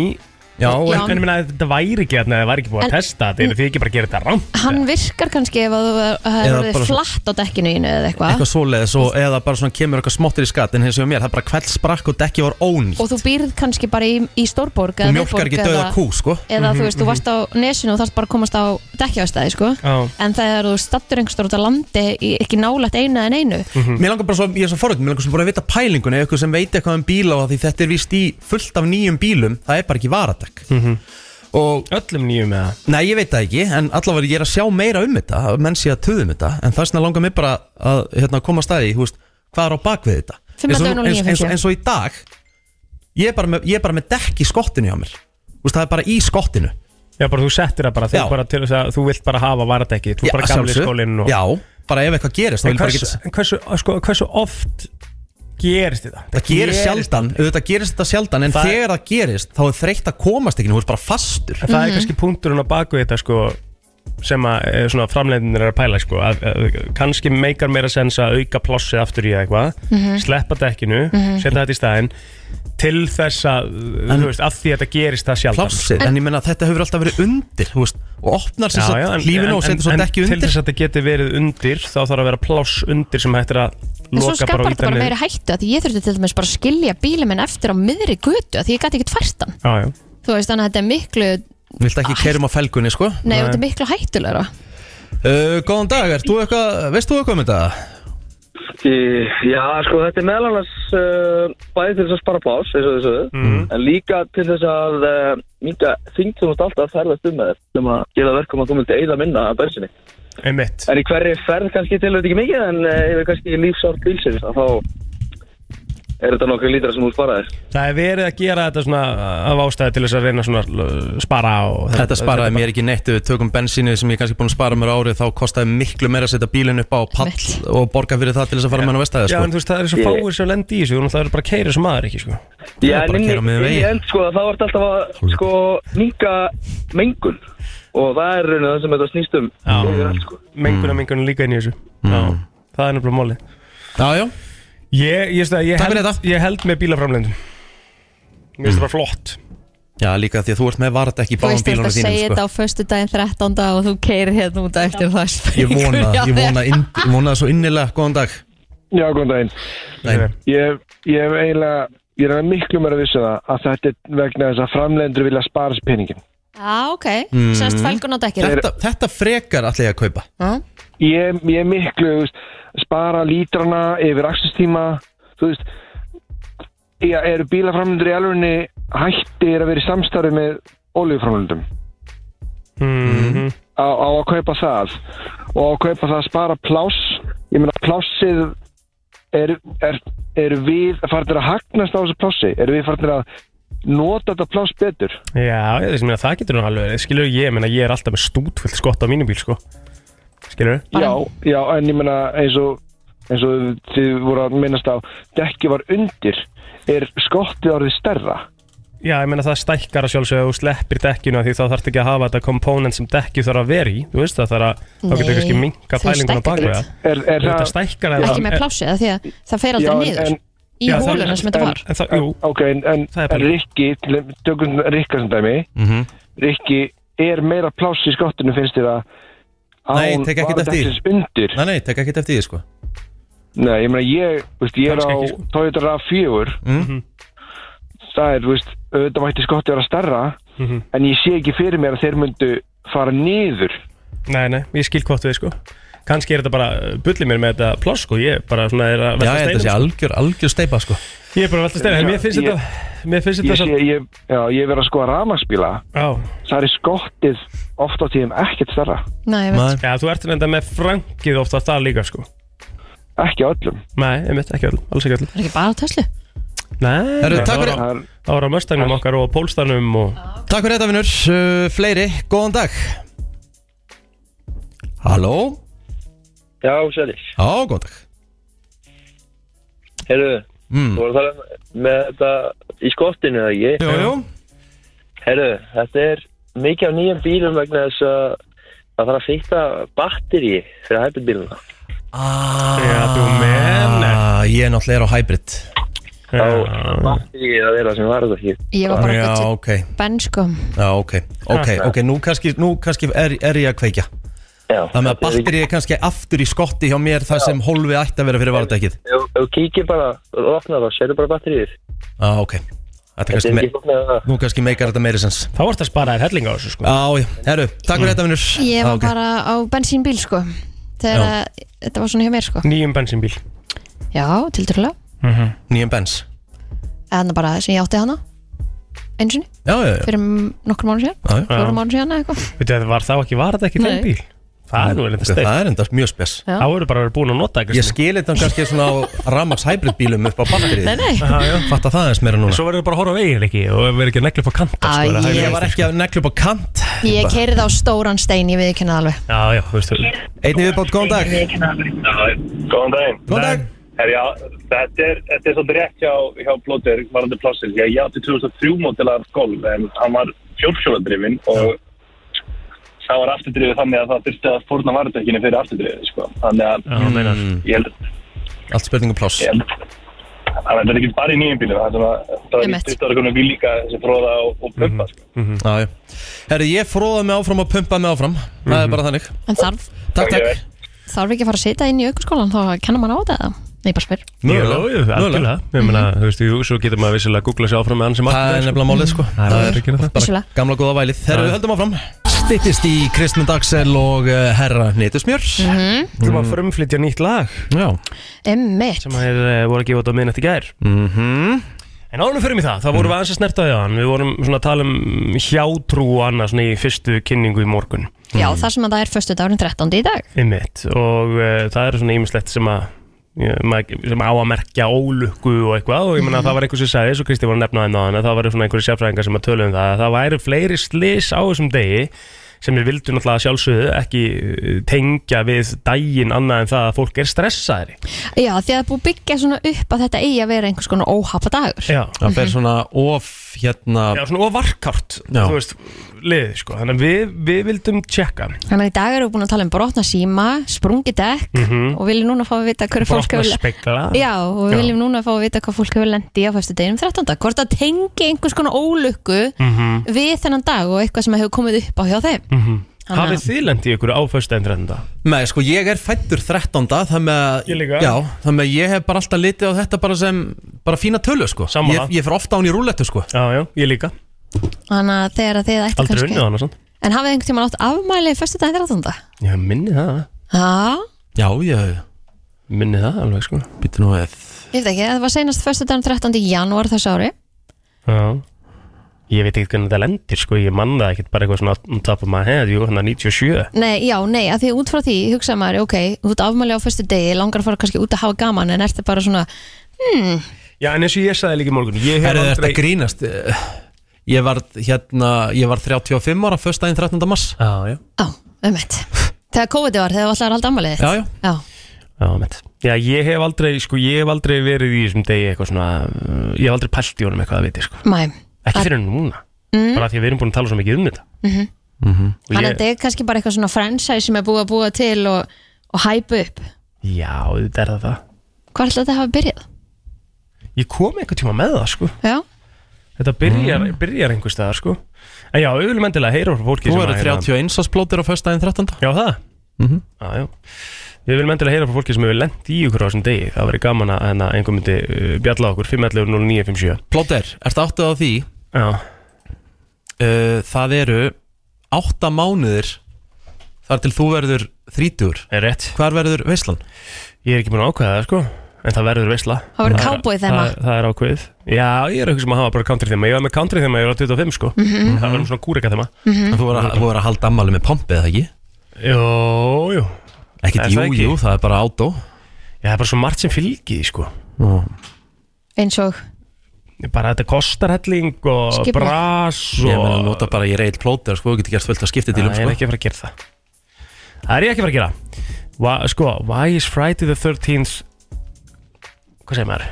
Speaker 2: já,
Speaker 3: Já.
Speaker 4: En ég meina, þetta væri ekki hérna, það væri ekki búið
Speaker 3: En-
Speaker 4: að testa þetta Eru þið ekki bara að gera þetta rámt
Speaker 3: Hann virkar kannski ef að þú hefur
Speaker 2: Eða
Speaker 3: verið
Speaker 2: bara svona-
Speaker 3: flatt á dekkinu einu eða eitthvað
Speaker 2: eitthvað svoleiðis og eða bara svona kemur eitthvað smottir í skatt en hins og mér, það er bara kveldsprakk og dekki var ónýtt
Speaker 3: og þú býrð kannski bara í, í stórborg
Speaker 2: og
Speaker 3: eða
Speaker 2: mjölkar
Speaker 3: miðborg
Speaker 2: ekki
Speaker 3: eða-
Speaker 2: döða kú sko
Speaker 3: eða þú veist, þú varst á nesinu og þarfst bara að komast á dekkjafstæði, sko
Speaker 4: Já.
Speaker 3: en þegar þú stattur einhverstur út á landi í- ekki nálægt einu en einu
Speaker 4: Mhm.
Speaker 2: Mér langar bara svo, ég er svo forrönd, mér langar svo bara að vita pælinguna eða eitthvað sem veit eitthvað um bíla og því þetta er vist í fullt af nýjum bílum, það er bara ekki varadekk og,
Speaker 4: Mhm. Öllum nýjum með það
Speaker 2: nei ég veit það ekki en allavega ég er að sjá meira um þetta að menn sé að töðum þetta, en þess vegna langar mér bara að hérna, koma að staði, þú veist, hvað er á bakvið þetta
Speaker 3: Fimm
Speaker 2: eins og, nú-
Speaker 3: ellefu núll
Speaker 2: eins,
Speaker 3: níu
Speaker 2: eins,
Speaker 3: fimmtíu.
Speaker 2: eins og í dag ég er bara með, ég er bara með dekk í skottinu hjá mér, þú veist, það er bara í skottinu
Speaker 4: Já, bara þú settir það bara,
Speaker 2: Já.
Speaker 4: þegar bara til þess að þú vilt bara hafa varatekki Þú er bara gamli
Speaker 2: sjálfsögðu.
Speaker 4: skólinn og...
Speaker 2: já, bara ef eitthvað gerist þá
Speaker 4: En
Speaker 2: vil ég bara
Speaker 4: hversu,
Speaker 2: geta-
Speaker 4: en hversu, sko, hversu oft gerist þetta?
Speaker 2: Það gerist sjaldan, auðvitað gerist þetta sjaldan En
Speaker 4: Það-
Speaker 2: þegar það gerist, þá er þreytt að komast ekki Þú ert bara fastur
Speaker 3: Mhm.
Speaker 4: En það er kannski punkturinn á baku þetta sko sem að eh, svona framleiðinir er að pæla sko, að, að, kannski meikar meira sens að auka plossið aftur í eitthvað
Speaker 11: Mhm.
Speaker 4: sleppa dekkinu,
Speaker 11: Mhm.
Speaker 4: setja þetta í staðinn til þess að, þú veist, að því að þetta gerist það sjaldan
Speaker 2: Plássið,
Speaker 4: sko.
Speaker 2: en ég menna að þetta hefur alltaf verið undir þú veist, og opnar sér
Speaker 4: Já, já, en-
Speaker 2: satt lífinu og
Speaker 4: en-
Speaker 2: setur svo
Speaker 4: en-
Speaker 2: dekki
Speaker 4: en
Speaker 2: undir
Speaker 4: Til þess að þetta geti verið undir þá þarf að vera pláss undir sem hættir að
Speaker 3: En
Speaker 4: loka
Speaker 3: svo
Speaker 4: bara
Speaker 3: skapar
Speaker 4: og
Speaker 3: þetta
Speaker 4: íta
Speaker 3: bara
Speaker 4: niður
Speaker 3: meiri hættu að því ég þurfti til dæmis bara að skilja bílum minn eftir á miðri götu að því ég gæti ekkert fært hann
Speaker 4: Já, já
Speaker 3: Þú veist þannig að þetta er miklu
Speaker 2: Vilt ekki kerum á felgunni, sko
Speaker 3: Nei, þetta er miklu hættulegra
Speaker 2: uh, Góðan dag, ert þú eitthvað, veist þú eitthvað um þetta?
Speaker 12: Í- Já, sko, þetta er meðal annars uh, bæði til þess að spara pás, eins og þessu,
Speaker 2: Mhm.
Speaker 12: en líka til þess að uh, minga þing sem þú ert alltaf að ferðast um með þér, sem að gera verkum að þú myndir eigða minna að bensinni.
Speaker 4: Einmitt
Speaker 12: En í hverri ferð kannski til þetta ekki mikið, en uh, ef við kannski lífsárt bílsins, að þá er þetta nokkuð lítra sem þú sparaðir.
Speaker 4: Það er verið að gera þetta svona af ástæði til þess að reyna svona uh, spara og
Speaker 2: Þetta sparaði mér ekki neitt, ef við tökum bensínu sem ég er kannski búin að spara mér á árið þá kostaði miklu meira að setja bílinn upp á pall og borga fyrir það til þess að fara með hann á vestæði
Speaker 4: Já,
Speaker 2: sko.
Speaker 4: en þú veist, það er svo fáir sem lendi í þessu og það er bara að keira sem maður ekki, sko
Speaker 12: Já,
Speaker 2: bara
Speaker 12: en inn í-
Speaker 2: keyra á miðjum
Speaker 12: inn í
Speaker 2: vegi.
Speaker 12: end, sko, þá ert alltaf að, sko, minga mengun, og það er rauninu það sem þetta snýst um. Já,
Speaker 4: Menguna,
Speaker 9: Mm.
Speaker 4: menguna sko. líka inn í þessu Já, það er nefnilega móli
Speaker 2: Já, já
Speaker 4: Ég, ég, veist það, ég, held, ég held með bílaframlendum Mér
Speaker 9: Mm.
Speaker 4: finnst það bara flott
Speaker 2: Já, líka því að þú ert með varð ekki í
Speaker 3: Þú
Speaker 2: báðum
Speaker 3: veist þetta
Speaker 2: bílunum
Speaker 3: að segja
Speaker 2: þínum
Speaker 3: þetta á
Speaker 2: sko.
Speaker 3: föstu daginn 13. og þú keirir hérna út á eftir það
Speaker 2: Ég vona, ég vona, inn, ég vona það svo innilega, góðan dag
Speaker 9: Já, góðan daginn Eh,
Speaker 2: Nei.
Speaker 9: Ég, ég hef eiginlega Ég er eiginlega miklu meira að vissu það að þetta er vegna þess að framlendur vilja spara sér peningin
Speaker 3: Já, ok,
Speaker 9: Mm.
Speaker 3: semst fælgun á dekkinu
Speaker 9: Þetta-
Speaker 2: Þetta frekar allir að kaupa
Speaker 9: Ég, ég er miklu, þú veist, spara lítrana yfir akstustíma Þú veist, ég, eru bílaframlendur í alvegni hættir að vera í samstarfi með olíuframlendum
Speaker 2: Mhm.
Speaker 4: mm.
Speaker 9: á, á að kaupa það og á að kaupa það að spara pláss ég meina plássið er, er, er við farnir að hagnast á þessu plássi er við farnir að nota þetta pláss betur
Speaker 4: Já, ég, þessi, meina, það getur nú alveg verið. Skilur ég, meina, ég er alltaf með stútfullt skott á mínum bíl sko. Skilur
Speaker 9: já, já, en ég meina eins og eins og þið voru að minnast á dekki var undir er skottið orðið stærra
Speaker 4: Já, ég meina það stækkar að sjálfsögðu og sleppir dekkinu af því þá þarf ekki að hafa þetta komponent sem dekki þarf að vera í Þú veist það þarf að, þá getur
Speaker 9: Nei,
Speaker 4: kannski minka
Speaker 9: þau
Speaker 4: pælingun á
Speaker 9: stækka
Speaker 4: bakvega
Speaker 9: ekkert. Er- er það-
Speaker 4: Þetta stækkar að
Speaker 3: Ekki með plásið, því að það
Speaker 9: Já,
Speaker 3: fer aldrei
Speaker 9: en-
Speaker 3: niður
Speaker 9: en-
Speaker 3: Í
Speaker 9: Já, það-
Speaker 3: hóluna sem þetta
Speaker 9: en-
Speaker 3: var
Speaker 4: En það, jú
Speaker 9: Ok, en, en, en Rikki, til- tökum Rikka sem dæmi
Speaker 2: Mhm.
Speaker 9: Rikki, er meira pláss í skottinu finnst þér að
Speaker 2: Nei, tek ekki eftir
Speaker 9: því undir
Speaker 2: Nei, nei, tek ekki eftir því, sko
Speaker 9: Nei, ég meina ég, veist, ég er á
Speaker 2: Kannski ekki, sko.
Speaker 9: Toyota RAV4
Speaker 2: Mhm.
Speaker 9: það er, þú veist, auðvitað mætti skottið vera stærra
Speaker 4: Mhm.
Speaker 9: en ég sé ekki fyrir mér að þeir myndu fara niður
Speaker 4: Nei, nei, ég skil hvort við sko Kannski er þetta bara, uh, bulli mér með þetta pláss sko Ég bara svona er að
Speaker 2: Já,
Speaker 4: velta
Speaker 2: ég held að
Speaker 4: steinum,
Speaker 2: sé
Speaker 4: sko.
Speaker 2: algjör, algjör steipa, sko
Speaker 4: Ég er bara að velta steina, en mér finnst
Speaker 9: Ég-
Speaker 4: þetta Mér finnst
Speaker 9: ég,
Speaker 4: þetta
Speaker 9: sé,
Speaker 4: svo
Speaker 9: ég, já, ég verið að skoða rafmagsbíla
Speaker 4: Já.
Speaker 9: það er skottið oft á tíðum ekkert stærra
Speaker 3: Nei, ég
Speaker 4: Já, þú ert reynda með frangið ofta það líka sko
Speaker 9: Ekki öllum
Speaker 4: Nei, einmitt, ekki öllum, alls ekki öllum
Speaker 3: Er ekki bara á Tesla?
Speaker 4: Nei,
Speaker 2: Herru, takk
Speaker 4: það var á- það var á Mustangnum okkar og Pólstanum og
Speaker 2: Takk fyrir þetta, vinnur, uh, fleiri, góðan dag Halló
Speaker 12: Já, sælir.
Speaker 2: Já, góðan dag
Speaker 12: Herru,
Speaker 2: Mm.
Speaker 12: þú voru að tala um- með þetta í skottinu, eða ekki?
Speaker 2: Jú, jú.
Speaker 12: Herru, þetta er mikið af nýjum bílum vegna þess að það þarf að fýtta batteri fyrir hybridbíluna.
Speaker 2: Ah, ég náttúrulega er á hybrid
Speaker 12: Já, batteri er að vera sem var þetta ekki.
Speaker 3: Ég var bara
Speaker 2: Já,
Speaker 3: gott
Speaker 2: ok,
Speaker 3: Ben sko
Speaker 2: já, ok, ok, ok, nú kannski, nú kannski er, er ég að kveikja
Speaker 12: Já,
Speaker 2: Það með að batteri er kannski aftur í skotti hjá mér þar sem holfi ætti að vera fyrir varðdækið
Speaker 12: Ef ef þú kíkir bara, þú opnar það, sérðu bara batterið.
Speaker 2: Já, ok, þetta
Speaker 12: Þetta
Speaker 2: kannski,
Speaker 12: er
Speaker 2: me
Speaker 12: ekki flóknir að
Speaker 2: nú kannski meikar þetta meiri sens
Speaker 4: Þá ert að spara þér helling á þessu sko Mm.
Speaker 2: Já, já, herru, takk fyrir þetta, vinnur
Speaker 3: Ég var bara á bensínbíl sko
Speaker 2: Ah,
Speaker 3: Þegar
Speaker 2: Já.
Speaker 3: að- þetta var svona hjá mér sko
Speaker 4: Nýjum bensinbíl
Speaker 3: Já, tildurlega
Speaker 2: Mhm. Nýjum bens
Speaker 3: Þannig bara sem ég átti hana Einu sinni
Speaker 2: Já, já, Ah. já
Speaker 3: Fyrir nokkur mánu síðan
Speaker 2: Já, já.
Speaker 3: Fjórum mánu síðan eða eitthvað
Speaker 4: Veitu, þetta var þá ekki, var þetta ekki
Speaker 3: Nei.
Speaker 4: þeim bíl? Það er nú reynda
Speaker 2: Ok,
Speaker 4: steik
Speaker 2: Það er enda mjög spes
Speaker 3: Já.
Speaker 4: Þá eru bara verið búin að nota ekki
Speaker 2: Ég skil þetta kannski svona á ramax hybrid bílum upp á batterið
Speaker 3: Nei, nei.
Speaker 4: Já, já.
Speaker 2: Fatta það eins meira núna
Speaker 4: Svo verður bara að horfa á veginn ekki og verður ekki að negla upp á kanta
Speaker 3: Æ,
Speaker 4: sko,
Speaker 3: ég-
Speaker 2: Ég var ekki að negla upp á kant
Speaker 3: Ég keirið á stóran stein, ég viðkynna alveg
Speaker 4: Já, já, þú veist þú
Speaker 2: Einnig viðbátt, góðan dag
Speaker 13: Góðan daginn
Speaker 2: Góðan dag
Speaker 13: Herja, þetta er, þetta er svolítið rétt hjá, hjá Blóter varandi plássir því að ég átti 2003 mótilegar golf en hann var fjórfjóladrifin og
Speaker 12: þá er afturdrifið þannig að það þurfti að fórna varudekinu fyrir afturdrifið sko. þannig að
Speaker 2: Já, meinar.
Speaker 12: ég held
Speaker 2: Allt spurningum pláss
Speaker 12: Ég held- að þetta er ekki bara í nýjum bílum það er svona, það er í
Speaker 2: Einmitt.
Speaker 12: 20 ára konum bíl líka sem fróða og, og pumpa
Speaker 2: Mhm.
Speaker 12: sko.
Speaker 4: Mhm.
Speaker 2: Já, já. Herri, ég fróða mig áfram og pumpa mig áfram
Speaker 4: Mhm.
Speaker 2: Það er bara þannig
Speaker 3: En þarf,
Speaker 2: Takk, takk
Speaker 3: þarf ekki að fara að sitja inn í aukurskólan þá kennar maður á þetta eða? Nei, bara spyr
Speaker 4: Mögulega, jú, algjörlega Ég meina, þú veist, jú, svo getur maður vissilega að googla sér áfram með hann sem
Speaker 2: Mhm. Það er nefnilega málið sko
Speaker 4: Það er ekki nefnilega
Speaker 2: bara gamla góða vælið Þegar við höldum áfram Stittist í Kristmund Axel og eh, Herra Nýtusmjör
Speaker 3: Mhm.
Speaker 4: Þú erum að frumflytja nýtt lag
Speaker 2: Já
Speaker 3: Emmitt
Speaker 4: Sem er, uh, voru að gefa út á miðnætti í gær -hmm. En ánum fyrir mig það, það vorum við aðeins að snerta því á hann Við vorum svona að tala um hjátrú og annað svona í fyrstu kynningu í morgun
Speaker 3: Já, þar sem að það er förstu dagurinn 13. í dag
Speaker 4: Einmitt, og uh, það er svona ýmislegt sem að ja, maður- sem á að merkja ólukku og eitthvað og ég meina að það var einhver sem sagði, svo Kristi var að nefna það náðan að það var svona einhverju sérfræðingar sem að tölu um það að það væri fleiri slis á þessum degi sem við vildum náttúrulega að sjálfsögðu ekki eh, tengja við daginn annað en það að fólk er stressaðri
Speaker 3: Já, því að það er búið að byggja svona upp að þetta eigi að vera einhvers konar óhafa dagur
Speaker 4: Já,
Speaker 2: Það
Speaker 3: Mhm.
Speaker 2: fer svona of hérna
Speaker 4: Já, svona ofarkárt,
Speaker 2: Já.
Speaker 4: þú veist, liðið sko Þannig að við, við vildum tjekka
Speaker 3: Þannig að í dag erum við búin að tala um brotna síma, sprungi dekk
Speaker 4: mm -hmm.
Speaker 3: og viljum núna fá að vita hverju fólk hefur
Speaker 4: spekla
Speaker 3: Já, og við viljum núna fá að vita hvað fólk hefur lendi á fyrstu deginum 13. Hvort það tengi einhvers konar ólukku
Speaker 4: Mhm.
Speaker 3: við þennan dag og eitthvað sem hefur komið upp á hjá þeim Þannig að-
Speaker 4: Hafið þið lendið ykkur áfæstæðin 13.
Speaker 2: Nei, sko, ég er fættur 13. Þannig að
Speaker 4: Ég líka.
Speaker 2: Já, þannig að ég hef bara alltaf litið á þetta bara sem Bara fína tölu, sko
Speaker 4: Sammála.
Speaker 2: Ég, ég fer ofta á hún í rúlettu, sko
Speaker 4: Já, já, ég líka
Speaker 3: Þannig að þegar að þið ætti
Speaker 4: Aldrei unnið hann og svona
Speaker 3: En hafið einhvern tímann átt afmæli fyrstu daginn 13.
Speaker 4: Já, minni það
Speaker 3: Já,
Speaker 2: Já, ég
Speaker 4: Minni það alveg, sko
Speaker 2: Býttu nú eð
Speaker 3: ég veit ekki, það var seinast fyrstu daginn 13. í janúar þessu ári
Speaker 4: Já Ég veit ekkert hvernig það lendir, sko Ég mann það ekkert bara eitthvað svona on top of my head Jú, hann er 97
Speaker 3: Nei, já, nei, að því út frá því hugsa maður, ok, þú ert afmæli á fyrstu degi langar að fara kannski út að hafa gaman en ertu bara svona, hmm,
Speaker 4: Já, en eins og ég sagði líka í morgun Ég hef
Speaker 2: Herri,
Speaker 4: aldrei
Speaker 2: þetta grínast eh, Ég var, hérna, ég var 35 ára Fösta einn 13. mars
Speaker 4: Já, já
Speaker 3: ummitt um Þegar COVID var, þegar þú allar alltaf afmælið þitt.
Speaker 2: Já, já.
Speaker 3: já.
Speaker 4: Já, mitt Já, ég hef aldrei, sko, ég hef aldrei verið í þessum degi eitthvað svona uh, Ég hef aldrei pælt í honum eitthvað að viti, sko
Speaker 3: Mæ,
Speaker 4: Ekki fyrir núna
Speaker 3: Mm.
Speaker 4: Bara af því að við erum búin að tala svo mikið um þetta
Speaker 3: mm -hmm.
Speaker 4: mm -hmm.
Speaker 3: Þannig að þetta er kannski bara eitthvað svona franchise sem er búið að búa til og, og hæpa upp.
Speaker 4: Já, þetta er það það
Speaker 3: Hvað ætlaði þetta að hafa byrjað?
Speaker 4: Ég kom einhver tíma með það, sko
Speaker 3: Já. Mhm.
Speaker 4: Þetta byrjar, byrjar einhver staðar, sko En já, auðvitað endilega heyra frá fólki
Speaker 2: Þú
Speaker 4: sem
Speaker 2: eru
Speaker 4: að- hérna-
Speaker 2: 31 árs plótir á fösta einn 13.
Speaker 4: Já, það
Speaker 3: Mhm.
Speaker 4: Já, já. Við viljum endilega heyra frá fólki sem hefur lent í ykkur á þessum degi. Það væri gaman að hérna, einhver myndi uh, bjalla okkur 511-0957.
Speaker 2: Plóter, ertu áttuð á því? Eh,
Speaker 4: Já
Speaker 2: Það eru 8 mánuðir Þar til þú verður 30
Speaker 4: Er rétt
Speaker 2: Hvar verður veislan?
Speaker 4: Ég er ekki búin að ákveða það sko En það verður veisla
Speaker 3: Það verður
Speaker 4: er-
Speaker 3: cowboy þema.
Speaker 4: það, það er ákveðið Já, ég er eitthvað sem að hafa bara country þema Ég var með country þema, ég var 25 sko
Speaker 2: Mhm.
Speaker 4: Það verður svona kúrika þema
Speaker 3: Mhm.
Speaker 2: En Þú voru að, þú voru að halda ammali með pompið, eða ekki?
Speaker 4: Jó, jú
Speaker 2: Ekkert jú, jú, það er bara átó
Speaker 4: Já, það er bara svo margt sem fylgi því sko
Speaker 3: Eins og,
Speaker 4: Bara þetta kostar helling og
Speaker 3: Skipum.
Speaker 4: bras og...
Speaker 2: Ég meina, nota bara ég reyðil plóter, sko, þú getur gert fullt að skipti til um,
Speaker 4: Ég er
Speaker 2: sko
Speaker 4: ekki að fara að gera það Það er ég ekki að fara að gera Why, Sko, why is Friday the 13th Hvað segir maður?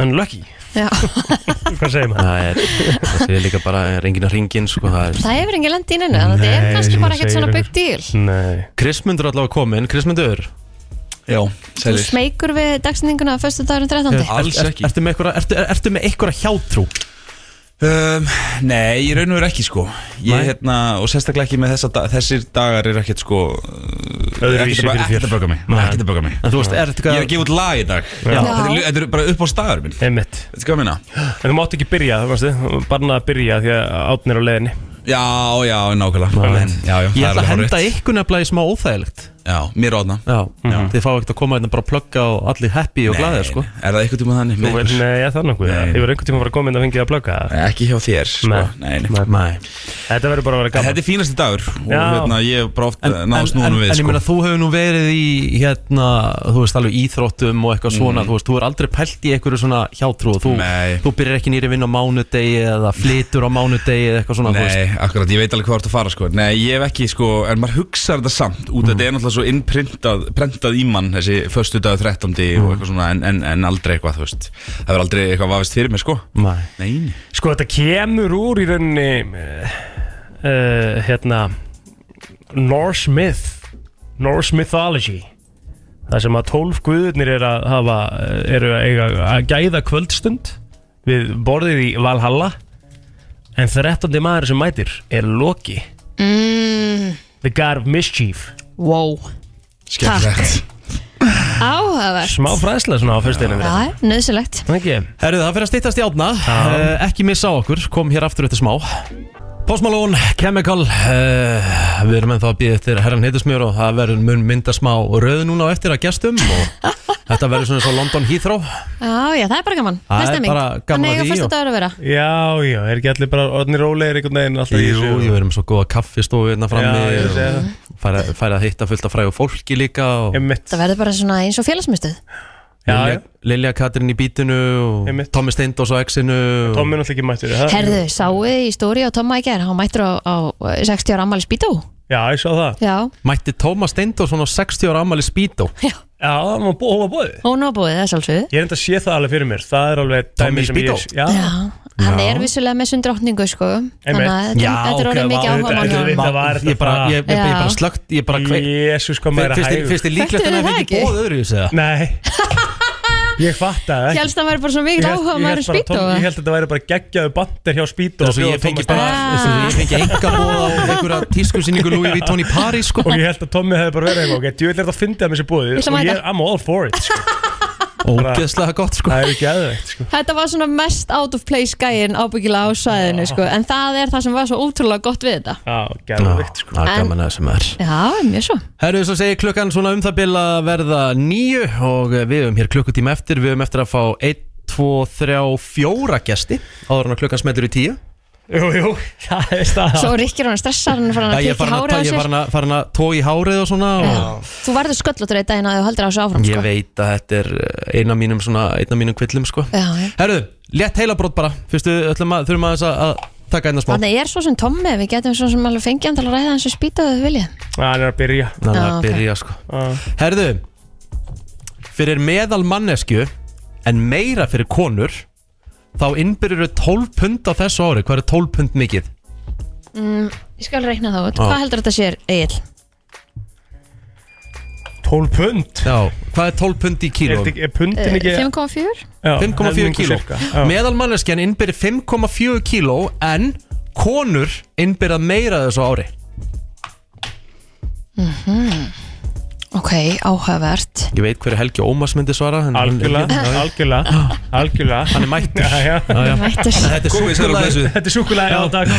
Speaker 4: Unlucky
Speaker 3: já,
Speaker 4: Hvað segir maður?
Speaker 2: Það er, það segir líka bara rengin að ringin, sko það er-
Speaker 3: það hefur engin lendi inn þannig að þetta er
Speaker 2: Nei,
Speaker 3: kannski
Speaker 2: sem þú
Speaker 3: bara ekkert
Speaker 2: segir
Speaker 3: svona
Speaker 2: einhver.
Speaker 3: big deal.
Speaker 4: Nei
Speaker 2: Krismundur er allavega kominn, Krismundur Já,
Speaker 3: Þú smeykur við dagsendinguna á fyrstu dagurinn 13.
Speaker 2: Eh, ekki Ertu með einhverja, ertu, ertu með einhverja hjátrú?
Speaker 10: Um, nei, ég raun og veru ekki sko ég, hérna, Og sérstaklega ekki með þessa, da- þessir dagar er ekkert sko
Speaker 2: Öðruvísi
Speaker 10: Ekkert
Speaker 2: fyrir
Speaker 10: að-
Speaker 2: þér.
Speaker 10: ekkert að böga mig
Speaker 2: Nei.
Speaker 10: Ekkert að böga mig
Speaker 2: En þú veist, er þetta hvað-
Speaker 10: [LAUGHS] Ég er að gefa út lag í dag
Speaker 4: Já. Já.
Speaker 10: Þetta, er, þetta er bara upp á staðar minn
Speaker 4: Einmitt
Speaker 10: Þetta er hvað að minna
Speaker 4: En þú mátt ekki byrja, þú veistu Barnað að byrja því að átnir á leiðinni
Speaker 10: Já, já, nákvæmlega já, já,
Speaker 2: Ég
Speaker 10: það er
Speaker 2: ætla að
Speaker 10: alveg
Speaker 2: henda
Speaker 10: hárrétt.
Speaker 2: ykkur nefnilega í smá óþægilegt
Speaker 10: Já, mér og átna
Speaker 2: Já, þið fá ekkert að koma hérna bara að plugga og allir happy og glæðir sko
Speaker 10: Er það eitthvað tíma þannig?
Speaker 4: Þú veit, nei, ég það nokkuð Ég var einhvern tíma að fara að koma inn að fengið að plugga
Speaker 10: Ekki hjá þér sko. nei, nei.
Speaker 2: Nei.
Speaker 4: Þetta verður bara að vera gaman
Speaker 10: Þetta er fínasti dagur Og
Speaker 2: Já.
Speaker 10: hérna, ég hef bara oft
Speaker 2: En, en,
Speaker 10: náðast
Speaker 2: en,
Speaker 10: núna við
Speaker 2: en ég
Speaker 10: sko.
Speaker 2: meina þú hefur nú verið í hérna, þú veist alveg íþróttum og eitthvað svona,
Speaker 10: Mhm.
Speaker 2: þú veist, þú er aldrei pælt í einhverju svona hjátrú, þú, þú byrjar ekki nýri vinn á mánudegi eða flytur á mánudegi eða eitthvað svona, þú veist.
Speaker 10: Nei, akkurat, ég veit alveg hvað þú ert að fara sko Nei, ég hef ekki sko, en maður hugsar þetta samt Út að
Speaker 2: Mhm.
Speaker 10: þetta er náttúrulega svo innprintað Prentað í mann, þessi Föstu dag 13.
Speaker 2: Mhm.
Speaker 10: og eitthvað svona en, en, en aldrei eitthvað, þú veist Það verður aldrei eitthvað vafist fyrir mig sko
Speaker 2: Nei
Speaker 10: Nei
Speaker 4: Sko þetta kemur úr í rauninni eh, uh, hérna Norse myth Norse mythology það sem að tólf guðurnir er að hafa, eh, eru að, eiga, að gæða kvöldstund við borðið í Valhalla en 13. maður sem mætir er Loki
Speaker 3: mm,
Speaker 4: The God of Mischief
Speaker 3: Wow Skemmtilegt. Áhugavert
Speaker 4: Smá fræðsla svona á fyrstu einu
Speaker 3: Það er nöðsilegt
Speaker 4: okay.
Speaker 2: Herðu það fyrir að styttast í átna uh, Ekki missa á okkur, kom hér aftur eftir smá Post Malone, Chemical uh, Við erum ennþá að býða eftir herran hittismjör og það verður mun mynda smá röð núna á eftir að gestum og [LAUGHS] þetta verður svona svo London Heathrow
Speaker 3: Já, já, það er bara gaman
Speaker 2: Það er
Speaker 3: Það er stemming
Speaker 2: bara gaman að
Speaker 3: Þannig
Speaker 2: því
Speaker 3: að fyrstu
Speaker 2: og-
Speaker 3: dagur að vera
Speaker 4: Já, já, er ekki allir bara orðnir rólegir einhvern veginn alltaf í
Speaker 2: Jú,
Speaker 4: þessu?
Speaker 2: við erum svo góða kaffistofu hérna
Speaker 4: Já,
Speaker 2: frammi
Speaker 4: ég segi
Speaker 2: og færa, færa að hitta fullt af frægu fólki líka og
Speaker 3: Það verður bara svona eins og félagsmyndstöð
Speaker 2: Lilja, Lilja Katrin í bítinu og Tommi Steindós á X-inu
Speaker 4: Tommi er náttúrulega ekki mættur
Speaker 3: Herðu, sáu þið í stóri á Tomma í gær Hann mættur á, á 60 ára ammali spító
Speaker 4: Já, ég sá það
Speaker 3: Já,
Speaker 2: Mætti Tómas Steindórsson á 60 ára ammali spító
Speaker 3: Já,
Speaker 4: hún var bó- hún var bóðið
Speaker 3: hún á búið þess alveg
Speaker 4: Ég er enda að sé það alveg fyrir mér Það er alveg
Speaker 2: Tommy
Speaker 4: dæmi sem ég
Speaker 2: Speedo?
Speaker 4: Já,
Speaker 3: Hann er vissulega með sundrótningu sko Þannig að þetta- þetta er orðið mikið áhuga mál hjá honum.
Speaker 4: Þetta var
Speaker 2: Ég bara- ég- ég- ég bara Já. slökkt, ég bara kveik-
Speaker 4: Jésús, hvað maður
Speaker 2: Fyrst-
Speaker 4: hægur
Speaker 2: fyrst er líklegt að Föttuðu hann hafi það ekki ekki? boðið öðru í þessu, eða?
Speaker 4: Nei
Speaker 3: [LAUGHS]
Speaker 4: Ég fatt að
Speaker 3: Hélst það væri bara svona mikið áhuga maður um spító
Speaker 4: Ég held að þetta væri bara geggjaðu bandir hjá Spító
Speaker 2: Eins og ég fengi bara-
Speaker 3: Ah.
Speaker 2: eins og ég fengi einkaboð á einhverja tískusýningu Louis Vuitton í París sko.
Speaker 4: Og ég held að Tommi hefði bara verið eitthvað Ok, djú, ég lert að fyndi að mér sér búið
Speaker 3: Ég ætla að
Speaker 4: Og ég,
Speaker 3: mæta.
Speaker 4: I'm all for it sko.
Speaker 2: [LAUGHS] Ógeðslega gott sko
Speaker 4: Það er ekki aðvegt sko
Speaker 3: Þetta var svona mest out of place gæin ábyggilega á svæðinu sko En það er það sem var svo ótrúlega gott við þetta
Speaker 4: Já, geðveikt
Speaker 2: sko Það er
Speaker 3: En-
Speaker 2: gaman að sem er
Speaker 3: Já, mjög svo
Speaker 2: Herru, svo segir klukkan svona um það bil að verða nýju og eh, við höfum hér klukkutíma eftir Við höfum eftir að fá 1, 2, 3, 4 gesti áður en að klukkan smeltur í 10
Speaker 4: Jú, jú, [LAUGHS] það er staða
Speaker 3: Svo Rikki er hann stressar, hann er farin að
Speaker 2: Ég er
Speaker 3: kikki
Speaker 2: farin að,
Speaker 3: hárið á
Speaker 2: ég er
Speaker 3: sér
Speaker 2: farin að, farin að tói í hárið og svona og
Speaker 3: Þú verður sköllóttur eitt daginn að þú heldur á þessu áfram
Speaker 2: Ég
Speaker 3: sko.
Speaker 2: veit að þetta er eh, einn af mínum, svona, einn af mínum kvillum sko
Speaker 3: Já, já.
Speaker 2: Herru, létt heilabrót bara Fyrstu, ætlum að, þurfum aðeins að, að taka einna smá
Speaker 3: Þannig ég er svo sem Tommi, við getum svo sem alveg fengið hann til að ræða hans og spýta þau vilja
Speaker 4: Það er að byrja
Speaker 2: Það er
Speaker 3: Já,
Speaker 2: að
Speaker 3: ok.
Speaker 2: byrja sko Herðu Fyrir meðal mannesku En meira fyrir konur Þá innbyrjur 12 pund á þessu ári Hvað er 12 pund mikið?
Speaker 3: mm, Ég skal reikna þá, út.
Speaker 2: Já.
Speaker 3: hvað heldur þetta sér Egil?
Speaker 4: 12 pund?
Speaker 2: Já, hvað er 12 pund í kíló?
Speaker 4: Er þetta ekki- er pundin
Speaker 3: Eh, 5,4?
Speaker 4: Já,
Speaker 2: 5,4
Speaker 4: helmingur
Speaker 2: kíló
Speaker 4: sirka, já.
Speaker 2: Meðal manneskjan innbyrjur 5,4 kíló En konur innbyrja meira á þessu ári
Speaker 3: Mhm. Ok, áhugavert
Speaker 2: Ég veit hverju Helgi Ómas myndi svara en hann-
Speaker 4: Algjörlega,
Speaker 2: Já, já.
Speaker 4: algjörlega, algjörlega Hann
Speaker 2: er mættur
Speaker 4: Já, já
Speaker 2: Já, já.
Speaker 3: Mættur.
Speaker 2: Þetta er
Speaker 14: Komið sæl á
Speaker 2: súkkulaði-
Speaker 14: blessuð.
Speaker 4: Þetta er súkulega, já,
Speaker 14: [LAUGHS]
Speaker 4: takk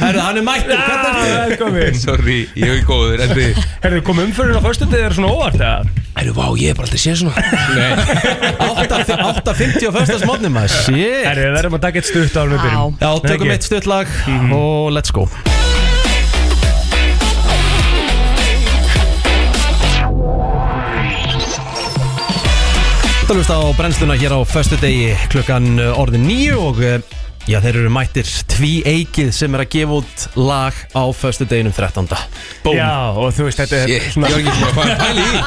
Speaker 2: Herðu, hann er mættur, hvernig
Speaker 4: ertu? Velkomin
Speaker 14: Sorry, ég er góður, en þið
Speaker 4: Herðu, kom umfyrir á föstundi, það er svona óvart eða?
Speaker 14: Herru, vá, ég er bara aldrei séð svona
Speaker 2: 8.50 á fyrstast mótni maður Shit
Speaker 4: Herðu, við verðum að taka eitt stutt árum við byrjum
Speaker 2: Já, tökum eitt stutt lag
Speaker 4: Mhm.
Speaker 2: og let's go Þetta hlusta á brennsluna hér á föstu degi klukkan eh, orðin nýju og eh, já, þeir eru mættir tví eikið sem er að gefa út lag á föstu deginum 13. Bóm.
Speaker 4: Já, og þú veist, þetta er
Speaker 2: Shit, ég var ekki búin að fara að
Speaker 4: [LAUGHS]
Speaker 2: pæla í.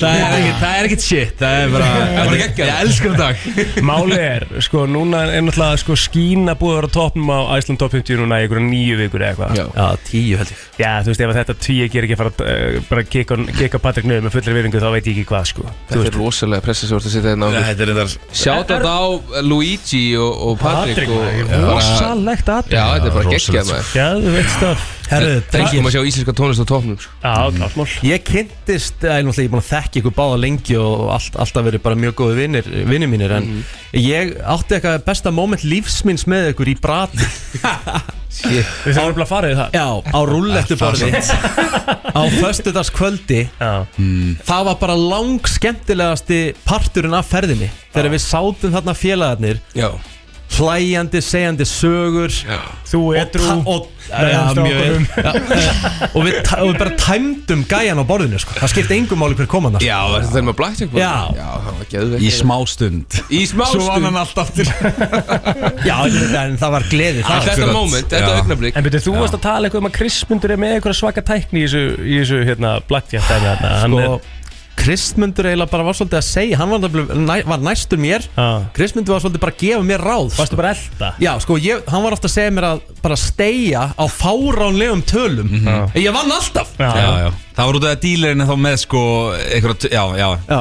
Speaker 2: Það er ekkert- það er ekkert shit, það er bara- það er bara geggjað. Ég elska þetta
Speaker 4: [LAUGHS]
Speaker 2: dag.
Speaker 4: Máli er, sko, núna er náttúrulega sko, skína búið að vera á toppnum á Iceland Top 50 núna í einhverja nýju vikur eða eitthvað
Speaker 2: Já. tíu held ég
Speaker 4: Já, þú veist, ef að þetta tíu gerir ekki að fara uh, bara að kika kika Patrik nöðu með fullri virðingu þá veit ég ekki hvað, sko Þú
Speaker 10: Þetta er rosalega pressa sem þú ert að sitja hérna á
Speaker 4: Nei, þetta er
Speaker 14: reyndar
Speaker 10: Sjáta þetta á Luigi og, og Patrick
Speaker 4: Patrik,
Speaker 10: og,
Speaker 4: maður, rosalegt atriði.
Speaker 10: Já, þetta er bara
Speaker 4: Já, rosalegt.
Speaker 10: geggjað maður
Speaker 4: Já, þú veit stöf
Speaker 2: Herðu,
Speaker 10: Það
Speaker 2: drengir.
Speaker 10: kom að sjá íslenska tónlist á topnum sko.
Speaker 4: Já, klart mál
Speaker 2: Ég kynntist, eða náttúrulega ég er búin að þekka ykkur báða lengi og allt, alltaf verið bara mjög góði vinnir, vinnir mínir en ég átti eitthvað besta moment lífsminns með ykkur í brat Við
Speaker 4: þurfum nefnilega að fara í það
Speaker 2: Já, á rúllettuborði á föstudagskvöldi það var bara lang skemmtilegasti parturinn af ferðinni þegar við sátum þarna félagarnir
Speaker 10: Já
Speaker 2: hlæjandi, segjandi sögur Já.
Speaker 4: Þú edrú
Speaker 2: og, ja, mjög, ja, og, við, ta- og við bara tæmdum gæjan á borðinu sko. það skipti engum máli hver kom hann
Speaker 10: Já, var þetta þegar maður blackjack bara?
Speaker 2: Já.
Speaker 10: Já, það var geðveikt
Speaker 14: Í smástund
Speaker 10: Í smástund
Speaker 14: Svo vann hann allt aftur
Speaker 2: [LAUGHS] Já, en það var gleði
Speaker 10: þar. Þetta moment, þetta augnablik.
Speaker 4: En betur, þú
Speaker 10: Já.
Speaker 4: varst að tala eitthvað um að Chris myndur er með eitthvað svaka tækni í þessu, í þessu hérna, blackjack dæmi þarna. Hann
Speaker 2: Sko,
Speaker 4: er-
Speaker 15: Kristmundur eiginlega bara var svolítið að segja Hann var, nefnilega næ, var næstur mér ah. Kristmundur var svolítið bara að gefa mér ráð Varstu
Speaker 4: bara elda?
Speaker 15: Já, sko, ég, hann var ofta að segja mér að bara steia á fáránlegum tölum En Ég vann alltaf
Speaker 10: Já, Mhm. já, Það var út af að dílarinn er þá með sko einhverja, já, já,
Speaker 15: já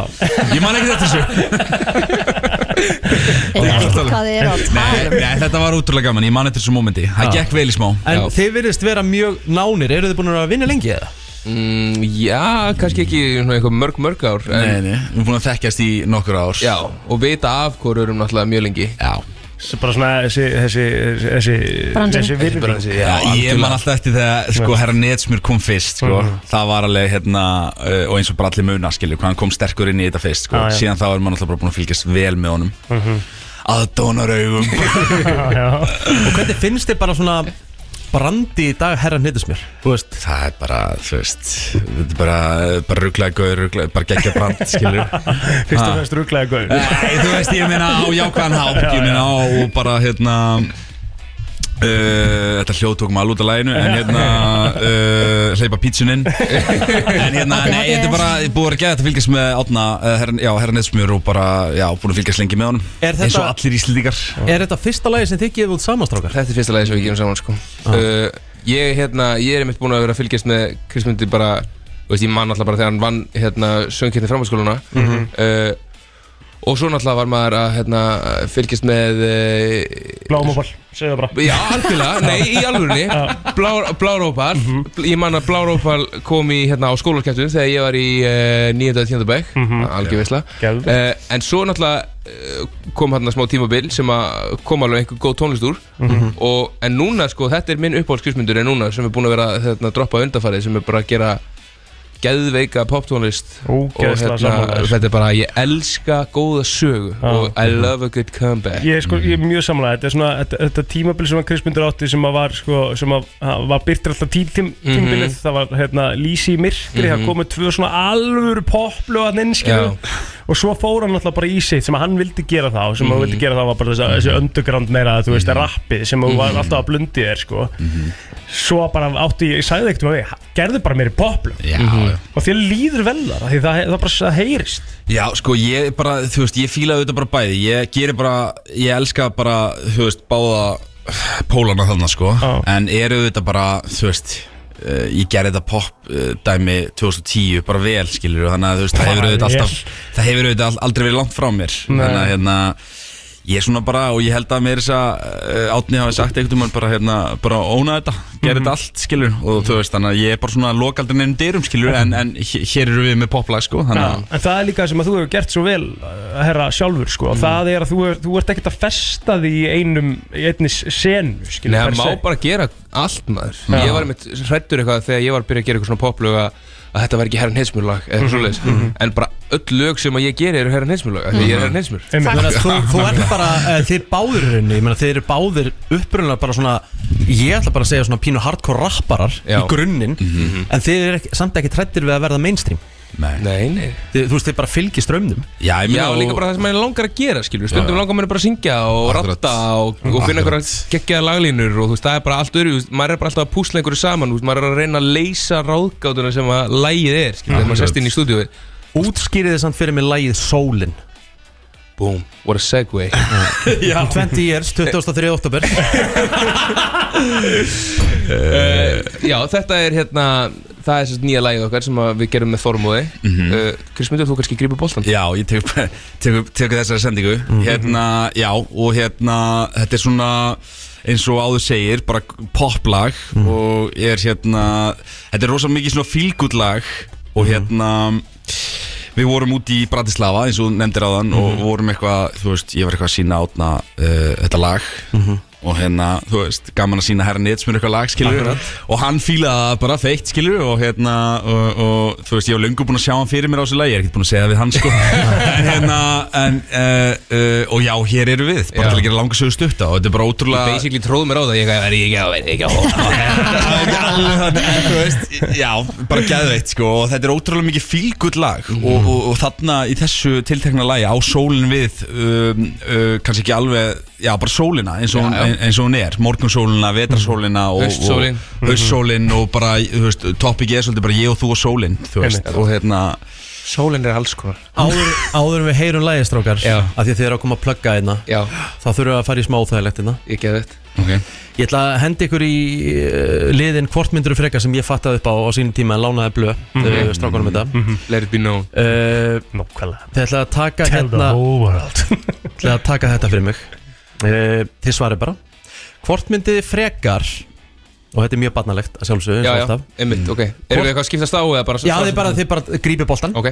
Speaker 10: Ég man ekki þetta þessu
Speaker 3: Hvað er að
Speaker 10: Nei, nei, þetta var útrúlega gaman, ég man eftir þessu mómenti Það
Speaker 15: Já.
Speaker 10: gekk vel í smá
Speaker 15: En þið virðist vera mjög nánir Eru þið búin að vinna lengi eða?
Speaker 14: Mm, já, kannski ekki svona eitthvað mörg, mörg ár en,
Speaker 10: Nei, nei, við erum búin að þekkjast í nokkur ár
Speaker 14: Já, og vita af hverju erum náttúrulega mjög lengi
Speaker 10: Já
Speaker 4: Svo bara svona þessi Þessi Þessi
Speaker 14: Bransi.
Speaker 4: Þessi virðing
Speaker 14: Bransi,
Speaker 10: Já, ég man alltaf eftir þegar sko, herra
Speaker 14: [LAUGHS]
Speaker 10: Netsmjör kom fyrst sko.
Speaker 4: Mhm.
Speaker 10: það var alveg hérna uh, og eins og bara allir muna skilur hvað hann kom sterkur inn í þetta fyrst sko.
Speaker 4: Já, já.
Speaker 10: síðan þá er maður alltaf bara búin að fylgjast vel með honum
Speaker 4: Mhm.
Speaker 10: að
Speaker 4: [LAUGHS]
Speaker 10: dónaraugum
Speaker 15: Og hvernig finnst þið bara svona brandi í dag herra hnýttis mér?
Speaker 10: það er bara, þú veist þetta er bara, bara rugglaði gaur rugglaði, bara geggja brand, skilur
Speaker 4: Fyrst og
Speaker 10: Ha.
Speaker 4: fremst rugglega gaur
Speaker 10: Nei, þú veist, ég meina á jákvæðan hátt,
Speaker 4: Já,
Speaker 10: ég meina
Speaker 4: já.
Speaker 10: á og bara, hérna Uh, þetta hljóð tók maður út af læginu en hérna uh, hleypa pítsuninn en hérna, nei, þetta er bara búið að vera geða að fylgjast með átna, uh, herran, já, herran Eðsmjör og bara, já, búin að fylgjast lengi með honum
Speaker 15: Er þetta-
Speaker 10: eins og allir íslendingar
Speaker 15: Er þetta fyrsta lagi sem þið gefið út samanstrákar?
Speaker 14: Þetta er fyrsta lagi sem við gerum saman sko uh, ég, hérna, ég er einmitt búin að vera að fylgjast með Kristmundi bara þú veist, Ég man alltaf bara þegar hann vann hérna, söngkjörni framhaldsskóluna
Speaker 12: Mhm.
Speaker 14: uh, Og svo náttúrulega var maður að hérna, fylgjast með uh,
Speaker 4: Blámabal Segðu það bara
Speaker 14: Já, algjörlega, nei, í alvörunni Blár- Blárópal
Speaker 4: Mhm.
Speaker 14: Ég man að Blárópal kom í, hérna, á skólarkæftun Þegar ég var í uh, 9. og 10. bæk mm
Speaker 4: Mhm.
Speaker 14: -hmm. Algjörvisla Eh, En svo náttúrulega uh, kom hérna smá tímabil Sem að kom alveg einhver góð tónlist úr
Speaker 12: Mhm.
Speaker 14: og, En núna, sko, þetta er minn uppáhaldskrismundur En núna sem er búin að vera hérna, droppa undarfarið Sem er bara að gera geðveika poptónlist hérna,
Speaker 4: Ógeðslega sammála þessu.
Speaker 14: þetta er bara, ég elska góða sögu
Speaker 4: Já. Mhm.
Speaker 14: Og I love a good comeback
Speaker 4: Ég er, sko, ég er mjög samlega, þetta er svona þetta, þetta tímabil sem að Kristmundur átti sem að var sko, sem að að var byrtir alltaf tím, tím, tímabilið
Speaker 14: Mhm.
Speaker 4: það var hérna Lísi í myrkri,
Speaker 14: Mhm.
Speaker 4: það komu tvö svona alvöru poplu að
Speaker 14: Já.
Speaker 4: nennskilu og svo fór hann alltaf bara í sitt sem að hann vildi gera þá, sem að hann
Speaker 14: Mhm.
Speaker 4: vildi gera þá var bara þessi, þessi underground meira, þú veist, rappið sem að mm var
Speaker 14: Mhm.
Speaker 4: alltaf að blundi þér sko
Speaker 3: um.
Speaker 4: svo bara átti, ég ég sagði ekkert um að við gerðu bara meiri poplu
Speaker 10: Já, já.
Speaker 4: og þér líður vel þar, af því það, það bara það heyrist
Speaker 10: Já, sko, ég bara, þú veist, ég fílaði þetta bara bæði Ég gerir bara, ég elska bara, þú veist, báða pólana þarna, sko En eru þetta bara, þú veist, uh, ég gerði þetta pop uh, dæmi 2010 bara vel, skilur Þannig að, þú veist, það hefur
Speaker 4: Bara
Speaker 10: auðvitað
Speaker 4: vel.
Speaker 10: alltaf, það hefur auðvitað al- aldrei verið langt frá mér
Speaker 4: Nei.
Speaker 10: Þannig að, hérna, ég er svona bara, og ég held að mér þess að uh, Átni hafi sagt einhvern veginn bara, hérna, bara óna þetta Gerði
Speaker 4: Mhm.
Speaker 10: þetta allt, skilur Og þú veist, þannig að ég er bara svona lokaldin einum dyrum, skilur En, en hér hér eru við með poplag, sko, þannig að
Speaker 4: Mhm. Já, en það er líka sem að þú hefur gert svo vel uh, herra sjálfur sko,
Speaker 14: Mm.
Speaker 4: það er að þú, þú ert ekkert að festa því í einum í einni senu, skilur
Speaker 14: Nei, það má bara gera allt maður
Speaker 4: Já.
Speaker 14: Ég var einmitt hrættur eitthvað þegar ég var að byrja að gera eitthvað svona poplög að, að þetta var ekki herran heimsmjörlag eða eitthvað
Speaker 4: Mhm,
Speaker 14: svoleiðis
Speaker 4: mhm.
Speaker 14: En bara öll lög sem að ég geri eru herran heimsmjörlag Því ég er herran heimsmjör
Speaker 15: Ég meina, Þú, þú ert bara, eh, þið báðir í rauninni, ég meina þið eru báðir upprunnilega bara svona, ég ætla bara að segja svona pínu hardcore rapparar í grunninn,
Speaker 14: Mhm.
Speaker 15: en þið eru ekki, samt ekki trættir við að verða mainstream.
Speaker 10: Nei,
Speaker 14: nei, nei.
Speaker 15: Þið, Þú veist, þið bara fylgir strömmnum.
Speaker 10: Já, ég
Speaker 14: Já, og líka bara það sem maður langar að gera, skilju Stundum langar maður bara að syngja og ratta og, og finna
Speaker 10: Akkurat.
Speaker 14: einhverja geggjaða laglínur og þú veist, það er bara allt öðru þú veist, Maður er bara alltaf að púsla einhverju saman þú veist, Maður er að reyna að leysa ráðgátuna sem að lægið er, skilju, þegar maður sest inn í stúdíói
Speaker 15: Útskýrið þið samt fyrir mig lagið Sólin.
Speaker 14: Boom, what a
Speaker 10: [LAUGHS]
Speaker 14: segue
Speaker 15: Já. 20 years, 23. oktober.
Speaker 14: [LAUGHS]
Speaker 2: [LAUGHS]
Speaker 14: uh, Já, þetta er hérna Það er sérst nýja lagið okkar sem að við gerum með Þormóði mm -hmm. uh, Kristmundur, þú kannski grýpur bóltan
Speaker 10: Mhm. Já, ég tek, [LAUGHS] tek, upp- tek upp þessari sendingu Hérna, já, og hérna Þetta er svona eins og áður segir, bara poplag og er hérna þetta er rosa mikið svona fílgutlag og hérna við vorum út í Bratislava eins og þú nefndir áðan og vorum eitthvað, þú veist, ég var eitthvað að sína átna uh, þetta lag og hérna, þú veist, gaman að sína herra Netsmur eitthvað lag, skilur
Speaker 15: Akkurat.
Speaker 10: og hann fílaði það bara feitt, skilur og hérna, og, og þú veist, ég var löngu búinn að sjá hann fyrir mér á þessu lagi, ég er ekkert búinn að segja það við hann,
Speaker 14: [LAUGHS]
Speaker 10: sko en hérna, en uh, uh, og já, hér eru við, bara til að gera langasögu stutta og þetta er bara ótrúlega
Speaker 14: Ég basically tróð mér á það, ég er ekki að veit ekki að
Speaker 10: Þú veist, já, bara gæðveitt sko og þetta er ótrúlega mikið fílgull lag og,
Speaker 2: Mhm.
Speaker 10: og, og þarna í þessu tiltekna lagi á sólin við um, uh, kannski ekki alveg, já bara sólina eins og,
Speaker 14: Já, já.
Speaker 10: Hún, e, eins og hún er,
Speaker 2: Mhm.
Speaker 10: morgunsólina, vetrarsólina og,
Speaker 14: Haustsólin.
Speaker 10: og, aussólin og bara, þú veist, toppikið er svolítið bara ég og þú og sólin, þú veist,
Speaker 14: Einmitt.
Speaker 10: og hérna
Speaker 14: Sólinn er alls konar
Speaker 2: Áður, áður en við heyrum lægistrákar af því að þið eru að koma að plugga hérna
Speaker 14: Já.
Speaker 2: þá þurfum við að fara í smá óþægilegt hérna
Speaker 14: Ég geði þetta
Speaker 10: okay.
Speaker 2: Ég ætla að henda ykkur í uh, liðin kvortmyndur freka sem ég fattaði upp á á sínum tíma en lánaði blöð mm
Speaker 14: Mhm.
Speaker 2: -hmm. uh, strákunum þetta
Speaker 14: Let it be known Eh,
Speaker 2: uh,
Speaker 4: Nókvælega
Speaker 2: Þið ætla að taka
Speaker 4: Tell the
Speaker 2: hérna
Speaker 4: whole world.
Speaker 2: [LAUGHS] Þið ætla að taka þetta fyrir mig uh, Þið svarið bara Hvort myndið þið frekar Og þetta er mjög barnalegt að sjálfsögðu eins
Speaker 14: Já,
Speaker 2: og
Speaker 14: já,
Speaker 2: alltaf.
Speaker 14: einmitt, ok Erum við eitthvað að skiptast á eða bara
Speaker 2: Já, þið bara, þið bara grípið boltan
Speaker 14: Ok
Speaker 2: uh,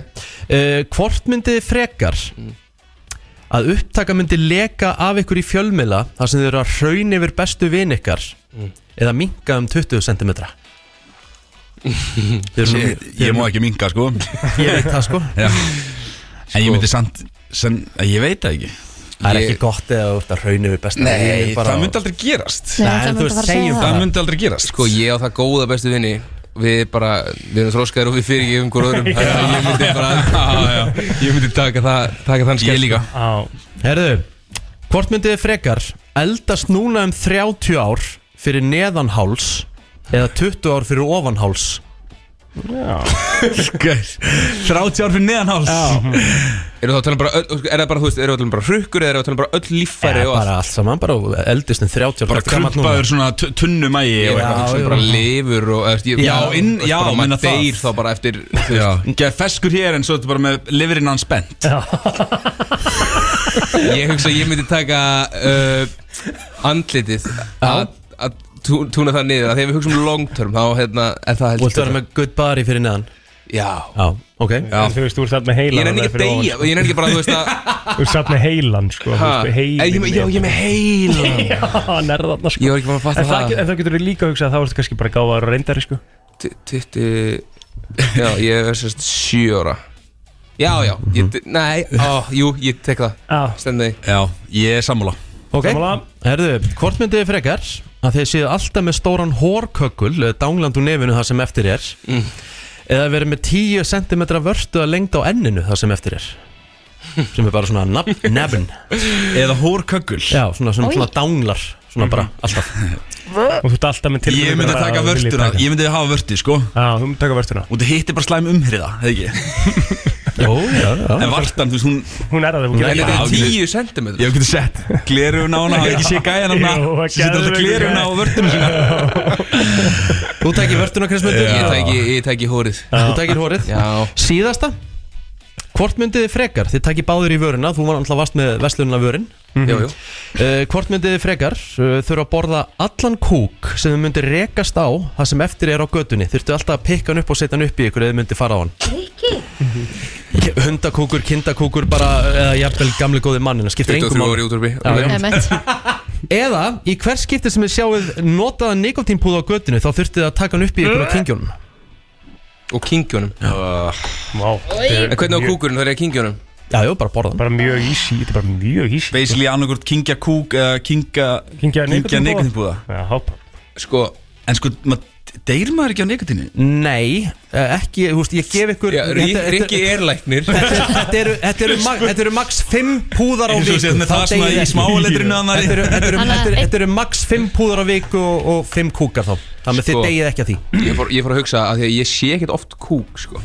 Speaker 2: Hvort myndið þið frekar Að upptaka myndi leka af ykkur í fjölmila Þar sem þið eru að hraun yfir bestu vin ykkar
Speaker 10: Mm.
Speaker 2: Eða minka um 20 cm Þið eru nú-
Speaker 10: Ég,
Speaker 2: þið
Speaker 10: ég
Speaker 2: eru
Speaker 10: má
Speaker 2: nú-
Speaker 10: ekki minga sko
Speaker 2: [LAUGHS] Ég veit það, sko.
Speaker 10: Já. En ég myndi samt sem, Ég veit það ekki
Speaker 2: Það er ekki gott eða þú ert að hraun yfir bestu
Speaker 10: Nei,
Speaker 2: vini bara-
Speaker 10: það myndi aldrei gerast
Speaker 2: Nei, Nei, það en þú myndi veist, bara segjum segja það. það.
Speaker 10: myndi aldrei gerast
Speaker 14: Sko, ég á það góða bestu vinni Við bara, við erum þróskaðir og við fyrirgefum hver öðrum Þannig að ég myndi bara, já, já Ég myndi taka það, taka þann skell
Speaker 2: Herðu, hvort myndið þið frekar eldast núna um 30 ár fyrir neðan háls eða 20 ár fyrir ofan háls
Speaker 4: Já
Speaker 10: [LAUGHS] 30 ár fyrir neðan háls
Speaker 14: Eru það að tala um bara, öll- er það bara, þú veist, eru það að tala um bara hrukkur Eða eru það að tala um bara öll líffæri
Speaker 2: Bara allt saman, bara eldist um 30 ár
Speaker 10: Bara krumpaður svona tu- tunnumægi og
Speaker 14: Ég
Speaker 10: eitthvað.
Speaker 14: hugsa um bara lifur og eftir, ég-
Speaker 10: Já,
Speaker 14: þú
Speaker 10: inn-
Speaker 14: veist,
Speaker 10: já,
Speaker 14: bara
Speaker 10: meina
Speaker 14: maður
Speaker 10: það.
Speaker 14: deyr þá bara eftir þú
Speaker 10: Já,
Speaker 14: veist.
Speaker 10: Gæði feskur hér en svo þetta bara með liverinn hann spennt
Speaker 14: Ég hugsa að ég myndi taka uh, andlitið að að tú- túna það niður að Þegar við hugsa um long term þá hérna, er það heldur
Speaker 2: Og þú erum með good body fyrir neðan
Speaker 14: Já
Speaker 2: Já, ok Já.
Speaker 4: En þú veist, þú ert satt með heilan
Speaker 14: Ég nenni ekki að deyja, ég
Speaker 4: sko.
Speaker 14: nenni ekki bara, þú veist
Speaker 2: [LAUGHS]
Speaker 14: að
Speaker 4: Þú ert satt með heilan, sko þú
Speaker 14: Ha?
Speaker 4: veist, með heilinn
Speaker 14: En ég me- já, ég með heilan.
Speaker 4: Já, hann er þarna, sko
Speaker 14: Ég var ekki bara að fatta
Speaker 4: En
Speaker 14: það.
Speaker 4: það En þá getur þú líka að hugsa að þá ertu kannski bara gáðar og reyndari, sko
Speaker 14: Titti [LAUGHS] Já, ég er sérst sjö ára Já, já, ég,
Speaker 2: Mhm.
Speaker 14: nei, á, jú, ég tek það Stendu því
Speaker 10: Já, ég er sammála
Speaker 2: Ok, herðu, hvort myndið þið frekar að þið séu alltaf með stóran hórkökul eða dángland úr nefinu það sem eftir er
Speaker 14: Mm.
Speaker 2: eða verið með 10 cm vörstu að lengd á enninu það sem eftir er sem er bara svona
Speaker 14: [LAUGHS]
Speaker 2: nab nabn
Speaker 10: Eða hórkökul
Speaker 2: Já, svona, svona,
Speaker 10: Oj.
Speaker 2: svona dánglar svona bara alltaf
Speaker 4: Og Mhm. þú ert alltaf með tilfinningar
Speaker 10: Ég myndi að
Speaker 4: að
Speaker 10: taka
Speaker 4: þú viljir
Speaker 10: vörtuna
Speaker 4: taka.
Speaker 10: Ég myndi að hafa vörti, sko
Speaker 4: Já, þú myndi taka vörtuna
Speaker 10: Og þetta hittir bara slæm umhriða, eða ekki
Speaker 2: Jó, já, já
Speaker 10: En vartan, þú veist, hún
Speaker 4: Hún er að það
Speaker 10: Hún er
Speaker 14: þetta
Speaker 10: það.
Speaker 14: er 10 cm
Speaker 10: Ég hef getið sett glerun á hana, hafði ekki séð gæjan hana
Speaker 14: Jú, það
Speaker 10: Svo setur
Speaker 14: geðveikur
Speaker 10: alltaf glerun á
Speaker 14: gæi.
Speaker 10: vörtunum sína
Speaker 2: Þú tekir vörtuna, Kristmundur
Speaker 14: Ég tæki- Ég tæki hórið
Speaker 2: Þú tekir hórið
Speaker 14: Já.
Speaker 2: Síðasta Hvort myndið þið frekar? Þið takir báður í vöruna Þú var alltaf vast með veslunna vörin
Speaker 14: Mhm. Jú, jú.
Speaker 2: Eh, Hvort myndið þið frekar? Uh, þurfa að borða allan kúk sem þið myndið rekast á það sem eftir er á götunni Þurftu alltaf að pikka hann upp og setja hann upp í ykkur eða þið myndið fara á hann K- Hundakúkur, kindakúkur bara eða jafnvel gamli góði mannina skiptir engum
Speaker 14: 23
Speaker 2: máli.
Speaker 14: ári útvarpi.
Speaker 2: Já, já.
Speaker 3: Emmett
Speaker 2: Eða í hver skipti sem þið sjáuð notaða nikotínpúða á götunni þá þurftið að taka hann upp í ykkur
Speaker 14: Eh?
Speaker 2: á kingjónum
Speaker 14: Og kingjónum
Speaker 4: Vá
Speaker 14: En hvernig á kúkurinn, það er kingjónum?
Speaker 2: Já, já, bara borða
Speaker 4: Bara mjög ísi, þetta er bara mjög ísi
Speaker 10: Basically annarkort kingja kúk eða kingja
Speaker 4: Kingja nikótínpúða.
Speaker 10: nikotinbúða
Speaker 4: Já, hoppa
Speaker 14: Sko
Speaker 10: En sko, mað, deyr maður ekki á nikotinu?
Speaker 2: Nei, eh, ekki, þú veist, ég gef ykkur
Speaker 14: Já, Rík-
Speaker 2: Þetta- þetta-
Speaker 14: Rikki er læknir
Speaker 2: [LAUGHS] Þetta eru, þetta, eru mag, þetta eru max 5 púðar á
Speaker 10: Eins og
Speaker 2: viku
Speaker 10: séð með
Speaker 2: þá
Speaker 10: það svona
Speaker 2: deyið
Speaker 10: í
Speaker 2: ekki.
Speaker 10: smáa letrinu að maður-
Speaker 2: Þetta eru- þetta eru-
Speaker 10: Annað-
Speaker 2: þetta eru- Þetta eru max 5 púðar á viku og, og 5 kúkar þá Þannig að þið
Speaker 14: Sko.
Speaker 2: degið ekki að því
Speaker 14: Ég fór, ég fór að hugsa að því að ég sé ekkert oft kúk sko.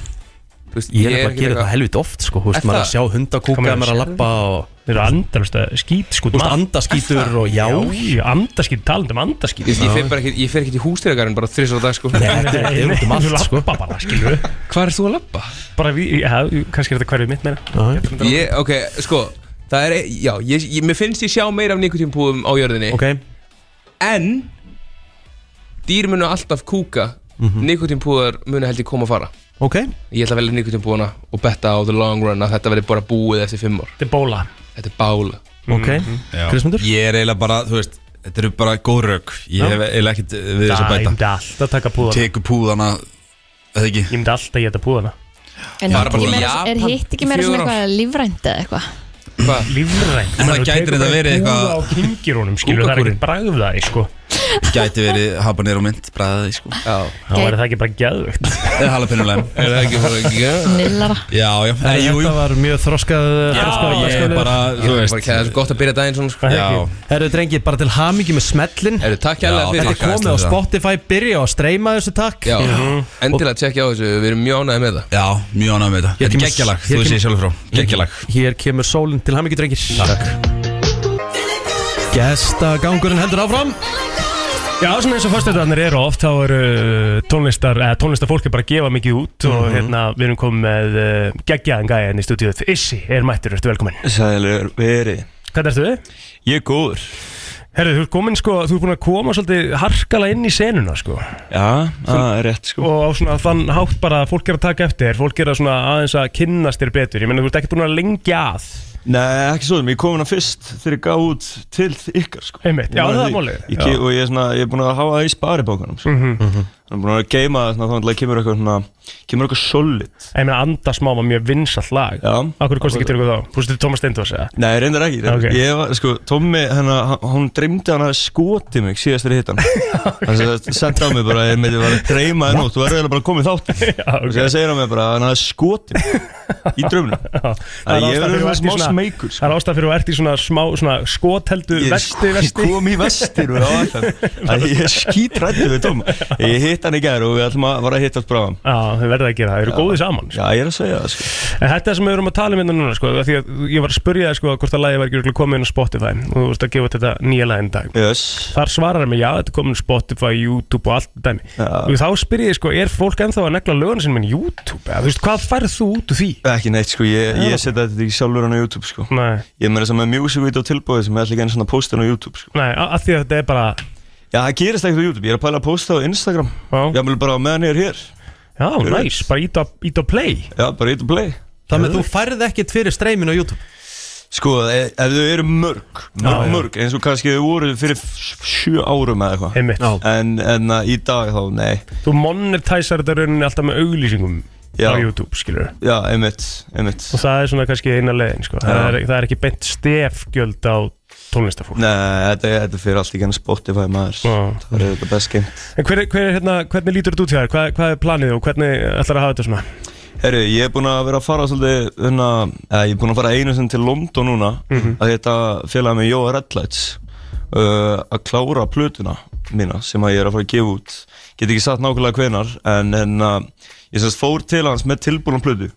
Speaker 14: Þú veist,
Speaker 2: Ég er nefnilega að
Speaker 14: ekkert
Speaker 2: gera
Speaker 14: eitthvað-
Speaker 2: þetta helvit oft sko, Þú veist,
Speaker 14: Er
Speaker 2: maður er
Speaker 14: það?
Speaker 2: að sjá hundakúka,
Speaker 14: Kom ég að
Speaker 2: maður er að
Speaker 14: sjá
Speaker 2: labba og
Speaker 4: Þeir eru andarust að skýt sko
Speaker 2: Þú veist, andaskítur og já
Speaker 4: Já, andaskýt, talandi um andaskýt
Speaker 14: Ég, ég, fer bara ekki, ég fer ekki í hústýragarinn bara þrissar á dag sko.
Speaker 4: Nei, þetta er- þetta er út um allt, sko. Þú labba bara, skilur við
Speaker 14: Hvað er þú að labba?
Speaker 4: Bara við, já, kannski er þetta hverfið mitt meira
Speaker 14: ég, Ok, sko Það er, já, ég, ég, mér finnst ég sjá meira af nikotínpúðum á jörðinni
Speaker 2: okay.
Speaker 14: En Dýr munu alltaf kúka mm
Speaker 2: Mhm.
Speaker 14: Nikotínpúðar munu held ég koma að fara
Speaker 2: Ok
Speaker 14: Ég ætla að velja nikotínpúðana og betta á the long run að þetta verði bara búið eftir fimm ár
Speaker 4: Þetta er bóla
Speaker 14: Þetta er bála
Speaker 10: Mhm. Já.
Speaker 2: Kristmundur?
Speaker 10: Ég er eiginlega bara, þú veist, þetta eru bara góð rauk Ég
Speaker 4: Já.
Speaker 10: hef eiginlega ekkert við þess að
Speaker 4: Ég myndi
Speaker 10: bæta
Speaker 4: alltaf taka púðana
Speaker 10: Teku púðana, eða ekki
Speaker 4: Ég myndi alltaf geta púðana
Speaker 3: En
Speaker 10: Já,
Speaker 3: hitt ekki
Speaker 10: bara
Speaker 3: meira,
Speaker 10: Japan
Speaker 3: er hitt ekki meira
Speaker 10: í
Speaker 3: svona
Speaker 10: fjögur ár.
Speaker 3: eitthvað lífrænt eða eitthvað
Speaker 14: Hvað?
Speaker 4: Lífrænt
Speaker 10: En það gæti þetta verið eitthvað-
Speaker 4: Púða á kingirunum, skilur við, það er ekkert bragðaði, sko
Speaker 10: Gæti verið habanero mynd bræðið sko Já,
Speaker 3: Þá væri
Speaker 10: það ekki bara gæðvögt Eða halapinulegum Er það ekki bara
Speaker 3: Nillara
Speaker 10: Já, já,
Speaker 2: Nei, jú, jú. Eh, Þetta var mjög þroskað þroskaður
Speaker 14: ég er
Speaker 2: dagskrárliður.
Speaker 14: bara, þú veist Það er gott að byrja daginn svona sko.
Speaker 2: Herru drengir, bara til hamingi með smellin
Speaker 14: Herru, takk hérlega fyrir
Speaker 2: Þetta er
Speaker 14: það.
Speaker 2: komið á
Speaker 14: Takk,
Speaker 2: Spotify, byrja að streyma þessu takk
Speaker 14: Já, endilega tjekkja á þessu, við erum mjög ánægði með það
Speaker 10: Já, mjög ánægði með það
Speaker 2: Hér
Speaker 10: Þetta er
Speaker 2: kemur-
Speaker 10: geggjalag,
Speaker 2: hér
Speaker 10: þú
Speaker 2: kemur-
Speaker 10: sé sjálfur frá Geggjalag
Speaker 2: Hér kemur sólinn til hamingi drengir Takk Gestagangurinn heldur áfram
Speaker 4: Já, svona eins og föstudagarnir eru oft þá eru uh, tónlistar, eða tónlistarfólk er bara að gefa mikið út og
Speaker 16: Mhm.
Speaker 4: hérna við erum komið með uh, geggjaðan gæja hérna í stúdíuð Issi er mættur, ertu velkominn
Speaker 16: Sælir veri
Speaker 4: Hvernig ertu þið?
Speaker 16: Ég er góður
Speaker 4: Herðu, þú ert komin sko, þú ert búin að koma svolítið harkala inn í senuna sko
Speaker 16: Já, það er rétt sko
Speaker 4: og á svona þann hátt bara að fólk er að taka eftir þér, fólk er að svona aðeins að kynnast þér betur ég meina þú ert ekki búin að lengja að
Speaker 16: Nei, ekki svo, ég kom hana fyrst þegar ég gaf út til ykkar sko
Speaker 4: Einmitt,
Speaker 16: Ég
Speaker 4: já, það
Speaker 16: man
Speaker 4: er
Speaker 16: því.
Speaker 4: málið,
Speaker 16: Ég
Speaker 4: já.
Speaker 16: ke- Og ég er, svona, ég er búin að hafa það í sparibókunum sko.
Speaker 4: Mhm.
Speaker 16: -hmm. Búin að geima það, svona, þannig að kemur eitthvað svona, kemur eitthvað solid
Speaker 4: Ég meina anda smá var mjög vinsall lag
Speaker 16: Já
Speaker 4: Akkur kosti ekki til ykkur þá, fórstu til Thomas Stendors eða?
Speaker 16: Nei, reyndar ekki reyndar.
Speaker 4: Ok.
Speaker 16: Ég var, sko, Tommi, hennar, hann- hún dreymdi hann að skoti mig síðast þegar ég
Speaker 4: [LAUGHS]
Speaker 16: hitt hann Þannig að það sendi á mig bara, ég meiti, var að dreyma það nótt, þú verður eiginlega bara að koma í þátt
Speaker 4: [LAUGHS]
Speaker 16: Og það segir hann mig bara, hann að skoti mig í draumnum
Speaker 4: Það
Speaker 16: Þannig
Speaker 4: er
Speaker 16: að ég
Speaker 4: ástæða
Speaker 16: verður
Speaker 4: fyrir
Speaker 16: svona
Speaker 4: að
Speaker 16: smá
Speaker 4: vera smeykur Það er ástæða fyrir að vera í svona smá
Speaker 16: smeg
Speaker 4: svona skotheldu
Speaker 16: Ég
Speaker 4: vesti vesti
Speaker 16: kom í vestir og á
Speaker 4: [LAUGHS]
Speaker 16: FM að ég er skítrættu við Tom ég hitt hann í gær og við ætlum að vara að hittast bráðan
Speaker 4: Já, þau verða að gera það, þau eru góðið saman
Speaker 16: Já, ég er að segja það sko
Speaker 4: En þetta sem við erum að tala um hérna núna sko, af Því að ég var að spurja þér sko hvort að lagið var ekki örugglega komið inn á Spotify Og þú veist að gefa út þetta nýja lagin dag
Speaker 16: yes.
Speaker 4: Þar svarar hann mig, já þetta er komin á Spotify, YouTube og allt þetta dæmi Og þá spyrir ég sko, er fólk ennþá að negla löguna sinni minn YouTube? Eða, þú veist, hvað færð þú út úr því?
Speaker 16: Ekki neitt sko, ég,
Speaker 4: Já.
Speaker 16: ég setja þetta ekki sjálfur hann á YouTube sko
Speaker 4: Nei.
Speaker 16: Ég meira sem með music video tilbúið sem ég ætla ekki einu svona að posta hann á YouTube sko
Speaker 4: Nei, að því að þetta er bara
Speaker 16: Já, það gerist ekkert á YouTube, ég er að pæla að posta á Instagram Já Ég vil bara á meðan ég er hér
Speaker 4: Já, næs, bara ít á- ít á play
Speaker 16: Já, bara ít á play
Speaker 2: Þannig að þú færð ekkert fyrir streymin á YouTube
Speaker 16: Sko, e- ef þau eru mörg, mörg,
Speaker 2: Já, já.
Speaker 16: mörg eins og kannski þau voru fyrir f- sjö árum eða
Speaker 4: eitthvað
Speaker 16: en, en uh, í dag þá, nei
Speaker 4: Þú monetæsar þetta rauninni alltaf með auglýsingum
Speaker 16: Já.
Speaker 4: á YouTube, skilur
Speaker 16: Já, einmitt, einmitt
Speaker 4: Og það er svona kannski eina leiðin, sko það er,
Speaker 16: Já.
Speaker 4: það er ekki beint stefgjöld á tónlistafólk
Speaker 16: Nei, þetta, þetta fyrir allt í genn Spotify maður Það er þetta best geimt
Speaker 4: En hver, er- hver er hérna, hvernig lítur þetta út hjá þér? Hvað, hvað er planið og hvernig ætlar að hafa þetta svona? [LAUGHS]
Speaker 16: Herru, ég er búinn að vera að fara svolítið hérna, eða, Ég er búinn að fara einu sem til London núna
Speaker 4: Mhm.
Speaker 16: Að þetta félag með Jóa Redlights uh, Að klára plötuna mína Sem að ég er að fara að gefa út Get ekki sagt nákvæmlega hvenar En, en uh, ég semst fór til hans með tilbúna plötu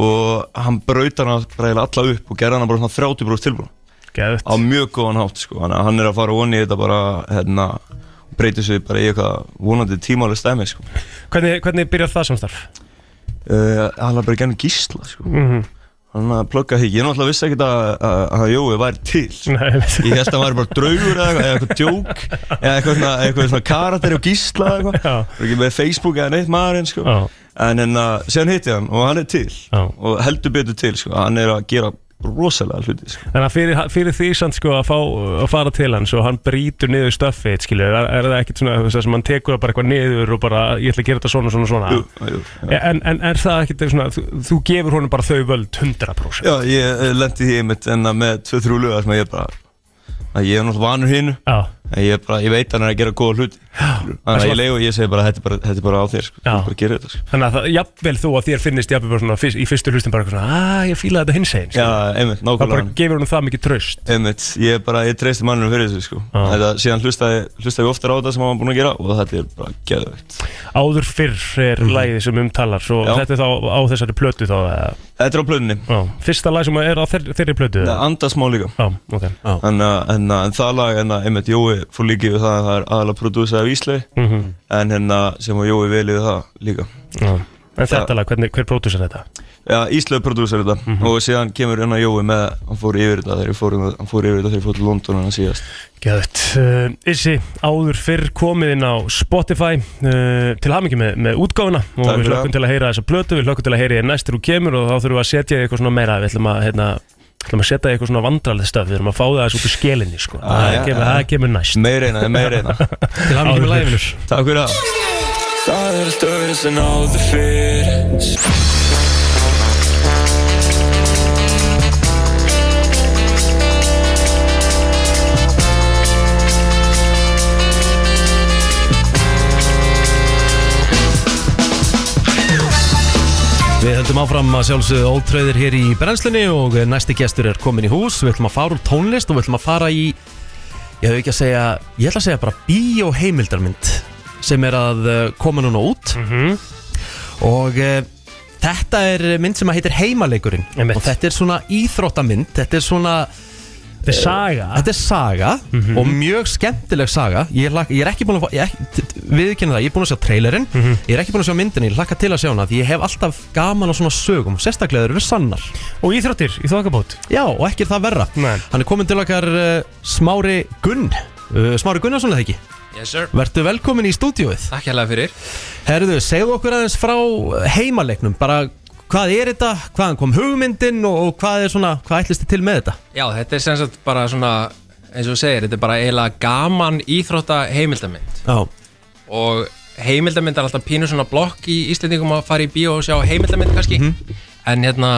Speaker 16: Og hann braut hana bara eiginlega alla upp Og gerði hana bara svona 30 brúst tilbúna
Speaker 4: Geðvett.
Speaker 16: Á mjög góðan hátt sko Þannig að hann er að fara onni í þetta bara hérna, Breytir sig bara í eitthvað vonandi tímálega stæmi sko
Speaker 4: Hvernig, hvernig byrjar það samstarf?
Speaker 16: uh, hann var bara gennum gísla sko.
Speaker 4: Mhm.
Speaker 16: hann að plugga því ég náttúrulega vissi ekkert að, að, að Jói væri til
Speaker 4: Nei,
Speaker 16: ég held að hann væri bara draugur eða eitthvað, eða eitthvað djók eða eitthvað svona, eitthvað svona karakter og gísla eða eitthvað Var ekki með Facebook eða neitt maðurinn sko. en en að síðan hitti ég hann og hann er til Já. og heldur betur til sko. hann er að gera rosalega hluti sko.
Speaker 4: Þannig að fyrir, fyrir því samt sko að, fá, að fara til hans og hann brýtur niður stöffið, skilur, er, er það ekkert svona þú veist, það sem hann tekur það bara eitthvað niður og bara ég ætla að gera þetta svona, svona, svona
Speaker 16: Jú, jú,
Speaker 4: en, en er það ekkert svona, þú, þú gefur honum bara þau völd 100%
Speaker 16: [LAUGHS] Já, ég eh, lendi því einmitt en að með tvö, þrjú lögar sem að ég bara að ég er náttúrulega vanur hínu en ég, er bara, ég veit að hann er að gera góða hluti þannig
Speaker 4: en
Speaker 16: að
Speaker 4: svo-
Speaker 16: ég leiði og ég segi bara þetta er bara, þetta er bara á þér sko. Þú ert bara að gera þetta sko.
Speaker 4: Þannig að það, jafnvel þú að þér finnist jafnvel bara svona fyrst, í fyrstu hlustin bara eitthvað svona að ég fílaði þetta hins einn
Speaker 16: Já, einmitt,
Speaker 4: Það bara
Speaker 16: nákvæmlega
Speaker 4: gefur hún það mikið tröst
Speaker 16: Einmitt, ég er bara, ég treysti mannum fyrir þessu sko Þetta, síðan hlustaði, hlustaði við oftar á þetta sem hann var búin að gera og þetta er bara geðveikt
Speaker 4: Áður fyrr er
Speaker 16: Mhm.
Speaker 4: mm. lagið sem umtalar og þetta er þá á þessari plötu þá eða?
Speaker 16: Þetta er á plötunni
Speaker 4: Já, fyrsta lag sem er á þeirri, þeirri plötu
Speaker 16: Það andast má líka
Speaker 4: Já, ok
Speaker 16: En, uh, en, uh, en það lag, en, uh, einmitt, Jói fór líka yfir það að það er aðalega prodúsað af Íslei
Speaker 4: Mhm.
Speaker 16: En hérna, sem að Jói vel yfir það líka
Speaker 4: Já. En þetta Mhm. lag, hvernig, hver pródúsar þetta?
Speaker 16: Já, Íslegu prodúsar þetta og síðan kemur hérna Jói með, hann fór yfir þetta þegar ég fór, um hann fór yfir þetta þegar ég fór til London hann síðast
Speaker 4: Gæðut, uh, Issi, áður fyrr komið inn á Spotify uh, til hamingi með, með útgáfuna og
Speaker 16: Takk
Speaker 4: við
Speaker 16: fyrir
Speaker 4: hlökkum
Speaker 16: það.
Speaker 4: til að heyra þessa plötu, við hlökkum til að heyra þér næst þegar þú kemur og þá þurfum við að setja þig eitthvað svona meira, við ætlum að, hérna, ætlum að setja þig eitthvað svona vandralið stöf, við þurfum að fá það þessu út úr skelinni, sko, það,
Speaker 16: Ah, já,
Speaker 4: kemur,
Speaker 16: já.
Speaker 4: það kemur næst
Speaker 16: Meira eina,
Speaker 4: [LAUGHS]
Speaker 16: meira eina Til
Speaker 4: hamingju með lagið, vinur.
Speaker 16: Takk fyrir það Það er allt öðru sem áður fyrir
Speaker 7: Brennslan á FM
Speaker 2: höldum áfram að sjálfsögðu ótröðir hér í brennslunni og næsti gestur er komin í hús Við ætlum að fara úr tónlist og við ætlum að fara í Ég hef ekki að segja, ég ætla að segja bara bíóheimildarmynd sem er að eh, koma núna út og e, þetta er mynd sem að heitir Heimaleikurinn og þetta er svona íþróttamynd þetta er svona
Speaker 4: Þetta er saga.
Speaker 2: Þetta er saga
Speaker 4: Mhm.
Speaker 2: og mjög skemmtileg saga Ég, lak, ég er ekki búin að fá- ég ekki- t- t- viðurkenni það, ég er búin að sjá trailerinn
Speaker 4: Mhm.
Speaker 2: Ég er ekki búin að sjá myndinni, ég hlakka til að sjá hana Því ég hef alltaf gaman á svona sögum Sérstaklega þeir eru sannar
Speaker 4: Og íþróttir í þokkabót
Speaker 2: Já, og ekki er það verra Nei. Hann er komin til okkar uh, Smári Gunn uh, Smári Gunnarsson eða ekki?
Speaker 17: Yes, sir.
Speaker 2: Vertu velkomin í stúdíóið
Speaker 17: Takk hérlega fyrir
Speaker 2: Herðu, segðu okkur aðeins frá eh, heimaleiknum Bara hvað er þetta, hvaðan kom hugmyndin og, og hvað er svona, hvað ætlist þið til með þetta?
Speaker 17: Já, þetta er sem sagt bara svona eins og þú segir, þetta er bara eiginlega gaman íþrótta heimildamind
Speaker 2: Já,
Speaker 17: og heimildamind er alltaf pínu svona blokk í Íslendingum að fara í bíó og sjá heimildamind kannski
Speaker 2: Mhm.
Speaker 17: en hérna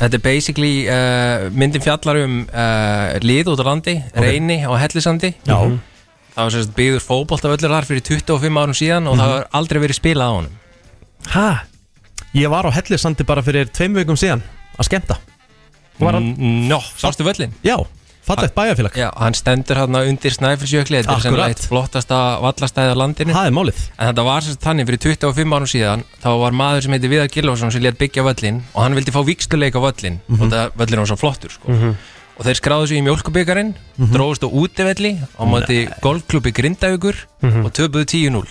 Speaker 17: þetta er basically uh, myndin fjallar um uh, lið út á landi,
Speaker 2: Ok.
Speaker 17: reyni og hellisandi
Speaker 2: Já.
Speaker 17: það var sem sagt byggður fótboltavöllur þar fyrir 25 árum síðan og
Speaker 2: Mhm.
Speaker 17: það var aldrei verið spilað á honum
Speaker 2: Hæ? Ég var á Hellisandi bara fyrir tveim vikum síðan að skemmta
Speaker 17: Var hann- Nó, Mm, sástu völlin?
Speaker 2: Já, fallegt bæjarfélag
Speaker 17: Já, hann stendur hann undir Snæfellsjökli Þetta er sem
Speaker 2: Akkurat.
Speaker 17: eitt flottasta vallastæði á landinu
Speaker 2: Það er málið
Speaker 17: En þetta var sem sagt þannig fyrir 25 árum síðan Þá var maður sem heiti Viðar Gilvarsson sem létt byggja völlin Og hann vildi fá víksluleik á völlin
Speaker 2: Mhm.
Speaker 17: Og það völlin var svo flottur sko. Og þeir skráðu sig í mjólkubyggarinn mm
Speaker 2: Mhm.
Speaker 17: Dróðust á útivelli Á móti golfklubbi Grindavíkur
Speaker 2: Mhm. Ah.
Speaker 17: Og töpuðu 10-0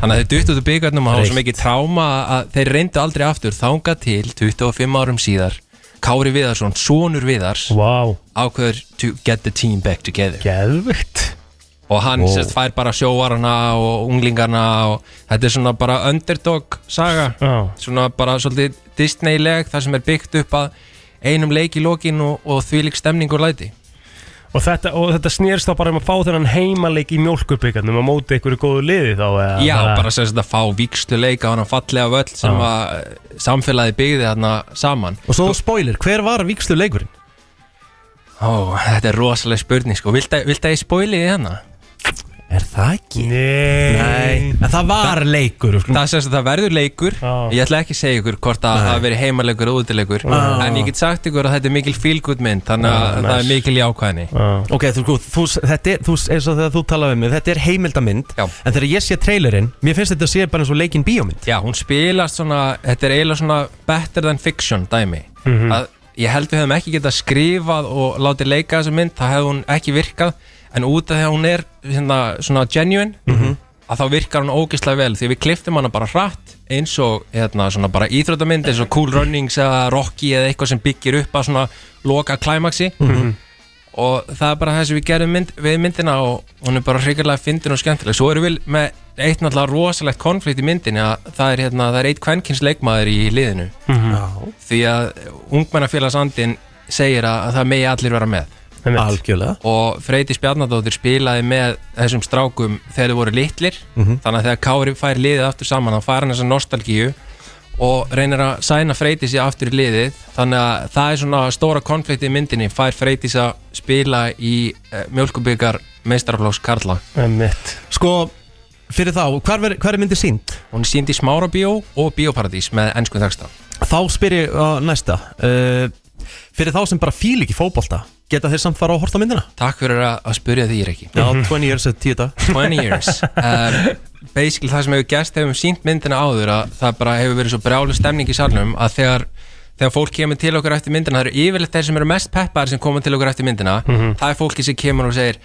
Speaker 17: Þannig að þeir duttu út úr byggarnum Og það var svo mikið tráma að þeir reyndu aldrei aftur Þanga til 25 árum síðar Kári Viðarsson, sonur Viðars
Speaker 4: wow.
Speaker 17: Ákveður to get the team back together
Speaker 4: Geðvikt
Speaker 17: og hann
Speaker 4: Wow.
Speaker 17: sérst fær bara sjóvarana og unglingarna og þetta er svona bara underdog saga
Speaker 4: Já.
Speaker 17: svona bara svolítið Disney-leg þar sem er byggt upp að einum leik í lokin og, og þvílík stemning og læti
Speaker 4: Og þetta, og þetta snýrst þá bara um að fá þennan heimaleik í mjólkurbyggarnum að móti einhverju góðu liði þá eða,
Speaker 17: Já, bara sérst að fá víkslu leik á hann fallega völl sem
Speaker 4: Já.
Speaker 17: að samfélagi byggði þarna saman
Speaker 2: Og svo spoiler, hver var vikslu leikurinn?
Speaker 17: Ó, þetta er rosaleg spurning sko, vilt að, vilt að ég spoili því hérna?
Speaker 2: Er það ekki?
Speaker 4: Nei,
Speaker 2: En það var leikur
Speaker 17: Ah.
Speaker 2: sko.
Speaker 17: Það sérst að það verður leikur Ég ætla ekki að segja ykkur hvort að
Speaker 2: Nei.
Speaker 17: það veri heimalegur og útilegur
Speaker 2: Ah.
Speaker 17: En ég get sagt ykkur að þetta er mikil feel-good mynd Þannig
Speaker 2: Ah,
Speaker 17: að það
Speaker 2: nice.
Speaker 17: er mikil jákvæðni
Speaker 2: Ok, þú, þú, þú, þetta er, þú, eins og þegar þú talaði um mig, þetta er heimildamind Já. En þegar ég sé trailerinn, mér finnst þetta að sé bara eins og leikinn bíómynd
Speaker 17: Já, hún spilast svona, þetta er eiginlega svona better than fiction dæmi
Speaker 12: Mm-hmm.
Speaker 2: Mhm.
Speaker 17: að Ég held við hefum ekki getað skrifað og látið leika þessa mynd Það hefði hún ekki virkað En út af því að hún er svona, svona genuine
Speaker 2: Mhm.
Speaker 17: Að þá virkar hún ógeðslega vel Því við kliftum hana bara hratt Eins og hérna, svona bara íþróttamynd Eins og Cool Runnings eða Rocky Eða eitthvað sem byggir upp að svona loka klæmaksi
Speaker 2: Mhm.
Speaker 17: og það er bara það sem við gerum mynd, við myndina og hún er bara hrigalega fyndin og skemmtileg svo erum við með eitt náttúrulega rosalegt konflikt í myndinni að það er, hérna, það er eitt kvenkins leikmaður í liðinu
Speaker 4: Mhm.
Speaker 17: því að ungmennafélagsandin segir að, að það megi allir vera með
Speaker 2: Algjörlega
Speaker 17: og Freydís Bjarnadóttir spilaði með þessum strákum þegar þau voru litlir
Speaker 2: Mhm.
Speaker 17: þannig að þegar Kári fær liðið aftur saman þá fær hann þessa nostalgíu og reynir að sæna Freydísi aftur í liðið þannig að það er svona stóra konflikt í myndinni fær Freydís að spila í uh, mjölkubyggar meistarflóks Karla
Speaker 4: Emmett
Speaker 2: Sko, fyrir þá, hvar, ver, hvar er myndið sínd?
Speaker 17: Hún er sínd í Smárabíó og Bíóparadís með ennsku þaksta
Speaker 2: Þá spyr ég uh, næsta uh, Fyrir þá sem bara fíl ekki fótbolta Geta þeir samt fara á að horta myndina?
Speaker 17: Takk fyrir að, að spyrja því, Riki
Speaker 2: Já, 20 years er 10 dag
Speaker 17: 20
Speaker 4: [LAUGHS]
Speaker 17: years um, basically það sem hefur gæst hefur sínt myndina áður að það bara hefur verið svo brjálu stemning í salnum að þegar, þegar fólk kemur til okkur eftir myndina það eru yfirleitt þeir sem eru mest peppar sem koma til okkur eftir myndina
Speaker 4: Mhm.
Speaker 17: það er fólki sem kemur og segir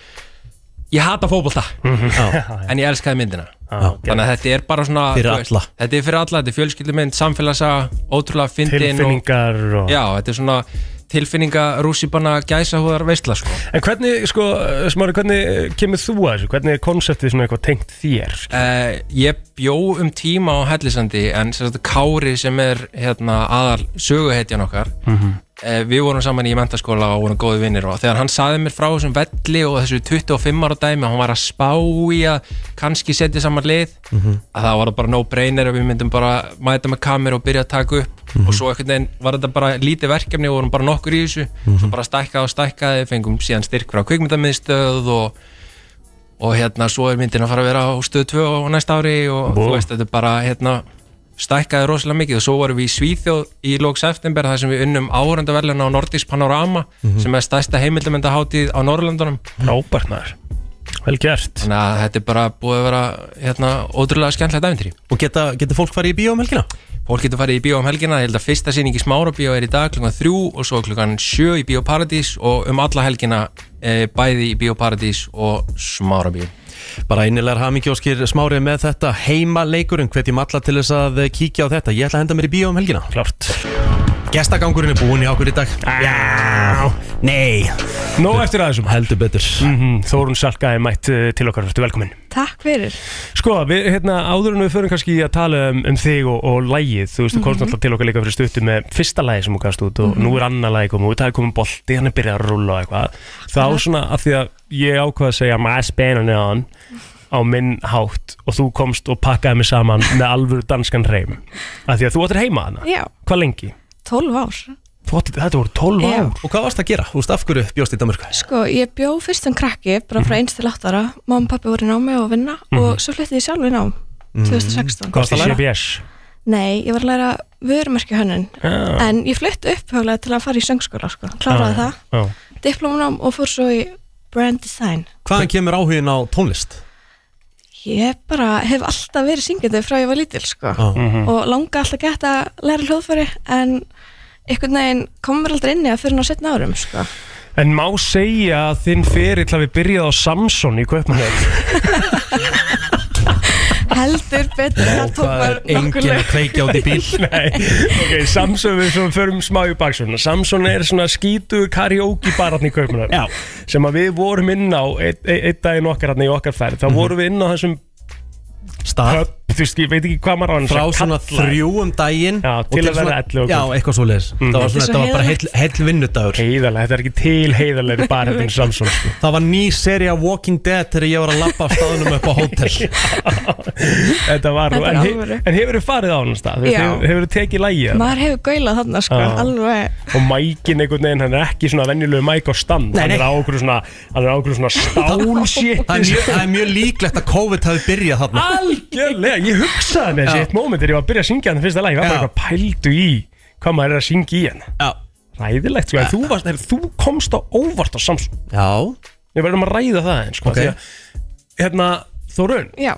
Speaker 17: ég hata fótbolta
Speaker 4: Mhm. Já.
Speaker 17: [LAUGHS] en ég elskaði myndina
Speaker 4: Já.
Speaker 17: þannig að þetta er bara svona
Speaker 4: Fyrir
Speaker 17: þú veist,
Speaker 4: alla.
Speaker 17: þetta er fyrir alla, þetta er fjölskyldumynd, samfélagsa ótrúlega fyndin og-
Speaker 4: Tilfinningar og-
Speaker 17: já, þetta er svona tilfinninga rússipanna gæsahúðar veistla sko
Speaker 4: En hvernig, sko, eh, Smári, hvernig eh, kemur þú að þessu? Hvernig er konseptið svona eitthvað tengt þér?
Speaker 17: Uh, ég bjó um tíma á Hellisandi en sem sagt, Kári sem er hérna, aðal söguhetjan okkar uh, við vorum saman í mentaskóla og vorum góði vinnir og þegar hann saði mér frá þessum velli og þessu 25 ára dæmi og hann var að spá í að kannski setja saman lið
Speaker 12: Mhm.
Speaker 17: að það var það bara no brainer að við myndum bara mæta með kameru og byrja að taka upp og svo einhvern veginn var þetta bara lítið verkefni og vorum bara nokkur í þessu svo bara stækkaði og stækkaði, fengum síðan styrk frá kvikmyndamiðstöð og og hérna svo er myndin að fara að vera á stöð 2 á næsta ári og
Speaker 4: Bú.
Speaker 17: þú veist þetta er bara hérna stækkaði rosalega mikið og svo varum við í Svíþjóð í lók september þar sem við unnum áhörandaverluna á Nordisk Panorama
Speaker 4: Mhm.
Speaker 17: sem er stærsta heimildamöndahátíð á Norrlandunum
Speaker 4: Rábært maður, vel gert
Speaker 17: Þannig að þetta er bara búið að vera hérna, ótrúlega skemmtilegt æfintri
Speaker 2: Og geta, geta fólk farið í bíó um helgina?
Speaker 17: Fólk getur farið í bíó um helgina, ég held að fyrsta sýning í Smára bíó er í dag klukkan þrjú og svo klukkan sjö í Bíó Paradís og um alla helgina e, bæði í Bíó Paradís og Smára bíó
Speaker 2: Bara einilegar hamingjóskir smárið með þetta heima leikurinn, hvetjum alla til þess að eh, kíkja á þetta. Ég ætla að henda mér í bíó um helgina.
Speaker 4: Klart.
Speaker 2: Gestagangurinn er búinn í okkur í dag. Já, nei.
Speaker 4: Nó eftir aðeinsum
Speaker 2: Heldur betur
Speaker 4: mm Þórun Salka er mætt eh, til okkar, verður velkominn
Speaker 18: Takk fyrir
Speaker 4: Sko, við, hérna, áður en við förum kannski að tala um, um þig og, og lægið Þú veist, þú komst
Speaker 18: Mhm.
Speaker 4: alltaf til okkar líka fyrir stuttu með fyrsta lægi sem þú gafst út og
Speaker 18: Mhm.
Speaker 4: nú er annað lægi komið út, það er komið bolti, hann er byrjað að rúlla og eitthvað Þá svona, af því að ég ákvað að segja maður spennan er hann á minn hátt og þú komst og pakkaði mig saman með alvöru danskan reym af því að þú áttir heima hana
Speaker 18: Já,
Speaker 4: Hvað lengi?
Speaker 18: 12 ár
Speaker 4: Þú áttir, þetta voru 12
Speaker 18: Já.
Speaker 4: ár
Speaker 2: Og hvað varst að gera? Þú veist, af hverju bjóst í Danmörku?
Speaker 18: Sko, ég bjó fyrst sem krakki bara frá eins til 8 ára Mamma og pappi voru í námi og vinna
Speaker 4: Mhm.
Speaker 18: og svo flytti ég sjálf í nám
Speaker 2: Mm.
Speaker 18: 2016
Speaker 4: Hvað varst að læra? CBS
Speaker 18: Nei, ég var að læra vörumerki hönnun
Speaker 4: Já.
Speaker 18: en ég flytti upphuglega til að fara í söngskóla sko. kláraði
Speaker 2: Já,
Speaker 18: það,
Speaker 4: já.
Speaker 18: diplómanám og fór svo í brand design
Speaker 2: Hvaðan kemur áhugin á tónlist?
Speaker 18: Ég bara hef alltaf verið syngjandi frá ég var lítil sko.
Speaker 2: Já. Mhm.
Speaker 18: og langa alltaf gett að læra hljóðfæri en einhvern veginn komum mér aldrei inni að fyrir ná setna árum sko.
Speaker 4: En má segja að þinn ferill hafi byrjað á Samson í Kaupmannhöfn
Speaker 18: heldur betur [LAUGHS] það tók bara nokkur lög.
Speaker 4: [LAUGHS] Nei, ok, Samson við svona förum smá í baksuna Samson er svona skítu karaoke bararn í Kaupmannhöfn sem að við vorum inn á einn ein, ein daginn okkar hann í okkar ferð þá vorum við inn á þessum
Speaker 2: Mhm. Stað
Speaker 4: pub, þú veist, ég veit ekki hvað maður á hann
Speaker 2: Frá svona þrjú um daginn
Speaker 4: Já, til að vera 11 og
Speaker 2: Já,
Speaker 4: kvöld.
Speaker 2: eitthvað svo leiðis Það var,
Speaker 4: Þetta er
Speaker 2: svona,
Speaker 4: svo
Speaker 2: þetta var bara heill,
Speaker 4: heiðarlegt.
Speaker 2: heill vinnudagur
Speaker 4: Heiðarlega, þetta er ekki til heiðarlega barhættin Samson sko.
Speaker 2: Það var ný seri af Walking Dead þegar ég var að labba á staðunum upp á hótel
Speaker 4: [LAUGHS] Þetta var,
Speaker 18: Þetta er
Speaker 4: en,
Speaker 18: alvöru.
Speaker 4: he, en hefur þið farið á hann stað?
Speaker 18: Já.
Speaker 4: Hefur, hefur þið tekið lægið? þarna?
Speaker 18: [LAUGHS] maður hefur gaulað þarna sko,
Speaker 4: Já.
Speaker 18: alveg
Speaker 4: og mækin einhvern veginn, hann er ekki svona venjulegu mæk á stand,
Speaker 2: Nei,
Speaker 4: hann er
Speaker 2: nei.
Speaker 4: á okkur svona hann er á okkur svona stál shit
Speaker 2: Það er mjög- það er mjög líklegt að COVID hafi byrjað þarna
Speaker 4: algjörlega, ég hugsaði með þessi
Speaker 2: Já.
Speaker 4: eitt moment þegar ég var að byrja að syngja hann fyrsta lag, ég var bara
Speaker 2: Já.
Speaker 4: eitthvað pældu í hvað maður er að syngja í hann
Speaker 2: Já.
Speaker 4: ræðilegt, sko, en þú, varst, heyrðu, þú komst á óvart á Samson
Speaker 2: Já.
Speaker 4: við verðum að ræða það eins sko,
Speaker 2: Ok.
Speaker 4: því að, hérna, Þórun
Speaker 18: Já.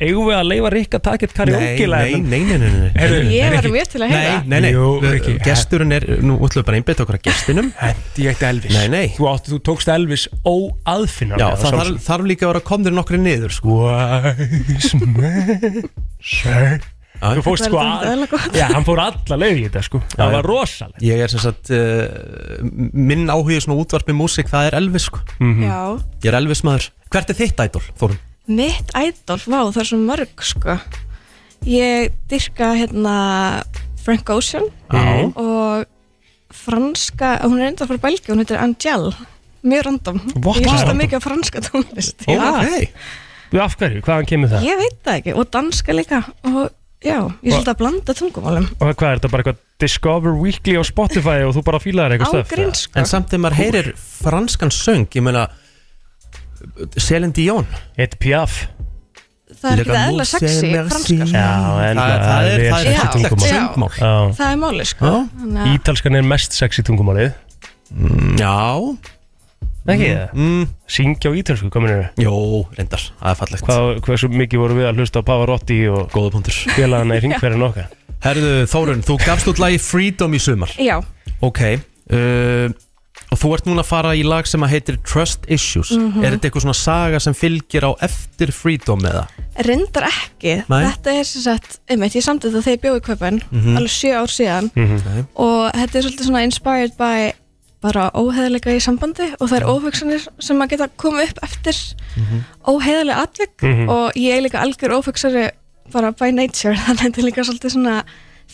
Speaker 4: eigum við að leifa Rikka að taka eitt karaoke
Speaker 2: nei, nei, nei, nei, nei, nei.
Speaker 4: Heyrðu,
Speaker 18: hérna. Ég var
Speaker 2: Rikki.
Speaker 18: mjög til að heyra.
Speaker 2: Nei, nei, nei,
Speaker 4: Jú,
Speaker 2: Við-
Speaker 4: Rikki.
Speaker 2: gesturinn er, nú ætlum við bara einbytta okkur að gestinum
Speaker 4: Hendi ég eitt Elvis
Speaker 2: Nei, nei
Speaker 4: Þú, átt, þú tókst Elvis óaðfinnan
Speaker 2: Já, það þarf, þarf líka að vera komnir nokkri niður sko.
Speaker 4: Wise man say Sko, Þú fórst sko að Já, hann fór alla leið í þetta sko Það var rosalegt
Speaker 2: Ég er sem sagt uh, minn áhugi svona útvarpi músík, það er Elvis sko.
Speaker 4: Mhm.
Speaker 18: Já.
Speaker 2: Ég er Elvis maður Hvert er þitt ædol, Þórun?
Speaker 18: mitt ædol, vá það er svo mörg sko ég dyrka hérna Frank Ocean
Speaker 2: Já.
Speaker 18: og franska, hún er enda frá Belgi hún heitir Angel, mjög random
Speaker 4: What?
Speaker 18: ég hlusta
Speaker 4: Wow.
Speaker 18: mikið á franska tónlist
Speaker 4: Þú af hverju, hvaðan kemur það?
Speaker 18: ég veit það ekki, og danska líka og já, ég er
Speaker 4: Hva-
Speaker 18: svolítið að blanda tungumálum
Speaker 4: Og hvað er þetta bara eitthvað Discover Weekly á Spotify og þú bara fílaðir eitthvað
Speaker 18: Ágríns, sko.
Speaker 2: En samt þegar maður heyrir franskan söng Ég meina Céline Dion
Speaker 4: Eitt pjaf
Speaker 18: það er
Speaker 2: Lega
Speaker 18: ekki eðla
Speaker 2: músík
Speaker 18: sexy
Speaker 2: er
Speaker 18: franska
Speaker 2: sín.
Speaker 4: Já, en
Speaker 2: Það- það er- það er
Speaker 4: sexy
Speaker 2: fallegt
Speaker 4: tungumál.
Speaker 2: söngmál.
Speaker 4: Já.
Speaker 18: það er máli sko Þannig að-
Speaker 4: Ítalskan er mest sexy tungumálið
Speaker 2: Mm, Já
Speaker 4: Ekki það? Syngja á ítalsku, kominir
Speaker 2: Mm, Jó, reyndar, það er fallegt
Speaker 4: Hvað, Hversu mikið voru við að hlusta á Pavarotti og
Speaker 2: Góða punktur [LAUGHS]
Speaker 4: Félagana í ringverðin okkar
Speaker 2: Herðu Þórun, þú gafst út lagi Freedom í sumar
Speaker 18: já,
Speaker 2: Ok uh, Og þú ert núna að fara í lag sem að heitir Trust Issues
Speaker 18: Mhm.
Speaker 2: Er þetta eitthvað svona saga sem fylgir á eftir Freedom eða?
Speaker 18: Reyndar ekki,
Speaker 2: Nei.
Speaker 18: þetta er sem sagt, einmitt, ég samtið það þegar ég bjóði kaupan
Speaker 2: Mhm.
Speaker 18: alveg sjö ár síðan
Speaker 12: Mm-hmm.
Speaker 2: Mhm.
Speaker 18: og þetta er svolítið svona inspired by bara óheðalega í sambandi og það er óhugsanir sem að geta komið upp eftir óheðalega atvik
Speaker 9: Mhm.
Speaker 18: og ég er líka algjör óhugsari bara by nature, [LAUGHS] þannig að þetta er líka svolítið svona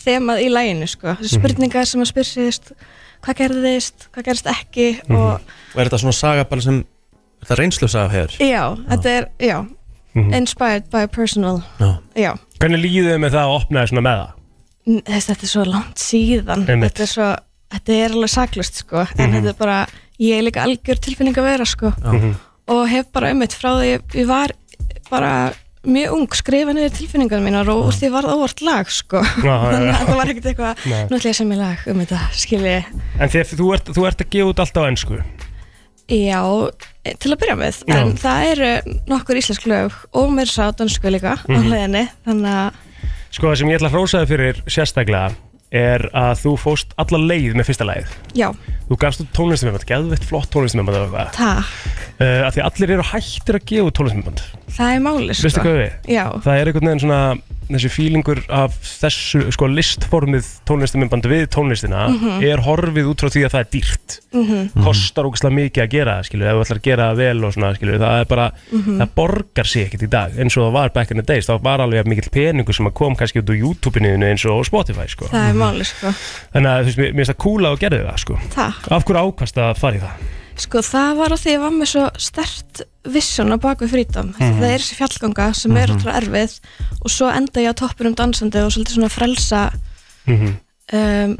Speaker 18: þemað í læginu sko, þessu
Speaker 2: Mhm.
Speaker 18: spurningar sem að spyrsist hvað gerðist, hvað gerðist ekki og
Speaker 2: Mhm. Og er þetta svona saga bara sem Er þetta reynslu saga hefur?
Speaker 18: já, þetta er, já
Speaker 4: Mhm.
Speaker 18: inspired by personal
Speaker 2: Já.
Speaker 18: já.
Speaker 4: Hvernig líðið með það að opna þessuna með það?
Speaker 18: Þess, þetta er svo langt síðan
Speaker 4: Einmitt.
Speaker 18: þetta er, svo, þetta er alveg saklust sko. en
Speaker 4: Mhm.
Speaker 18: þetta er bara, ég er líka algjör tilfinning að vera sko.
Speaker 4: Mhm.
Speaker 18: og hef bara um frá því ég var bara mjög ung skrifa niður tilfinningar mínar og úr því varð óvart lag sko
Speaker 4: Já, já, já.
Speaker 18: þannig að þetta var ekkert eitthvað
Speaker 4: Nei.
Speaker 18: nú ætla ég að semja lag um þetta skilji
Speaker 4: En þér, þú, ert, þú ert að gefa út allt á ennsku
Speaker 18: já eh, til að byrja með
Speaker 4: Já.
Speaker 18: en það eru nokkur íslensk lög og mér sá dansku líka
Speaker 4: Mhm.
Speaker 18: á hlæðinni þannig að
Speaker 4: Sko það sem ég ætla að hrósa þér fyrir sérstaklega er að þú fóst alla leið með fyrsta leið
Speaker 18: já
Speaker 4: Þú gafst út tónlistamömband, geðveitt flott tónlistamömband eða eitthvað
Speaker 18: takk
Speaker 4: uh, Af því allir eru hættir að gefa út tónlistamömband
Speaker 18: það er máli sko
Speaker 4: Veistu hvað við?
Speaker 18: já
Speaker 4: Það er einhvern veginn svona þessi fílingur af þessu sko listformið tónlistamömband við tónlistina
Speaker 18: Mhm.
Speaker 4: er horfið út frá því að það er dýrt
Speaker 18: Mhm.
Speaker 4: kostar ógeðslega mikið að gera það skilju, ef þú ætlar að gera það vel og svona skilju, það er bara,
Speaker 18: Mhm.
Speaker 4: það borgar sig ekkert í dag eins og það var back in the days, þá var alveg jafn mikill peningur sem að kom kannski út úr YouTube-inu eins og Spotify sko.
Speaker 18: það er máli sko
Speaker 4: þannig að þú veist, mér mér finnst það kúla og gerði það sko.
Speaker 18: takk
Speaker 4: af hverju ákvast að fara í það?
Speaker 18: Sko það var að því að ég var með svo stert vissun á baku frítam
Speaker 4: Mhm.
Speaker 18: það er þessi fjallganga sem er
Speaker 4: Mhm.
Speaker 18: alltaf erfið og svo enda ég á toppunum dansandi og svolítið svona frelsa um,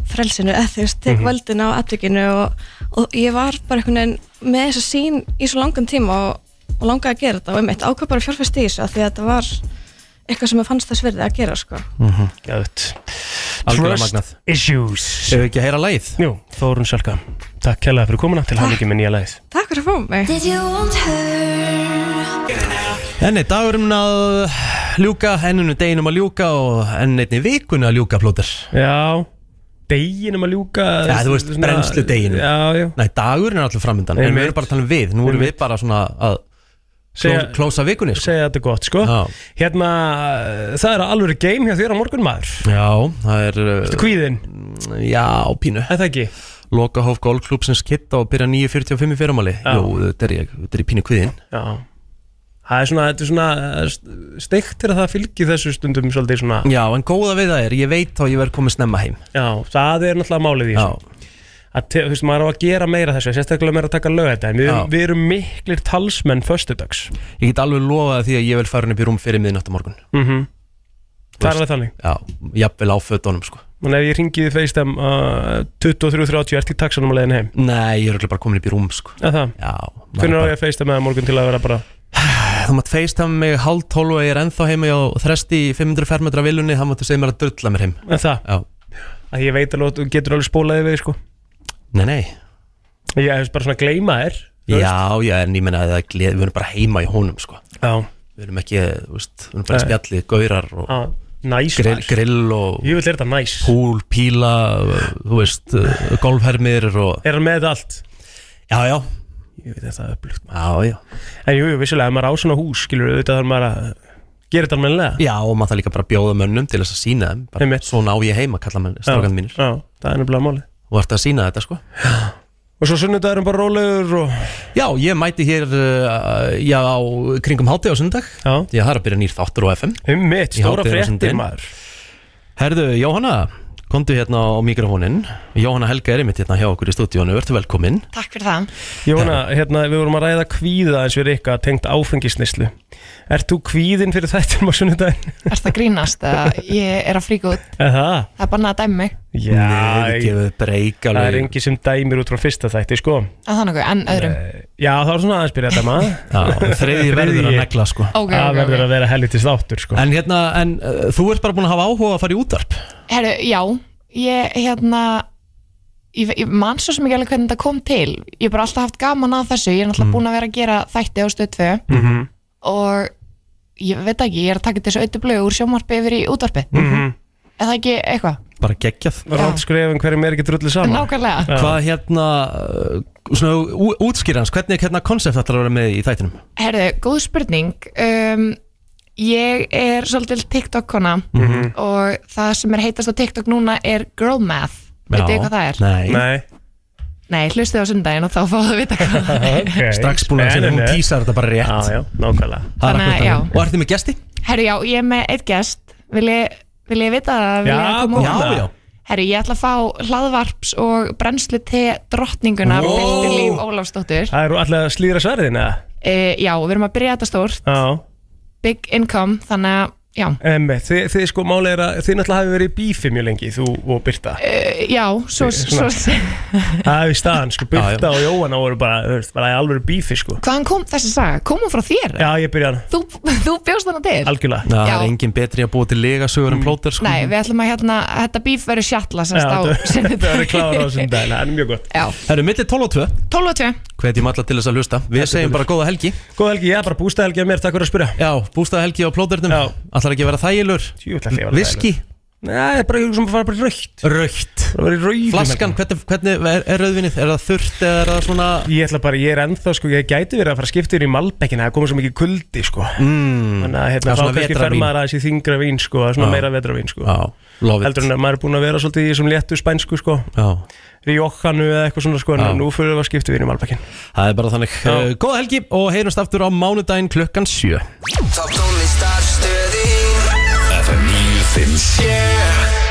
Speaker 18: frelsinu eða þú veist, tek
Speaker 4: Mhm.
Speaker 18: völdin á atvikinu og, og ég var bara einhvern veginn með þessa sín í svo langan tíma og, og langaði að gera þetta og einmitt ákvað bara að fjárfesta í þessu af því að þetta var eitthvað sem ég fannst þess verði að gera sko.
Speaker 4: Gæðut
Speaker 2: Mhm. Algjörlega
Speaker 4: Trust
Speaker 2: magnað.
Speaker 4: Issues
Speaker 2: Ef við ekki að heyra lagið?
Speaker 4: Jú, Þórun Sjálka Takk kærlega fyrir komuna til hann ekki með nýja lagið
Speaker 18: Takk fyrir að fá mig
Speaker 19: Did you want her?
Speaker 2: Enni dagurinn um að ljúka, enninu deginum að ljúka og enn einni vikunni að ljúka plóter
Speaker 4: Já, deginum að ljúka
Speaker 2: Já, þú veist,
Speaker 4: svona-
Speaker 2: brennslu deginum
Speaker 4: Já, já
Speaker 2: Nei, dagurinn er allur framöndan En við
Speaker 4: Einmitt.
Speaker 2: erum bara að tala um við, nú erum við
Speaker 4: Einmitt.
Speaker 2: bara svona að
Speaker 4: Segja-
Speaker 2: Klósa vikunni sko.
Speaker 4: Segja þetta gott sko
Speaker 2: Já,
Speaker 4: Hérna, það er alveg game hjá þér á morgun maður
Speaker 2: já það er uh, Þetta
Speaker 4: kvíðin?
Speaker 2: Mm, Já, pínu
Speaker 4: Er það ekki?
Speaker 2: Loka hóf golfklúpsins kitta og byrja 9.45 í fyrirmáli
Speaker 4: Já.
Speaker 2: Jú, þetta er ég, þetta er í pínu kvíðin
Speaker 4: Já Það er svona, þetta er svona steikt er að það fylgir þessu stundum svolítið svona
Speaker 2: Já, en góða við það er, ég veit þá ég verð komið snemma heim
Speaker 4: Já, það er náttúrulega málið í þessu að, te- þú veist, maður á að gera meira þessu sérstaklega meira að taka lög þetta við,
Speaker 2: Já.
Speaker 4: við erum miklir talsmenn föstudags
Speaker 2: Ég get alveg lofað því að ég vil fara hann upp í rúm fyrir miðin á morgun
Speaker 4: mm Það er
Speaker 2: Þú
Speaker 4: alveg
Speaker 2: veist,
Speaker 4: þannig
Speaker 2: Já, jafnvel á fötunum sko
Speaker 4: Þannig ef ég ringi þið FaceTime uh, 23.30 ert í taxanum að leiðin heim
Speaker 2: Nei, ég er örugglega bara komin upp í rúm sko
Speaker 4: Er það?
Speaker 2: Já
Speaker 4: Hvernig á ég að FaceTime með það morgun til að vera bara
Speaker 2: [SIGHS] Þú mátt facetime mig hálf tólf og ég er ennþá heima hjá þresti í 500 fermetra vilunni hann máttu segja mér að drulla mér heim
Speaker 4: En það?
Speaker 2: Já
Speaker 4: að ég veit alveg að þú getur alveg spólaði við sko
Speaker 2: Nei, nei
Speaker 4: Ég hefst bara svona að gleyma þér þú veist.
Speaker 2: Já, já, en ég menna að það gleð, við erum bara heima í honum sko
Speaker 4: Já
Speaker 2: Við erum ekki, þú veist, við erum bara
Speaker 4: Nei.
Speaker 2: spjallið, gaurar og
Speaker 4: Já, Næs
Speaker 2: grill,
Speaker 4: maður.
Speaker 2: grill og
Speaker 4: Ég vil þetta næs
Speaker 2: Púl, píla, þú veist, uh, golfhermir og
Speaker 4: Er hann með þetta allt?
Speaker 2: Já, já
Speaker 4: Ég veit að það er upplugt
Speaker 2: Já, já
Speaker 4: En jú, jú, vissulega, ef maður á svona hús skilur auðvitað þarf maður að gera þetta almennilega
Speaker 2: Já, og maður það líka bara að bjóða mönnum til þess að sína þeim bara, Svona á ég heima, kalla menn, strákan mínir
Speaker 4: Já, það er nefnilega máli
Speaker 2: Og ert að sína þetta, sko
Speaker 4: Og svo sunnudagurum bara rólegur og...
Speaker 2: Já, ég mæti hér uh, já, á kringum hátti á sundag
Speaker 4: Já
Speaker 2: Ég har að byrja nýr þáttur á FM
Speaker 4: Einmitt,
Speaker 2: Í
Speaker 4: stóra
Speaker 2: hádeginu á
Speaker 4: fréttir,
Speaker 2: sunnudaginn.
Speaker 4: maður.
Speaker 2: Herðu, Jóhanna, komdu hérna á mikrofónin Jóhanna Helga er einmitt hérna hjá okkur í stúdíónu Vertu velkomin
Speaker 20: Takk fyrir það.
Speaker 4: Jóna, hérna, við vorum að ræða kvíða eins við Rikka tengt áfengisnislu Ert þú kvíðin fyrir þættinum á sunnudaginn?
Speaker 20: Er það grínast að ég er að fríka út?
Speaker 4: Er það?
Speaker 20: Það er bara að dæmi mig
Speaker 4: Já,
Speaker 2: Nei, við gefum breyk
Speaker 4: Það
Speaker 2: alveg.
Speaker 4: er engi sem dæmir út frá fyrsta þætti, sko
Speaker 20: að það er nokkuð, en öðrum.
Speaker 4: Já, það var svona aðeins byrja þetta maður
Speaker 2: Já, þriðji verður að negla, sko.
Speaker 20: Ok,
Speaker 4: Það
Speaker 20: ok,
Speaker 4: verður að vera helvitist áttur, sko
Speaker 2: En hérna, en uh, þú ert bara búin að hafa áhuga að fara í útarp
Speaker 20: Herru, já, ég hérna, ég, ve- ég man svo sem ekki alveg hvernig þetta kom til. Ég hef bara alltaf haft gaman að þessu, ég er náttúrulega
Speaker 2: Mm.
Speaker 20: búin að vera að gera þætti á stöð 2
Speaker 12: Mm-hmm.
Speaker 4: Mhm.
Speaker 20: og ég veit ekki, ég er að taka þessu auðvitað blögu úr sjómarpi yfir í útvarpi.
Speaker 4: Mhm.
Speaker 20: Er það ekki eitthvað?
Speaker 2: Bara geggjað
Speaker 4: Rátt skrifin um hverjum er ekki drullið saman
Speaker 20: Nákvæmlega. Já.
Speaker 2: Hvað hérna, uh, svona ú- útskýrans, hvernig hérna konsept ætlar að vera með í þættinum?
Speaker 20: Herðu, góð spurning um, Ég er svolítil TikTok-kona
Speaker 2: Mhm.
Speaker 20: og það sem er heitast á TikTok núna er girl math Veitu þið hvað það er?
Speaker 2: Nei,
Speaker 20: Nei, hlustu á sundaginn og þá fáðu að vita hvað það
Speaker 2: [LAUGHS]
Speaker 20: er
Speaker 2: Strax búin að segja, hún
Speaker 4: Spennandi.
Speaker 2: tísar þetta bara rétt
Speaker 4: Já, já, nákvæmlega
Speaker 2: Það er
Speaker 20: Þannig að,
Speaker 2: akkurat
Speaker 20: já.
Speaker 2: þannig. Og ertu með gesti?
Speaker 20: Herru, já, ég er með eitt gest Vil ég, vil ég vita það? Vil
Speaker 2: Já,
Speaker 20: ég koma
Speaker 2: já,
Speaker 20: út?
Speaker 2: já.
Speaker 20: Herru, ég ætla að fá hlaðvarps og brennslu te drottninguna
Speaker 4: Wow.
Speaker 20: Birti Líf Eh, Ólafsdóttur
Speaker 4: Það er alltaf að slíra sverðin, eða?
Speaker 20: uh, Já, við erum að byrja þetta stórt
Speaker 4: Já
Speaker 20: Big income, þannig að já
Speaker 4: Um, þið, þið sko málega er að þið náttúrulega hafi verið í bífi mjög lengi þú og Birta
Speaker 20: Eh, Já, svo, svo, [LAUGHS]
Speaker 4: Svona. Það er í staðan sko, Birta og Jóhanna voru bara, þú veist, bara í alveg bífi sko
Speaker 20: Hvaðan kom þessi saga? Kom hún frá þér? [LAUGHS]
Speaker 4: Já, ég byrja hana
Speaker 20: Þú, þú bjóst hana til?
Speaker 4: Algjörlega
Speaker 2: Það
Speaker 20: Já.
Speaker 2: er engin betri að búa til legasögur
Speaker 4: Mm.
Speaker 2: en plóter sko
Speaker 20: Nei, við ætlum að hérna, þetta bíf verður sjalla sem stá [LAUGHS]
Speaker 4: Það er klára á þessum dagina, það er mjög gott
Speaker 20: Já,
Speaker 2: Það eru millir 12 og 2
Speaker 20: 12 og 2
Speaker 2: Hvetjum alla til þess að hlusta Við segjum bara góða helgi
Speaker 4: Góða helgi, já, bara bústaðhelgi að mér, takk fyrir að spyrja
Speaker 2: Já, bústaðhelgi á plóternum Ætlar ekki að vera þægilur Viski
Speaker 4: Nei, það er bara eitthvað sem var bara raukt
Speaker 2: Raukt Flaskan, hvernig, hvernig er, er rauðvinið? Er það þurrt eða er það svona
Speaker 4: Ég ætla bara, ég er ennþá sko, ég gæti verið að fara að skipta yfir í Malbekina, það komið svo mikið kuldi sko
Speaker 2: mm,
Speaker 4: Þannig að
Speaker 2: það
Speaker 4: hérna,
Speaker 2: er
Speaker 4: þá
Speaker 2: svona
Speaker 4: kannski fer
Speaker 2: vetrarvín.
Speaker 4: maður aðeins í þingra vín sko, það er svona
Speaker 2: Já.
Speaker 4: meira vetravín sko
Speaker 2: Já, love it.
Speaker 4: Heldur en að maður er búin að vera svolítið í þessum léttu spænsku sko
Speaker 2: Já.
Speaker 4: Riokkanu eða eitthvað svona sko, en
Speaker 2: Já.
Speaker 4: nú fyrir við að skipta yfir í Malbekin
Speaker 2: Það er bara þannig
Speaker 4: Já.
Speaker 2: uh, Góða helgi og heyrumst aftur á mánudaginn klukkan 7
Speaker 6: Top tónlistar stöðin
Speaker 21: FM 957